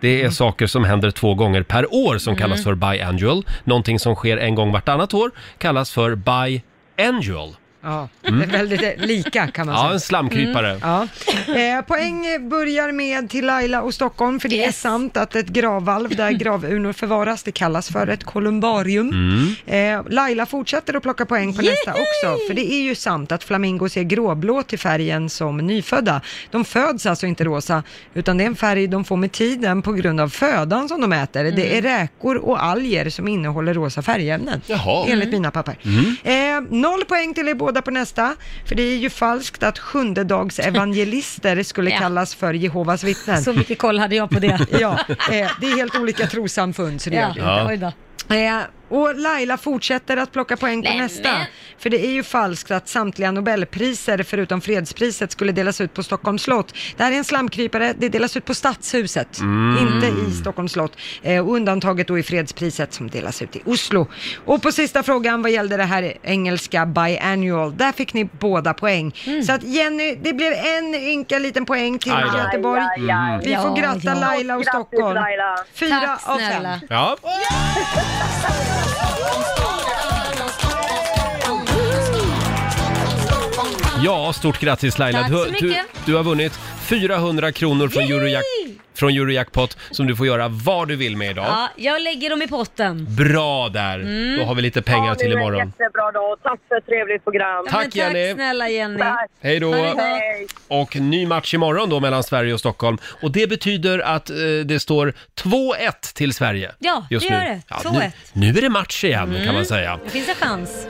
[SPEAKER 2] Det är saker som händer två gånger per år som
[SPEAKER 1] Mm.
[SPEAKER 2] kallas för biannual. Någonting som sker en gång vartannat år kallas för biannual.
[SPEAKER 3] Ja,
[SPEAKER 2] Mm.
[SPEAKER 3] det är väldigt lika kan man
[SPEAKER 2] Ja,
[SPEAKER 3] säga.
[SPEAKER 2] en slamkrypare.
[SPEAKER 3] Mm.
[SPEAKER 1] Mm.
[SPEAKER 3] Ja. Eh, poäng börjar med till Laila och Stockholm, för det är sant att ett gravvalv där gravurnor förvaras, det kallas för ett kolumbarium.
[SPEAKER 2] Mm.
[SPEAKER 3] Eh, Laila fortsätter att plocka poäng på nästa också, för det är ju sant att flamingos är gråblå till färgen som nyfödda. De föds alltså inte rosa, utan det är en färg de får med tiden på grund av födan som de äter.
[SPEAKER 2] Mm.
[SPEAKER 3] Det är räkor och alger som innehåller rosa färgämnen,
[SPEAKER 2] Jaha.
[SPEAKER 3] enligt
[SPEAKER 2] Mm.
[SPEAKER 3] mina papper.
[SPEAKER 1] Mm.
[SPEAKER 3] Eh, noll poäng till er båda på nästa, för det är ju falskt att sjundedagsevangelisters skulle
[SPEAKER 1] Ja.
[SPEAKER 3] kallas för Jehovas vittnen.
[SPEAKER 1] Så mycket koll hade jag på det.
[SPEAKER 3] ja, eh, det är helt olika trossamfund, så det gör
[SPEAKER 1] Ja,
[SPEAKER 3] det inte.
[SPEAKER 1] oj då.
[SPEAKER 3] Eh, och Laila fortsätter att plocka poäng på nästa. För det är ju falskt att samtliga Nobelpriser förutom fredspriset skulle delas ut på Stockholms slott. Det här är en slamkrypare, det delas ut på Stadshuset,
[SPEAKER 9] Mm.
[SPEAKER 3] inte i Stockholms slott. Eh, och undantaget då är fredspriset som delas ut i Oslo. Och på sista frågan vad gällde det här engelska biannual, där fick ni båda poäng. Så att Jenny, det blev en ynka liten poäng till
[SPEAKER 2] Aj då.
[SPEAKER 3] Göteborg.
[SPEAKER 2] Aj, aj, aj.
[SPEAKER 3] Vi får
[SPEAKER 2] Ja,
[SPEAKER 3] gratta
[SPEAKER 2] ja.
[SPEAKER 3] Laila och
[SPEAKER 15] Grattis,
[SPEAKER 3] Stockholm.
[SPEAKER 15] Laila.
[SPEAKER 3] Fyra
[SPEAKER 15] Tack,
[SPEAKER 3] av
[SPEAKER 15] snälla.
[SPEAKER 3] fem.
[SPEAKER 2] Ja. Ja, stort grattis Laila.
[SPEAKER 9] Tack
[SPEAKER 2] du,
[SPEAKER 9] så
[SPEAKER 2] har- du,
[SPEAKER 9] mycket.
[SPEAKER 2] du har vunnit 400 kronor från, Eurojack, från Eurojackpot som du får göra vad du vill med idag.
[SPEAKER 1] Ja, jag lägger dem i potten.
[SPEAKER 2] Bra där!
[SPEAKER 1] Mm.
[SPEAKER 2] Då har vi lite pengar till imorgon.
[SPEAKER 15] Jättebra dag. Tack för ett trevligt program.
[SPEAKER 2] Tack, Ja, men tack Jenny.
[SPEAKER 1] snälla Jenny.
[SPEAKER 2] Hej då!
[SPEAKER 1] Ha det bra.
[SPEAKER 2] Och ny match imorgon då mellan Sverige och Stockholm. Och det betyder att eh, det står 2-1 till Sverige.
[SPEAKER 1] Ja,
[SPEAKER 2] just
[SPEAKER 1] det gör
[SPEAKER 2] nu.
[SPEAKER 1] det.
[SPEAKER 2] Ja,
[SPEAKER 1] 2-1.
[SPEAKER 2] Nu, nu är det match igen kan
[SPEAKER 1] Mm.
[SPEAKER 2] man säga.
[SPEAKER 1] Det finns en chans.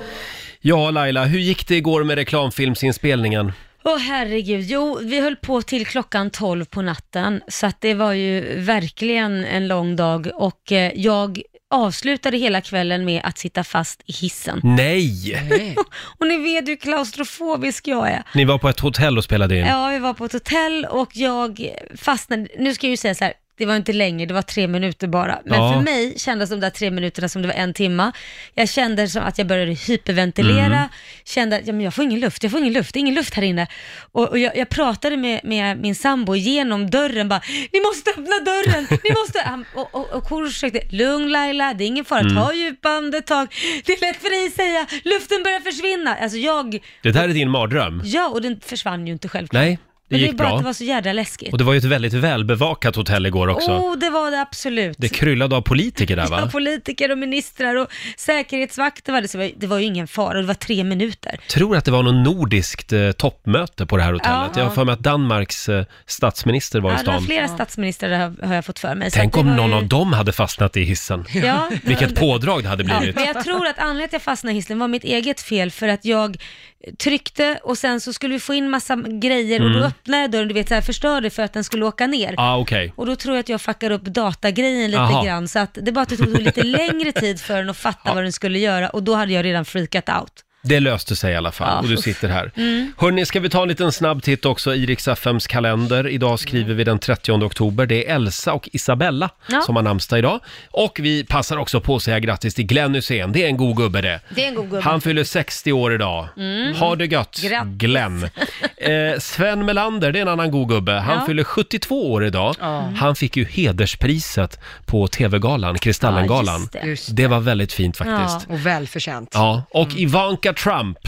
[SPEAKER 2] Ja, Laila, hur gick det igår med reklamfilmsinspelningen?
[SPEAKER 1] Åh herregud, jo vi höll på till klockan 12 på natten så att det var ju verkligen en lång dag och eh, jag avslutade hela kvällen med att sitta fast i hissen.
[SPEAKER 2] Mm. Nej!
[SPEAKER 1] Och ni vet hur klaustrofobisk jag är.
[SPEAKER 2] Ni var på ett hotell och spelade in.
[SPEAKER 1] Ja, vi var på ett hotell och jag fastnade, nu ska jag ju säga så här, det var inte länge, det var tre minuter bara. Men
[SPEAKER 9] Ja.
[SPEAKER 1] för mig kändes de där tre minuterna som det var en timma. Jag kände som att jag började hyperventilera,
[SPEAKER 9] Mm.
[SPEAKER 1] kände att ja, men jag får ingen luft, jag får ingen luft, det är ingen luft här inne. Och, och jag, jag pratade med, med min sambo genom dörren bara, ni måste öppna dörren, ni måste... Han, och och, och Korosh försökte, lugn Laila, det är ingen fara,
[SPEAKER 2] Mm.
[SPEAKER 1] ta djupa andetag, det är lätt för dig att säga, luften börjar försvinna. Alltså jag...
[SPEAKER 2] Det där är din mardröm.
[SPEAKER 1] Ja, och den försvann ju inte självklart.
[SPEAKER 2] Mm. Nej, det
[SPEAKER 1] Men
[SPEAKER 2] gick
[SPEAKER 1] det är bara
[SPEAKER 2] bra.
[SPEAKER 1] att det var så jävla läskigt.
[SPEAKER 2] Och det var ju ett väldigt välbevakat hotell igår också.
[SPEAKER 1] Oh, det var det absolut.
[SPEAKER 2] Det kryllade av politiker där
[SPEAKER 1] Ja,
[SPEAKER 2] va?
[SPEAKER 1] politiker och ministrar och säkerhetsvakter var det, så det var- det var ju ingen fara och det var tre minuter.
[SPEAKER 2] Tror att det var något nordiskt eh, toppmöte på det här hotellet.
[SPEAKER 1] Ja.
[SPEAKER 2] Jag har för mig att Danmarks eh, statsminister var i
[SPEAKER 1] Ja, det var
[SPEAKER 2] stan.
[SPEAKER 1] flera statsministrar har, har jag fått för mig. så
[SPEAKER 2] Tänk
[SPEAKER 1] att det var
[SPEAKER 2] om någon
[SPEAKER 1] ju-
[SPEAKER 2] av dem hade fastnat i hissen.
[SPEAKER 1] Ja.
[SPEAKER 2] Vilket pådrag det hade
[SPEAKER 1] Ja,
[SPEAKER 2] blivit.
[SPEAKER 1] men jag tror att anledningen till att jag fastnade i hissen var mitt eget fel för att jag tryckte och sen så skulle vi få in massa grejer och då
[SPEAKER 2] Mm.
[SPEAKER 1] öppnade jag dörren, du vet så här förstörde för att den skulle åka ner.
[SPEAKER 2] Ah, okej.
[SPEAKER 1] Och då tror jag att jag fuckar upp datagrejen lite
[SPEAKER 2] Aha.
[SPEAKER 1] grann så att det bara att det tog lite längre tid för den att fatta vad den skulle göra och då hade jag redan freakat out.
[SPEAKER 2] Det löste sig i alla fall
[SPEAKER 1] Ja.
[SPEAKER 2] och du sitter här.
[SPEAKER 1] Mm.
[SPEAKER 2] Hörni, ska vi ta en liten snabb titt också i Rix FMs kalender. Idag skriver vi den 30 oktober. Det är Elsa och Isabella
[SPEAKER 1] Ja.
[SPEAKER 2] som har namnsdag idag. Och vi passar också på att säga grattis till Glenn Hysén. Det är en god gubbe det.
[SPEAKER 1] Det är en god gubbe.
[SPEAKER 2] Han fyller 60 år idag.
[SPEAKER 1] Mm.
[SPEAKER 2] Ha det gött,
[SPEAKER 1] Grattis.
[SPEAKER 2] Glenn. Eh, Sven Melander, det är en annan god gubbe. Han
[SPEAKER 1] Ja.
[SPEAKER 2] fyller 72 år idag. Han fick ju hederspriset på TV-galan,
[SPEAKER 3] Ja,
[SPEAKER 2] Kristallengalan.
[SPEAKER 3] just det. Just
[SPEAKER 2] det var väldigt fint faktiskt.
[SPEAKER 3] Ja, och välförtjänt.
[SPEAKER 2] Ja, och Ivanka Trump,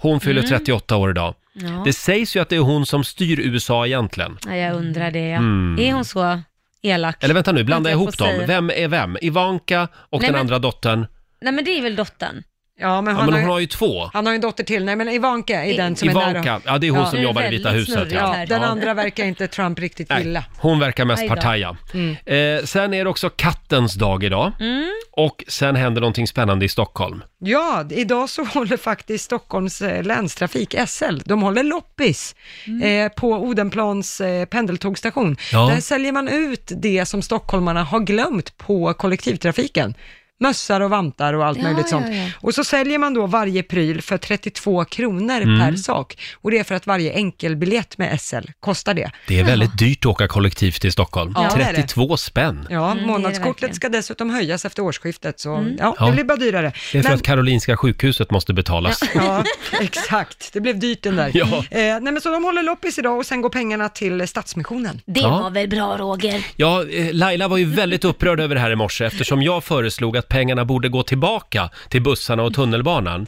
[SPEAKER 2] hon fyller
[SPEAKER 1] Mm.
[SPEAKER 2] 38 år idag.
[SPEAKER 1] Ja.
[SPEAKER 2] Det sägs ju att det är hon som styr USA egentligen.
[SPEAKER 1] Ja, jag undrar det ja.
[SPEAKER 2] Mm.
[SPEAKER 1] Är hon så elak?
[SPEAKER 2] Eller vänta nu, blanda
[SPEAKER 1] Vänta, jag
[SPEAKER 2] ihop
[SPEAKER 1] får
[SPEAKER 2] dem.
[SPEAKER 1] säga.
[SPEAKER 2] Vem är vem? Ivanka och
[SPEAKER 1] Nej,
[SPEAKER 2] den
[SPEAKER 1] men-
[SPEAKER 2] andra dottern.
[SPEAKER 1] Nej men det är väl dottern?
[SPEAKER 3] Ja, men,
[SPEAKER 2] Ja, men hon har ju två.
[SPEAKER 3] Han har ju en dotter till, nej men Ivanka är
[SPEAKER 1] I-
[SPEAKER 3] den som är
[SPEAKER 2] Ivanka,
[SPEAKER 3] nära.
[SPEAKER 2] ja, det är hon som Det är jobbar i Vita väldigt huset, ja. snurrigt här.
[SPEAKER 3] Ja, den
[SPEAKER 2] Ja.
[SPEAKER 3] andra verkar inte Trump riktigt
[SPEAKER 2] Nej,
[SPEAKER 3] gilla.
[SPEAKER 2] Hon verkar mest
[SPEAKER 3] Aj då.
[SPEAKER 2] partaja.
[SPEAKER 3] Mm.
[SPEAKER 2] Eh, sen är det också kattens dag idag.
[SPEAKER 1] Mm.
[SPEAKER 2] Och sen händer någonting spännande i Stockholm.
[SPEAKER 3] Ja, idag så håller faktiskt Stockholms eh, länstrafik, SL, de håller loppis eh, på Odenplans eh, pendeltågstation.
[SPEAKER 9] Ja.
[SPEAKER 3] Där säljer man ut det som stockholmarna har glömt på kollektivtrafiken. Mössar och vantar och allt
[SPEAKER 9] Ja,
[SPEAKER 3] möjligt
[SPEAKER 9] ja,
[SPEAKER 3] sånt.
[SPEAKER 9] ja.
[SPEAKER 3] Och så säljer man då varje pryl för 32 kronor
[SPEAKER 2] Mm.
[SPEAKER 3] per sak. Och det är för att varje enkelbiljett med SL kostar det.
[SPEAKER 2] Det är väldigt dyrt att åka kollektivt i Stockholm.
[SPEAKER 3] Ja, det är det.
[SPEAKER 2] 32 spänn.
[SPEAKER 1] det
[SPEAKER 3] Ja,
[SPEAKER 1] är det verkligen.
[SPEAKER 3] månadskortet ska dessutom höjas efter årsskiftet, så ja, det
[SPEAKER 2] Ja.
[SPEAKER 3] blir bara dyrare.
[SPEAKER 2] Det är för
[SPEAKER 3] Men-
[SPEAKER 2] att Karolinska sjukhuset måste betalas.
[SPEAKER 3] Ja, exakt. Det blev dyrt den där.
[SPEAKER 2] Ja.
[SPEAKER 3] Eh, nej, men så de håller loppis idag och sen går pengarna till Stadsmissionen.
[SPEAKER 1] Det
[SPEAKER 2] Ja. var
[SPEAKER 1] väl bra Roger?
[SPEAKER 2] Ja, eh, Laila var ju väldigt upprörd över det här i morse eftersom jag föreslog att att pengarna borde gå tillbaka till bussarna och tunnelbanan.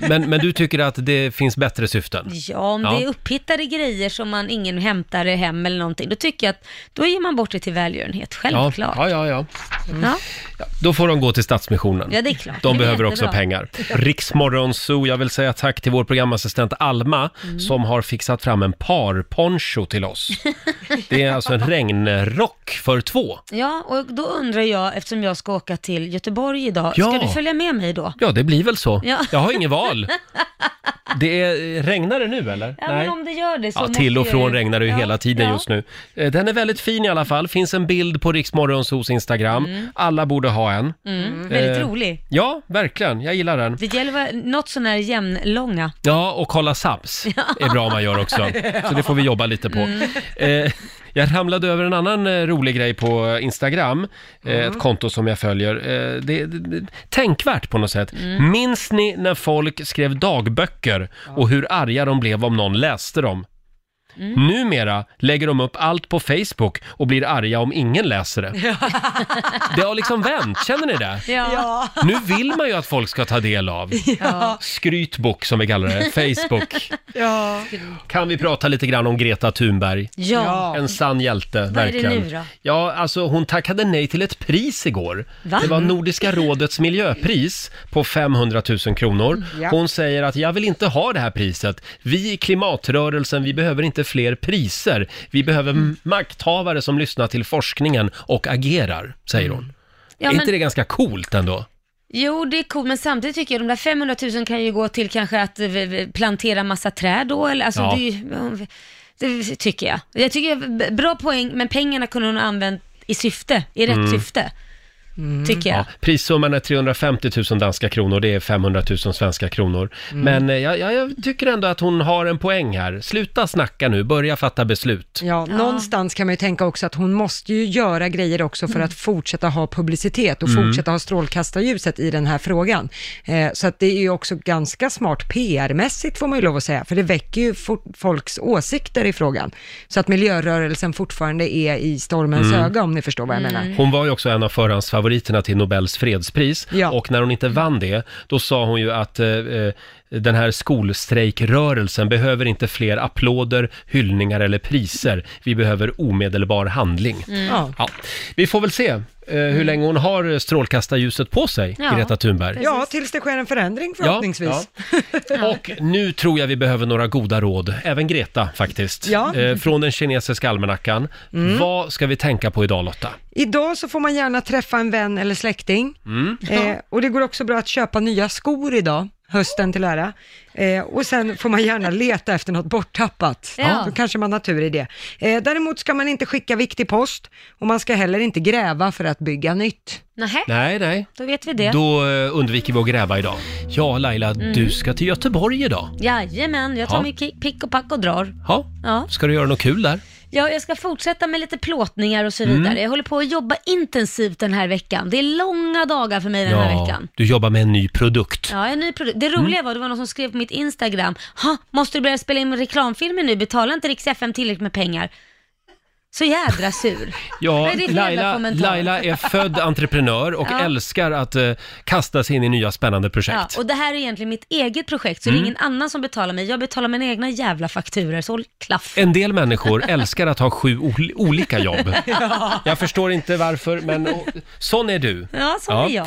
[SPEAKER 2] Men, men du tycker att det finns bättre syften?
[SPEAKER 1] Ja, om det är upphittade grejer som man ingen hämtar hem eller någonting, då tycker jag att då ger man bort det till välgörenhet, självklart.
[SPEAKER 2] Ja, ja, ja.
[SPEAKER 1] Ja.
[SPEAKER 2] Mm. Då får de gå till Stadsmissionen.
[SPEAKER 1] Ja, det är klart.
[SPEAKER 2] De
[SPEAKER 1] Det är
[SPEAKER 2] behöver också
[SPEAKER 1] jättebra.
[SPEAKER 2] pengar. Riksmorgon Zoo, jag vill säga tack till vår programassistent Alma
[SPEAKER 1] Mm.
[SPEAKER 2] som har fixat fram en parponcho till oss. Det är alltså en regnrock för två.
[SPEAKER 1] Ja, och då undrar jag, eftersom jag ska åka till Göteborg idag,
[SPEAKER 2] Ja.
[SPEAKER 1] ska du följa med mig då?
[SPEAKER 2] Ja, det blir väl så.
[SPEAKER 1] Ja.
[SPEAKER 2] Jag har inget val. Det är, regnar det nu eller?
[SPEAKER 1] Ja, men om det gör det så
[SPEAKER 2] Ja,
[SPEAKER 1] måste
[SPEAKER 2] till och
[SPEAKER 1] jag
[SPEAKER 2] från
[SPEAKER 1] ju-
[SPEAKER 2] regnar det ju
[SPEAKER 1] Ja,
[SPEAKER 2] hela tiden
[SPEAKER 1] ja.
[SPEAKER 2] just nu. Eh, Den är väldigt fin i alla fall. Finns en bild på Riksmorgonsos Instagram.
[SPEAKER 1] Mm.
[SPEAKER 2] Alla borde ha en.
[SPEAKER 1] Mm, väldigt
[SPEAKER 2] Eh,
[SPEAKER 1] rolig.
[SPEAKER 2] Ja, verkligen. Jag gillar den.
[SPEAKER 1] Det gäller att vara något sån här jämnlånga.
[SPEAKER 2] Ja, och kolla Sams är bra man gör också. Så det får vi jobba lite på.
[SPEAKER 1] Mm.
[SPEAKER 2] Eh, jag ramlade över en annan eh, rolig grej på Instagram, eh,
[SPEAKER 1] Mm.
[SPEAKER 2] ett konto som jag följer. Eh, det, det, det, tänkvärt på något sätt.
[SPEAKER 1] Mm.
[SPEAKER 2] Minns ni när folk skrev dagböcker och hur arga de blev om någon läste dem?
[SPEAKER 1] Mm.
[SPEAKER 2] Numera lägger de upp allt på Facebook och blir arga om ingen läser det. Det har liksom vänt, känner ni det?
[SPEAKER 1] Ja.
[SPEAKER 2] Nu vill man ju att folk ska ta del av.
[SPEAKER 1] Ja.
[SPEAKER 2] Skrytbok som vi kallar det, Eh, Facebook.
[SPEAKER 1] ja.
[SPEAKER 2] Kan vi prata lite grann om Greta Thunberg?
[SPEAKER 1] Ja.
[SPEAKER 2] En sann hjälte,
[SPEAKER 1] det
[SPEAKER 2] verkligen.
[SPEAKER 1] nu då?
[SPEAKER 2] Ja, alltså hon tackade nej till ett pris igår.
[SPEAKER 1] Va?
[SPEAKER 2] Det var Nordiska rådets miljöpris på 500 000 kronor.
[SPEAKER 1] Ja.
[SPEAKER 2] Hon säger att jag vill inte ha det här priset. Vi i klimatrörelsen, vi behöver inte fler priser. Vi behöver
[SPEAKER 1] Mm.
[SPEAKER 2] m- makthavare som lyssnar till forskningen och agerar, säger hon.
[SPEAKER 1] Ja,
[SPEAKER 2] är
[SPEAKER 1] men-
[SPEAKER 2] inte det ganska coolt ändå?
[SPEAKER 1] Jo, det är coolt, men samtidigt tycker jag de där 500 000 kan ju gå till kanske att eh, v- plantera massa träd då, eller alltså
[SPEAKER 2] Ja.
[SPEAKER 1] det, är ju- det tycker jag. Jag tycker, b- bra poäng, men pengarna kunde hon ha använt i syfte, i rätt
[SPEAKER 2] Mm.
[SPEAKER 1] syfte, tycker jag.
[SPEAKER 2] Ja, prissumman är 350 000 danska kronor, det är 500 000 svenska kronor.
[SPEAKER 1] Mm.
[SPEAKER 2] Men eh, jag, jag, jag tycker ändå att hon har en poäng här. Sluta snacka nu, börja fatta beslut.
[SPEAKER 3] Ja, någonstans kan man ju tänka också att hon måste ju göra grejer också
[SPEAKER 1] Mm.
[SPEAKER 3] för att fortsätta ha publicitet och
[SPEAKER 2] Mm.
[SPEAKER 3] fortsätta ha strålkastarljuset i den här frågan. Eh, så att det är ju också ganska smart PR-mässigt får man ju lov att säga, för det väcker ju fort, folks åsikter i frågan. Så att miljörörelsen fortfarande är i stormens
[SPEAKER 2] Mm.
[SPEAKER 3] öga om ni förstår vad jag menar.
[SPEAKER 2] Hon var ju också en av förhandsfavoriterna till Nobels fredspris och när hon inte vann det, då sa hon ju att eh, eh, den här skolstrejkrörelsen behöver inte fler applåder, hyllningar eller priser. Vi behöver omedelbar handling.
[SPEAKER 1] Mm. Ja.
[SPEAKER 2] Ja. Vi får väl se eh, hur länge hon har strålkastarljuset på sig,
[SPEAKER 3] Ja,
[SPEAKER 2] Greta Thunberg.
[SPEAKER 3] Ja, tills det sker en förändring förhoppningsvis.
[SPEAKER 2] ja. Och nu tror jag vi behöver några goda råd, även Greta faktiskt,
[SPEAKER 3] Ja.
[SPEAKER 2] eh, från den kinesiska almanackan.
[SPEAKER 3] Mm.
[SPEAKER 2] Vad ska vi tänka på idag Lotta?
[SPEAKER 3] Idag så får man gärna träffa en vän eller släkting.
[SPEAKER 2] Mm.
[SPEAKER 3] Eh, och det går också bra att köpa nya skor idag, hösten till ära. Eh, och sen får man gärna leta efter något borttappat.
[SPEAKER 1] Ja.
[SPEAKER 3] Då kanske man har tur i det. Eh, däremot ska man inte skicka viktig post och man ska heller inte gräva för att bygga nytt.
[SPEAKER 1] Nähä,
[SPEAKER 2] Nej, nej.
[SPEAKER 1] då vet vi det.
[SPEAKER 2] Då eh, undviker vi att gräva idag. Ja, Laila,
[SPEAKER 1] Mm.
[SPEAKER 2] du ska till Göteborg idag.
[SPEAKER 1] Jajamän, jag tar
[SPEAKER 2] Ja.
[SPEAKER 1] min ki- pick och pack och drar.
[SPEAKER 2] Ja.
[SPEAKER 1] Ja.
[SPEAKER 2] Ska du göra något kul där?
[SPEAKER 1] Ja, jag ska fortsätta med lite plåtningar och så
[SPEAKER 2] Mm.
[SPEAKER 1] vidare. Jag håller på att jobba intensivt den här veckan. Det är långa dagar för mig den här veckan.
[SPEAKER 2] du jobbar med en ny produkt.
[SPEAKER 1] Ja, en ny produkt. Det roliga
[SPEAKER 2] Mm.
[SPEAKER 1] var, det var någon som skrev på mitt Instagram, ha, måste du börja spela in reklamfilmer nu? Betalar inte Rix FM tillräckligt med pengar? Så jädra sur. Vad
[SPEAKER 2] Ja,
[SPEAKER 1] är det för jävla
[SPEAKER 2] Laila,
[SPEAKER 1] kommentar?
[SPEAKER 2] Laila är född entreprenör och
[SPEAKER 1] Ja.
[SPEAKER 2] älskar att eh, kasta sig in i nya spännande projekt.
[SPEAKER 1] Ja, och det här är egentligen mitt eget projekt, så
[SPEAKER 2] Mm.
[SPEAKER 1] det är ingen annan som betalar mig. Jag betalar mina egna jävla fakturor, så håll klaff.
[SPEAKER 2] En del människor älskar att ha sju ol- olika jobb.
[SPEAKER 1] Ja.
[SPEAKER 2] Jag förstår inte varför, men och, sån är du.
[SPEAKER 1] Ja, sån är jag.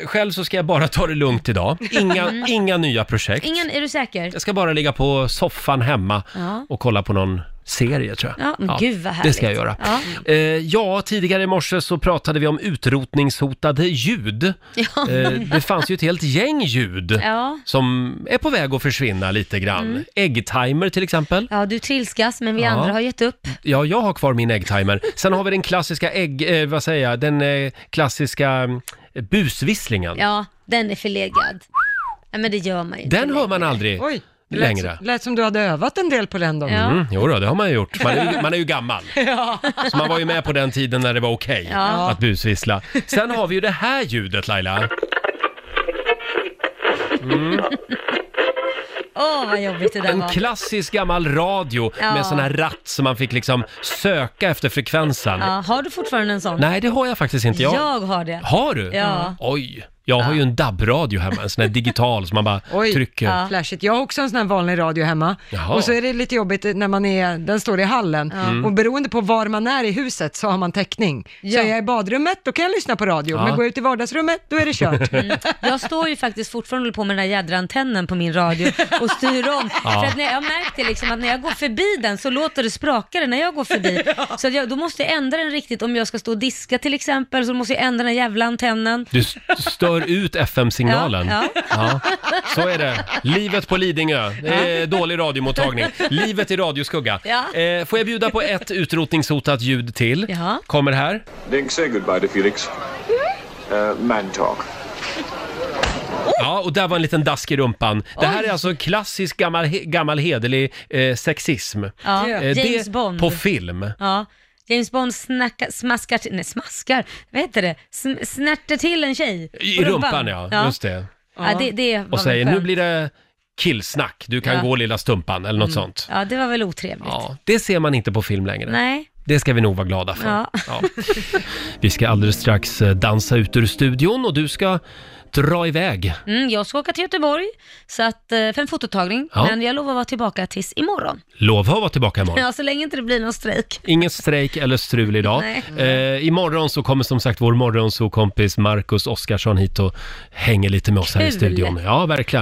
[SPEAKER 2] Eh, själv så ska jag bara ta det lugnt idag. Inga,
[SPEAKER 1] Mm.
[SPEAKER 2] inga nya projekt.
[SPEAKER 1] Ingen, är du säker?
[SPEAKER 2] Jag ska bara ligga på soffan hemma
[SPEAKER 1] Ja.
[SPEAKER 2] och kolla på någon serie tror jag.
[SPEAKER 1] Ja, men gud vad härligt.
[SPEAKER 2] Det ska jag göra.
[SPEAKER 1] Ja.
[SPEAKER 2] Eh, ja, tidigare i morse så pratade vi om utrotningshotade ljud.
[SPEAKER 1] Ja.
[SPEAKER 2] Eh, det fanns ju ett helt gäng ljud
[SPEAKER 1] Ja.
[SPEAKER 2] som är på väg att försvinna lite grann.
[SPEAKER 1] Mm.
[SPEAKER 2] Äggtimer till exempel.
[SPEAKER 1] Ja, du trilskas, men vi
[SPEAKER 2] Ja.
[SPEAKER 1] andra har gett upp.
[SPEAKER 2] Ja, jag har kvar min äggtimer. Sen har vi den klassiska ägg, eh, vad säger jag, den eh, klassiska mm, busvisslingen.
[SPEAKER 1] Ja, den är förlegad. Nej, men det gör man ju inte.
[SPEAKER 2] Den hör man aldrig
[SPEAKER 3] Oj, det lät,
[SPEAKER 2] längre.
[SPEAKER 3] lät som du hade övat en del på den då.
[SPEAKER 2] Mm, jo då, det har man ju gjort. Man är ju, man är ju gammal.
[SPEAKER 3] Ja.
[SPEAKER 2] Så man var ju med på den tiden när det var okej
[SPEAKER 3] Ja.
[SPEAKER 2] att busvissla. Sen har vi ju det här ljudet Laila. Mm.
[SPEAKER 1] Åh, vad jobbigt det där
[SPEAKER 2] En
[SPEAKER 1] var.
[SPEAKER 2] klassisk gammal radio
[SPEAKER 1] Ja.
[SPEAKER 2] med sån här ratt som man fick liksom söka efter frekvensen.
[SPEAKER 1] Ja, har du fortfarande en sån?
[SPEAKER 2] Nej, det har jag faktiskt inte. Jag,
[SPEAKER 1] Jag har det.
[SPEAKER 2] Har du?
[SPEAKER 1] Ja.
[SPEAKER 2] Oj, jag har ju en DAB-radio hemma, en sån här digital som man bara
[SPEAKER 3] Oj,
[SPEAKER 2] trycker.
[SPEAKER 3] flashigt. Jag har också en sån här vanlig radio hemma.
[SPEAKER 2] Jaha.
[SPEAKER 3] Och så är det lite jobbigt när man är, den står i hallen.
[SPEAKER 2] Ja. Mm.
[SPEAKER 3] Och beroende på var man är i huset så har man täckning. Så är jag i badrummet, då kan jag lyssna på radio.
[SPEAKER 1] Ja.
[SPEAKER 3] Men går jag ut i vardagsrummet, då är det kört.
[SPEAKER 1] Mm. Jag står ju faktiskt fortfarande och håller på med den där jädra antennen på min radio och styr om.
[SPEAKER 3] Ja.
[SPEAKER 1] För att när jag, jag märkte liksom att när jag går förbi den så låter det sprakare när jag går förbi. Så att jag, då måste jag ändra den riktigt. Om jag ska stå och diska till exempel så måste jag ändra den jävla antennen.
[SPEAKER 2] Du s- stör ut FM-signalen.
[SPEAKER 1] Ja, ja.
[SPEAKER 2] Så är det. Livet på Lidingö. Det är dålig radiomottagning. Livet i radioskugga.
[SPEAKER 1] Ja.
[SPEAKER 2] Eh, får jag bjuda på ett utrotningshotat ljud till?
[SPEAKER 1] Ja.
[SPEAKER 2] Kommer här.
[SPEAKER 16] Link, say goodbye to Felix. Uh, man talk.
[SPEAKER 1] Oh!
[SPEAKER 2] Ja, och där var en liten dask i rumpan. Det här är alltså klassisk gammal, he- gammal hederlig eh, sexism.
[SPEAKER 1] Ja,
[SPEAKER 2] Eh,
[SPEAKER 1] James
[SPEAKER 2] det
[SPEAKER 1] Bond.
[SPEAKER 2] På film.
[SPEAKER 1] Ja. James Bond snacka, smaskar till, nej smaskar, vad heter det? Sm, snärter till en tjej.
[SPEAKER 2] I
[SPEAKER 1] på
[SPEAKER 2] rumpan ja, just det.
[SPEAKER 1] Ja, det, det var
[SPEAKER 2] Och säger
[SPEAKER 1] väl
[SPEAKER 2] nu
[SPEAKER 1] skönt.
[SPEAKER 2] blir det killsnack, du kan
[SPEAKER 1] Ja.
[SPEAKER 2] gå lilla stumpan eller något
[SPEAKER 1] Mm.
[SPEAKER 2] sånt.
[SPEAKER 1] Ja, det var väl otrevligt.
[SPEAKER 2] Ja, det ser man inte på film längre.
[SPEAKER 1] Nej.
[SPEAKER 2] Det ska vi nog vara glada för.
[SPEAKER 1] Ja.
[SPEAKER 2] Ja. Vi ska alldeles strax eh, dansa ut ur studion och du ska dra iväg.
[SPEAKER 1] Mm, jag ska åka till Göteborg så att, eh, för en fototagning,
[SPEAKER 2] Ja.
[SPEAKER 1] men jag lovar att vara tillbaka tills imorgon.
[SPEAKER 2] Lova att vara tillbaka imorgon.
[SPEAKER 1] Ja, så länge inte det blir någon strejk.
[SPEAKER 2] Ingen strejk eller strul idag.
[SPEAKER 1] Nej.
[SPEAKER 2] Eh, imorgon så kommer som sagt vår morgonsokompis Marcus Oskarsson hit och hänger lite med oss här i
[SPEAKER 1] Kul.
[SPEAKER 2] studion. Ja, verkligen.